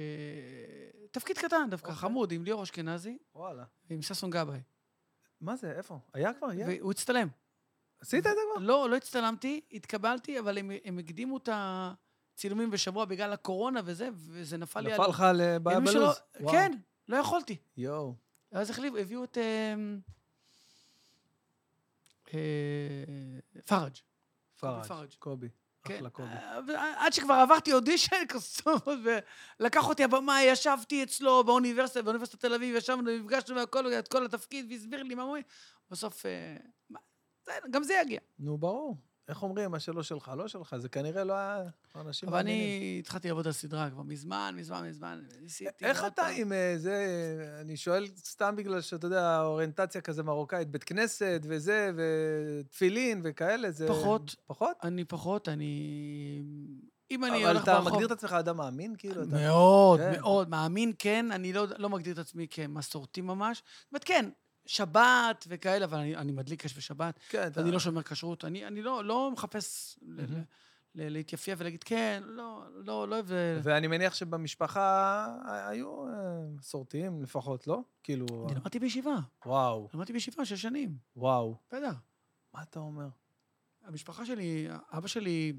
S3: תפקיד קטן דווקא,
S1: אוקיי.
S3: חמוד, עם ליאור אשכנזי
S1: וואלה.
S3: ועם ששון גבאי.
S1: מה זה, איפה? היה כבר? היה?
S3: והוא הצטלם.
S1: עשית את זה כבר?
S3: לא, לא הצטלמתי, התקבלתי, אבל הם, הם הקדימו את הצילומים בשבוע בגלל הקורונה וזה, וזה נפל לי
S1: נפל לך על אה, ב-
S3: ימים
S1: בלוז.
S3: שלא-
S1: וואו.
S3: כן, לא יכולתי.
S1: יואו.
S3: אז החליפו, הביאו את... אמ, אה, פראג'.
S1: פראג'.
S3: פראג'.
S1: קובי.
S3: כן.
S1: אחלה קובי.
S3: אה, אבל עד שכבר עברתי אודישן, (laughs) כסומות, ולקח אותי הבמאי, ישבתי אצלו באוניברסיטה, באוניברסיטת תל אביב, ישבנו, נפגשנו והכל, את כל התפקיד, והסביר לי מה אומרים. בסוף, אה, מה- זה- גם זה יגיע.
S1: נו, ברור. איך אומרים, מה שלא שלך, לא שלך, זה כנראה לא היה אנשים
S3: אבל
S1: מעניינים.
S3: אני התחלתי לעבוד על סדרה כבר מזמן, מזמן, מזמן. ניסיתי
S1: איך
S3: עוד
S1: אתה
S3: פעם.
S1: עם אה, זה, אני שואל סתם בגלל שאתה יודע, אוריינטציה כזה מרוקאית, בית כנסת וזה, ותפילין וכאלה, זה...
S3: פחות.
S1: פחות?
S3: אני פחות, אני... אם אני
S1: אבל
S3: הולך
S1: אתה
S3: ברחוב...
S1: מגדיר את עצמך אדם מאמין, כאילו? אתה-
S3: מאוד,
S1: כן.
S3: מאוד. מאמין, כן, אני לא, לא מגדיר את עצמי כמסורתי ממש. זאת אומרת, כן, שבת וכאלה, אבל אני, אני מדליק אש בשבת,
S1: כן, אתה...
S3: ואני לא שומר כשרות. אני, אני לא, לא מחפש ל- ל-
S1: מהמם.
S3: ל- להתייפייף ולהגיד, כן, לא, לא, לא אוהב...
S1: ואני מניח שבמשפחה היו אה, מסורתיים לפחות, לא? כאילו,
S3: אני למדתי בישיבה,
S1: וואו,
S3: למדתי בישיבה שש שנים,
S1: וואו.
S3: בסדר.
S1: מה אתה אומר?
S3: המשפחה שלי, אבא שלי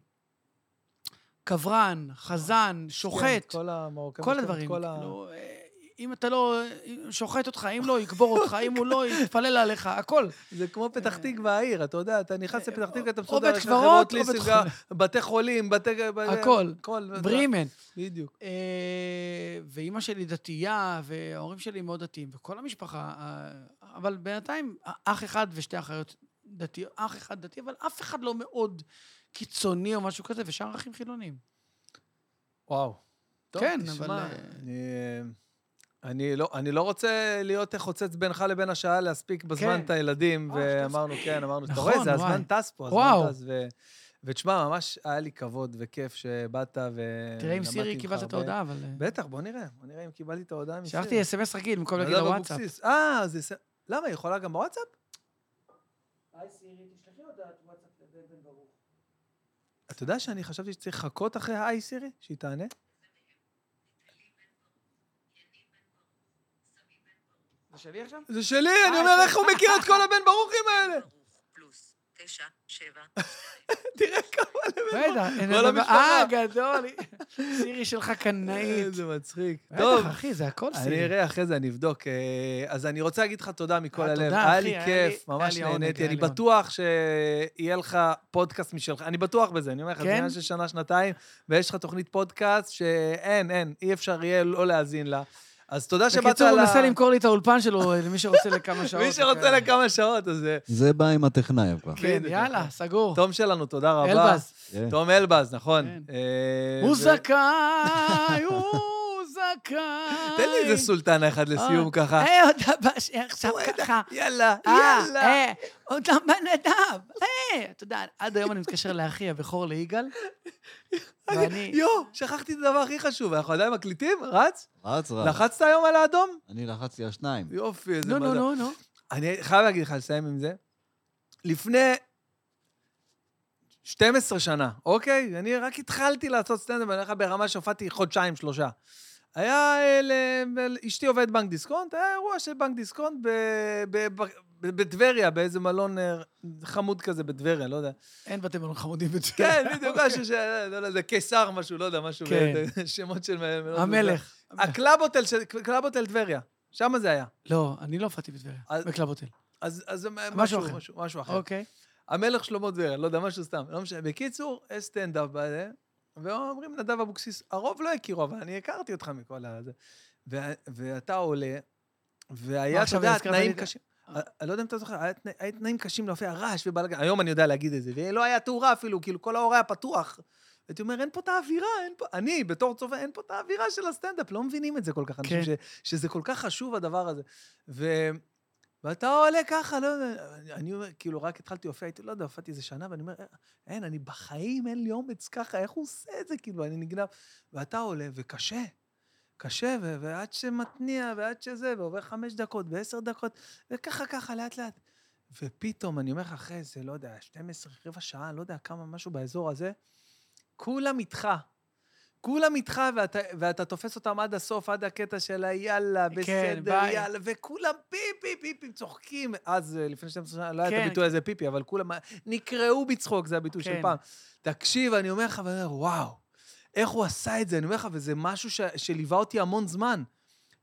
S3: קברן, חזן,
S1: כן,
S3: שוחט,
S1: כל המרוקאים.
S3: כל
S1: יש להם את
S3: הדברים.
S1: כל ה-
S3: כאילו, אה, אם אתה לא... אה, שוחט אותך, אם לא, יקבור אותך, אם הוא לא, יתפלל עליך, הכל.
S1: זה כמו פתח תקווה העיר, אתה יודע, אתה נכנס
S3: אה,
S1: לפתח תקווה, אתה
S3: או
S1: מסודר,
S3: בית
S1: יש לך
S3: קברות,
S1: חברות
S3: או בית
S1: ליסינג, אה,
S3: חולים.
S1: בתי חולים, בתי...
S3: הכל.
S1: הכל. אתה-
S3: ברימן.
S1: בדיוק.
S3: אה, ואימא שלי דתייה, וההורים שלי מאוד דתיים, וכל המשפחה, אה, אבל בינתיים, אח אחד ושתי אחיות דתיות, אח אחד דתי, אבל אף אחד לא מאוד קיצוני או משהו כזה, ושאר אחים חילונים.
S1: וואו.
S3: כן,
S1: תשמע,
S3: אבל, אה,
S1: אני, אה, אני, לא, אני לא רוצה להיות חוצץ בינך לבין השעה להספיק בזמן
S3: כן.
S1: את הילדים,
S3: אה,
S1: ואמרנו, כן, אמרנו, אתה
S3: נכון,
S1: רואה, זה
S3: וואי.
S1: הזמן טס פה,
S3: וואו.
S1: הזמן טס, ו... ותשמע, ממש היה לי כבוד וכיף שבאת ו...
S3: תראה אם סירי
S1: כן, למדתי
S3: קיבלת
S1: ממך
S3: את
S1: הרבה.
S3: ההודעה, אבל... אה,
S1: בטח, בוא נראה, בוא נראה אם קיבלתי את ההודעה מסירי.
S3: שלחתי אס.אם.אס רגיל במקום להגיד
S1: נדב
S3: לוואטסאפ.
S1: אבוקסיס. אה, זה... ס- למה, היא יכולה גם בוואטסאפ? אתה יודע שאני חשבתי שצריך לחכות אחרי ה-i סירי, שהיא תענה?
S3: זה שלי (laughs) עכשיו?
S1: זה שלי, אני אומר, איך הוא מכיר את כל הבן ברוכים האלה?
S5: פלוס, תשע, שבע,
S1: תראה כמה לבן ברוך. (laughs)
S3: רגע, אין
S1: כל
S3: לדבר-
S1: המשפחה.
S3: אה, גדול. (laughs) סירי שלך קנאית.
S1: איזה מצחיק. טוב,
S3: בטח, אחי, זה הכל
S1: אני
S3: סירי.
S1: אראה אחרי זה, אני אבדוק. אה, אז אני רוצה להגיד לך תודה מכל
S3: אה,
S1: הלב.
S3: תודה,
S1: היה
S3: אחי,
S1: לי
S3: היה
S1: כיף,
S3: לי-
S1: ממש
S3: היה לי עונג,
S1: נהניתי.
S3: היה
S1: אני
S3: לי עונג.
S1: בטוח שיהיה לך פודקאסט משלך. אני בטוח בזה, אני אומר לך, זה
S3: כן?
S1: עניין של שנה, שנתיים, ויש לך תוכנית פודקאסט שאין, אין, אי אפשר יהיה לא להאזין לה. אז תודה שבאת ל...
S3: בקיצור, הוא מנסה למכור אוקיי. לי את האולפן שלו אה, למי שרוצה לכמה שעות.
S1: מי שרוצה
S3: וכאלה.
S1: לכמה שעות, אז... אה,
S4: זה בא עם הטכנאי כבר.
S3: כן, יאללה, סגור.
S1: תום שלנו, תודה רבה. אה,
S3: אלבז.
S4: כן.
S1: תום אלבז, נכון.
S3: כן.
S1: אה,
S3: הוא
S1: ו-
S3: זכאי, הוא זכאי.
S1: תן לי איזה סולטנה אחד לסיום ככה.
S3: אה, עוד הבא, ש- עכשיו ככה.
S1: יאללה,
S3: אה,
S1: יאללה.
S3: אה, עוד הבן אדם. אה, אתה יודע, עד היום אני מתקשר לאחי הבכור
S1: (laughs)
S3: ליגאל, ואני...
S1: יואו, שכחתי את הדבר הכי חשוב, אנחנו עדיין מקליטים? רץ?
S4: רץ, רץ.
S1: לחצת היום על האדום?
S4: אני לחצתי על שניים.
S1: יופי, איזה
S3: נו, נו,
S1: מזל.
S3: נו, נו.
S1: אני חייב להגיד לך, לסיים עם זה. לפני 12 שנה, אוקיי? אני רק התחלתי לעשות סטנדאפ, אני אומר לך ברמה שהופעתי חודשיים, שלושה. היה, אה, ל- ל- אשתי עובדת בנק דיסקונט, היה אירוע של בנק דיסקונט ב- ב- ב- בטבריה, באיזה מלון אה, חמוד כזה בטבריה, לא יודע.
S3: אין בתי מלון חמודים בטבריה. אוקיי.
S1: כן, בדיוק, משהו ש... לא יודע, זה קיסר משהו, לא יודע, משהו,
S3: כן.
S1: ב- שמות של... מלונות.
S3: המלך.
S1: הקלאבוטל של... קלאבוטל טבריה, שם זה היה.
S3: לא, אני לא הופעתי בטבריה,
S1: אז-
S3: בקלאבוטל.
S1: אז אז זה
S3: משהו
S1: משהו
S3: אחר.
S1: משהו- משהו אחר.
S3: אוקיי.
S1: המלך שלמה טבריה, לא יודע, משהו סתם, לא משנה. בקיצור, יש סטנדאפ בזה, ואומרים נדב אבוקסיס, הרוב לא הכירו, אבל אני הכרתי אותך מכל הזה. ו- ואתה עולה,
S3: מה,
S1: והיה, אתה
S3: עכשיו
S1: יודע,
S3: נזכרת
S1: תנאים
S3: לי? אה.
S1: קשים. אני אני לא יודע אם אתה זוכר, היה תנא- היה תנאים קשים להופיע, רעש ובלגן, היום אני יודע להגיד את זה, ולא היה תאורה אפילו, כאילו כל ההורה היה פתוח. הייתי אומר, אין פה את האווירה, אין פה, אני, בתור צופה, אין פה את האווירה של הסטנדאפ, לא מבינים את זה כל כך, אנשים,
S3: כן.
S1: ש- שזה כל כך חשוב הדבר הזה. ו... ואתה עולה ככה, לא יודע, אני אומר, כאילו, רק התחלתי להופיע, הייתי, לא יודע, הופעתי איזה שנה, ואני אומר, "אה, אין, אני בחיים, אין לי אומץ ככה, איך הוא עושה את זה? כאילו, אני נגנב. ואתה עולה, וקשה, קשה, ו- ועד שמתניע, ועד שזה, ועובר חמש דקות, ועשר דקות, וככה, ככה, לאט-לאט. ופתאום, אני אומר לך, אחרי איזה, לא יודע, 12, רבע שעה, לא יודע כמה, משהו באזור הזה, כולם איתך. כולם איתך, ואתה, ואתה תופס אותם עד הסוף, עד הקטע של היאללה,
S3: כן,
S1: בסדר,
S3: ביי.
S1: יאללה, וכולם פיפי, פיפי, צוחקים. אז, אה, לפני 12 שנה, לא היה את
S3: כן,
S1: הביטוי הזה פיפי, אבל כולם אה, נקרעו בצחוק, זה הביטוי
S3: כן.
S1: של פעם. תקשיב, אני אומר לך, ואני אומר, וואו, איך הוא עשה את זה? אני אומר לך, וזה משהו ש- שליווה אותי המון זמן.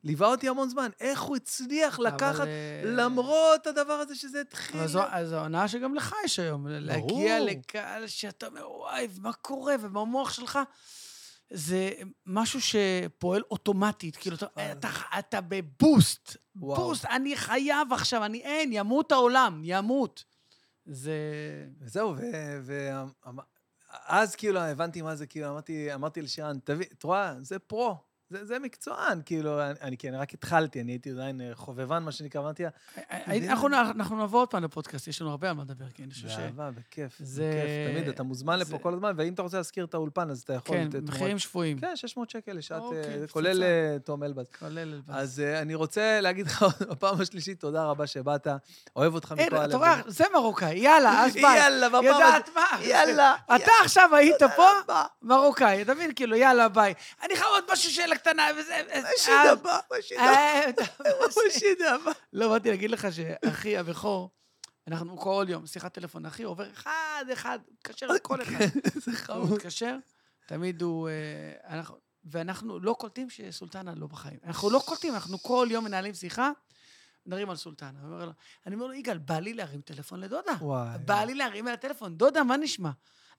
S1: ליווה אותי המון זמן. איך הוא הצליח לקחת, למרות הדבר הזה שזה התחיל...
S3: אה, אבל זו, אז זו ההונאה שגם לך יש היום, להגיע
S1: כאילו. ברור.
S3: לקהל שאתה אומר, וואי, מה קורה? ובמוח שלך זה משהו שפועל אוטומטית. כאילו, אתה,
S1: אה.
S3: אתה, אתה בבוסט,
S1: וואו.
S3: בוסט, אני חייב עכשיו, אני אין, ימות העולם, ימות. זה...
S1: וזהו, ו- ו- אמ- אז כאילו הבנתי מה זה, כאילו אמרתי, אמרתי לשירן, תביא, את רואה, זה פרו, זה, זה מקצוען, כאילו, אני, אני, כי אני רק התחלתי, אני הייתי עדיין אה, חובבן, מה שנקרא, אמרתי "אה, לה, יודע.
S3: אה, אנחנו, אנחנו נבוא עוד פעם לפודקאסט, יש לנו הרבה על מה לדבר, כי אני חושב ש...
S1: באהבה, בכיף,
S3: זה-
S1: בכיף, תמיד, אתה מוזמן
S3: זה-
S1: לפה כל הזמן, ואם אתה רוצה להזכיר את האולפן, אז אתה יכול...
S3: כן,
S1: ת- תמורת-
S3: מחירים שפויים.
S1: כן, 600 שקל לשעת,
S3: אוקיי,
S1: אה,
S3: פצצה.
S1: כולל אה, תום אלבז.
S3: כולל... אז...
S1: אז אה, אני רוצה להגיד לך (laughs) בפעם השלישית, תודה רבה שבאת, אוהב אותך מכל
S3: אין,
S1: הלב.
S3: אתה לא, רואה, זה מרוקאי, יאללה, אז ביי.
S1: (laughs) יאללה, בפעם הזאת,
S3: יודעת מה?
S1: יאללה.
S3: אתה עכשיו היית פה, מרוקאי, אתה מבין? כאילו, יאללה, ביי. אני חייב עוד משהו, שאלה קטנה, וזה... אה,
S1: הבא, בשידה הבא.
S3: אה, אתה-
S1: בשידה הבא.
S3: לא, באתי להגיד לך שאחי הבכור, אנחנו כל יום, שיחת טלפון, אחי עובר אחד-אחד, מתקשר לכל אחד.
S1: כן, (laughs) זה
S3: הוא
S1: חמוד.
S3: מתקשר, תמיד הוא... אה, אנחנו- ואנחנו לא קולטים שסולטנה לא בחיים. אנחנו לא קולטים, אנחנו כל יום מנהלים שיחה, מדברים על סולטנה. אני אומר לו- אני אומר לו, יגאל, בא לי להרים טלפון לדודה. (laughs)
S1: וואי.
S3: בא לי להרים על הטלפון, דודה, מה נשמע?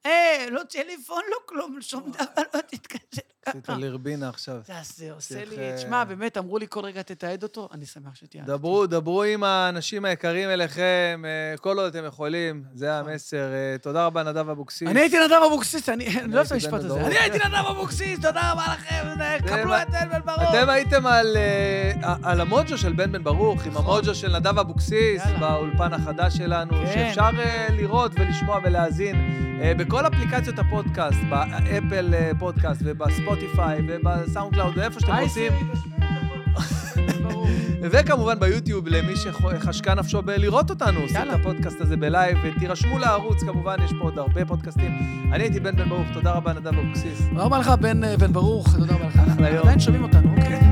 S3: אה, לא טלפון, לא כלום, שום דבר, לא תתקשר.
S1: עשית לרבינה עכשיו.
S3: זה- זה עושה
S1: צריך,
S3: לי...
S1: אה,
S3: תשמע, באמת, אמרו לי כל רגע תתעד אותו, אני שמח שתהיה.
S1: דברו, דברו עם האנשים היקרים אליכם, אה, כל עוד אתם יכולים, זה המסר. אה, תודה רבה, נדב אבוקסיס.
S3: אני הייתי נדב אבוקסיס, אני אני לא אוהב את
S1: הייתי
S3: המשפט
S1: דן
S3: הזה.
S1: דדור.
S3: אני הייתי נדב אבוקסיס, תודה רבה לכם, קבלו את בן בן ברוך.
S1: אתם הייתם על, אה, על המוג'ו של בן בן ברוך, עם המוג'ו של נדב אבוקסיס,
S3: נכון. יאללה.
S1: באולפן החדש שלנו,
S3: כן.
S1: שאפשר אה, לראות ולשמוע ולהאזין אה, בכל אפליקציות הפודקאסט, באפל אה, פודקאסט ובספוטיפיי ובסאונד קלאוד, ואיפה שאתם
S3: היי,
S1: רוצים.
S3: בן ברוך. (laughs)
S1: וכמובן ביוטיוב, למי שחשקה נפשו בלראות אותנו, עושים את
S3: יאללה.
S1: הפודקאסט הזה בלייב, ותירשמו לערוץ, כמובן, יש פה עוד הרבה פודקאסטים. אני הייתי בן בן ברוך, תודה רבה, נדב אבוקסיס.
S3: תודה רבה לך, בן בן ברוך, תודה רבה לך.
S1: אחלה יום.
S3: עדיין שומעים אותנו, אוקיי.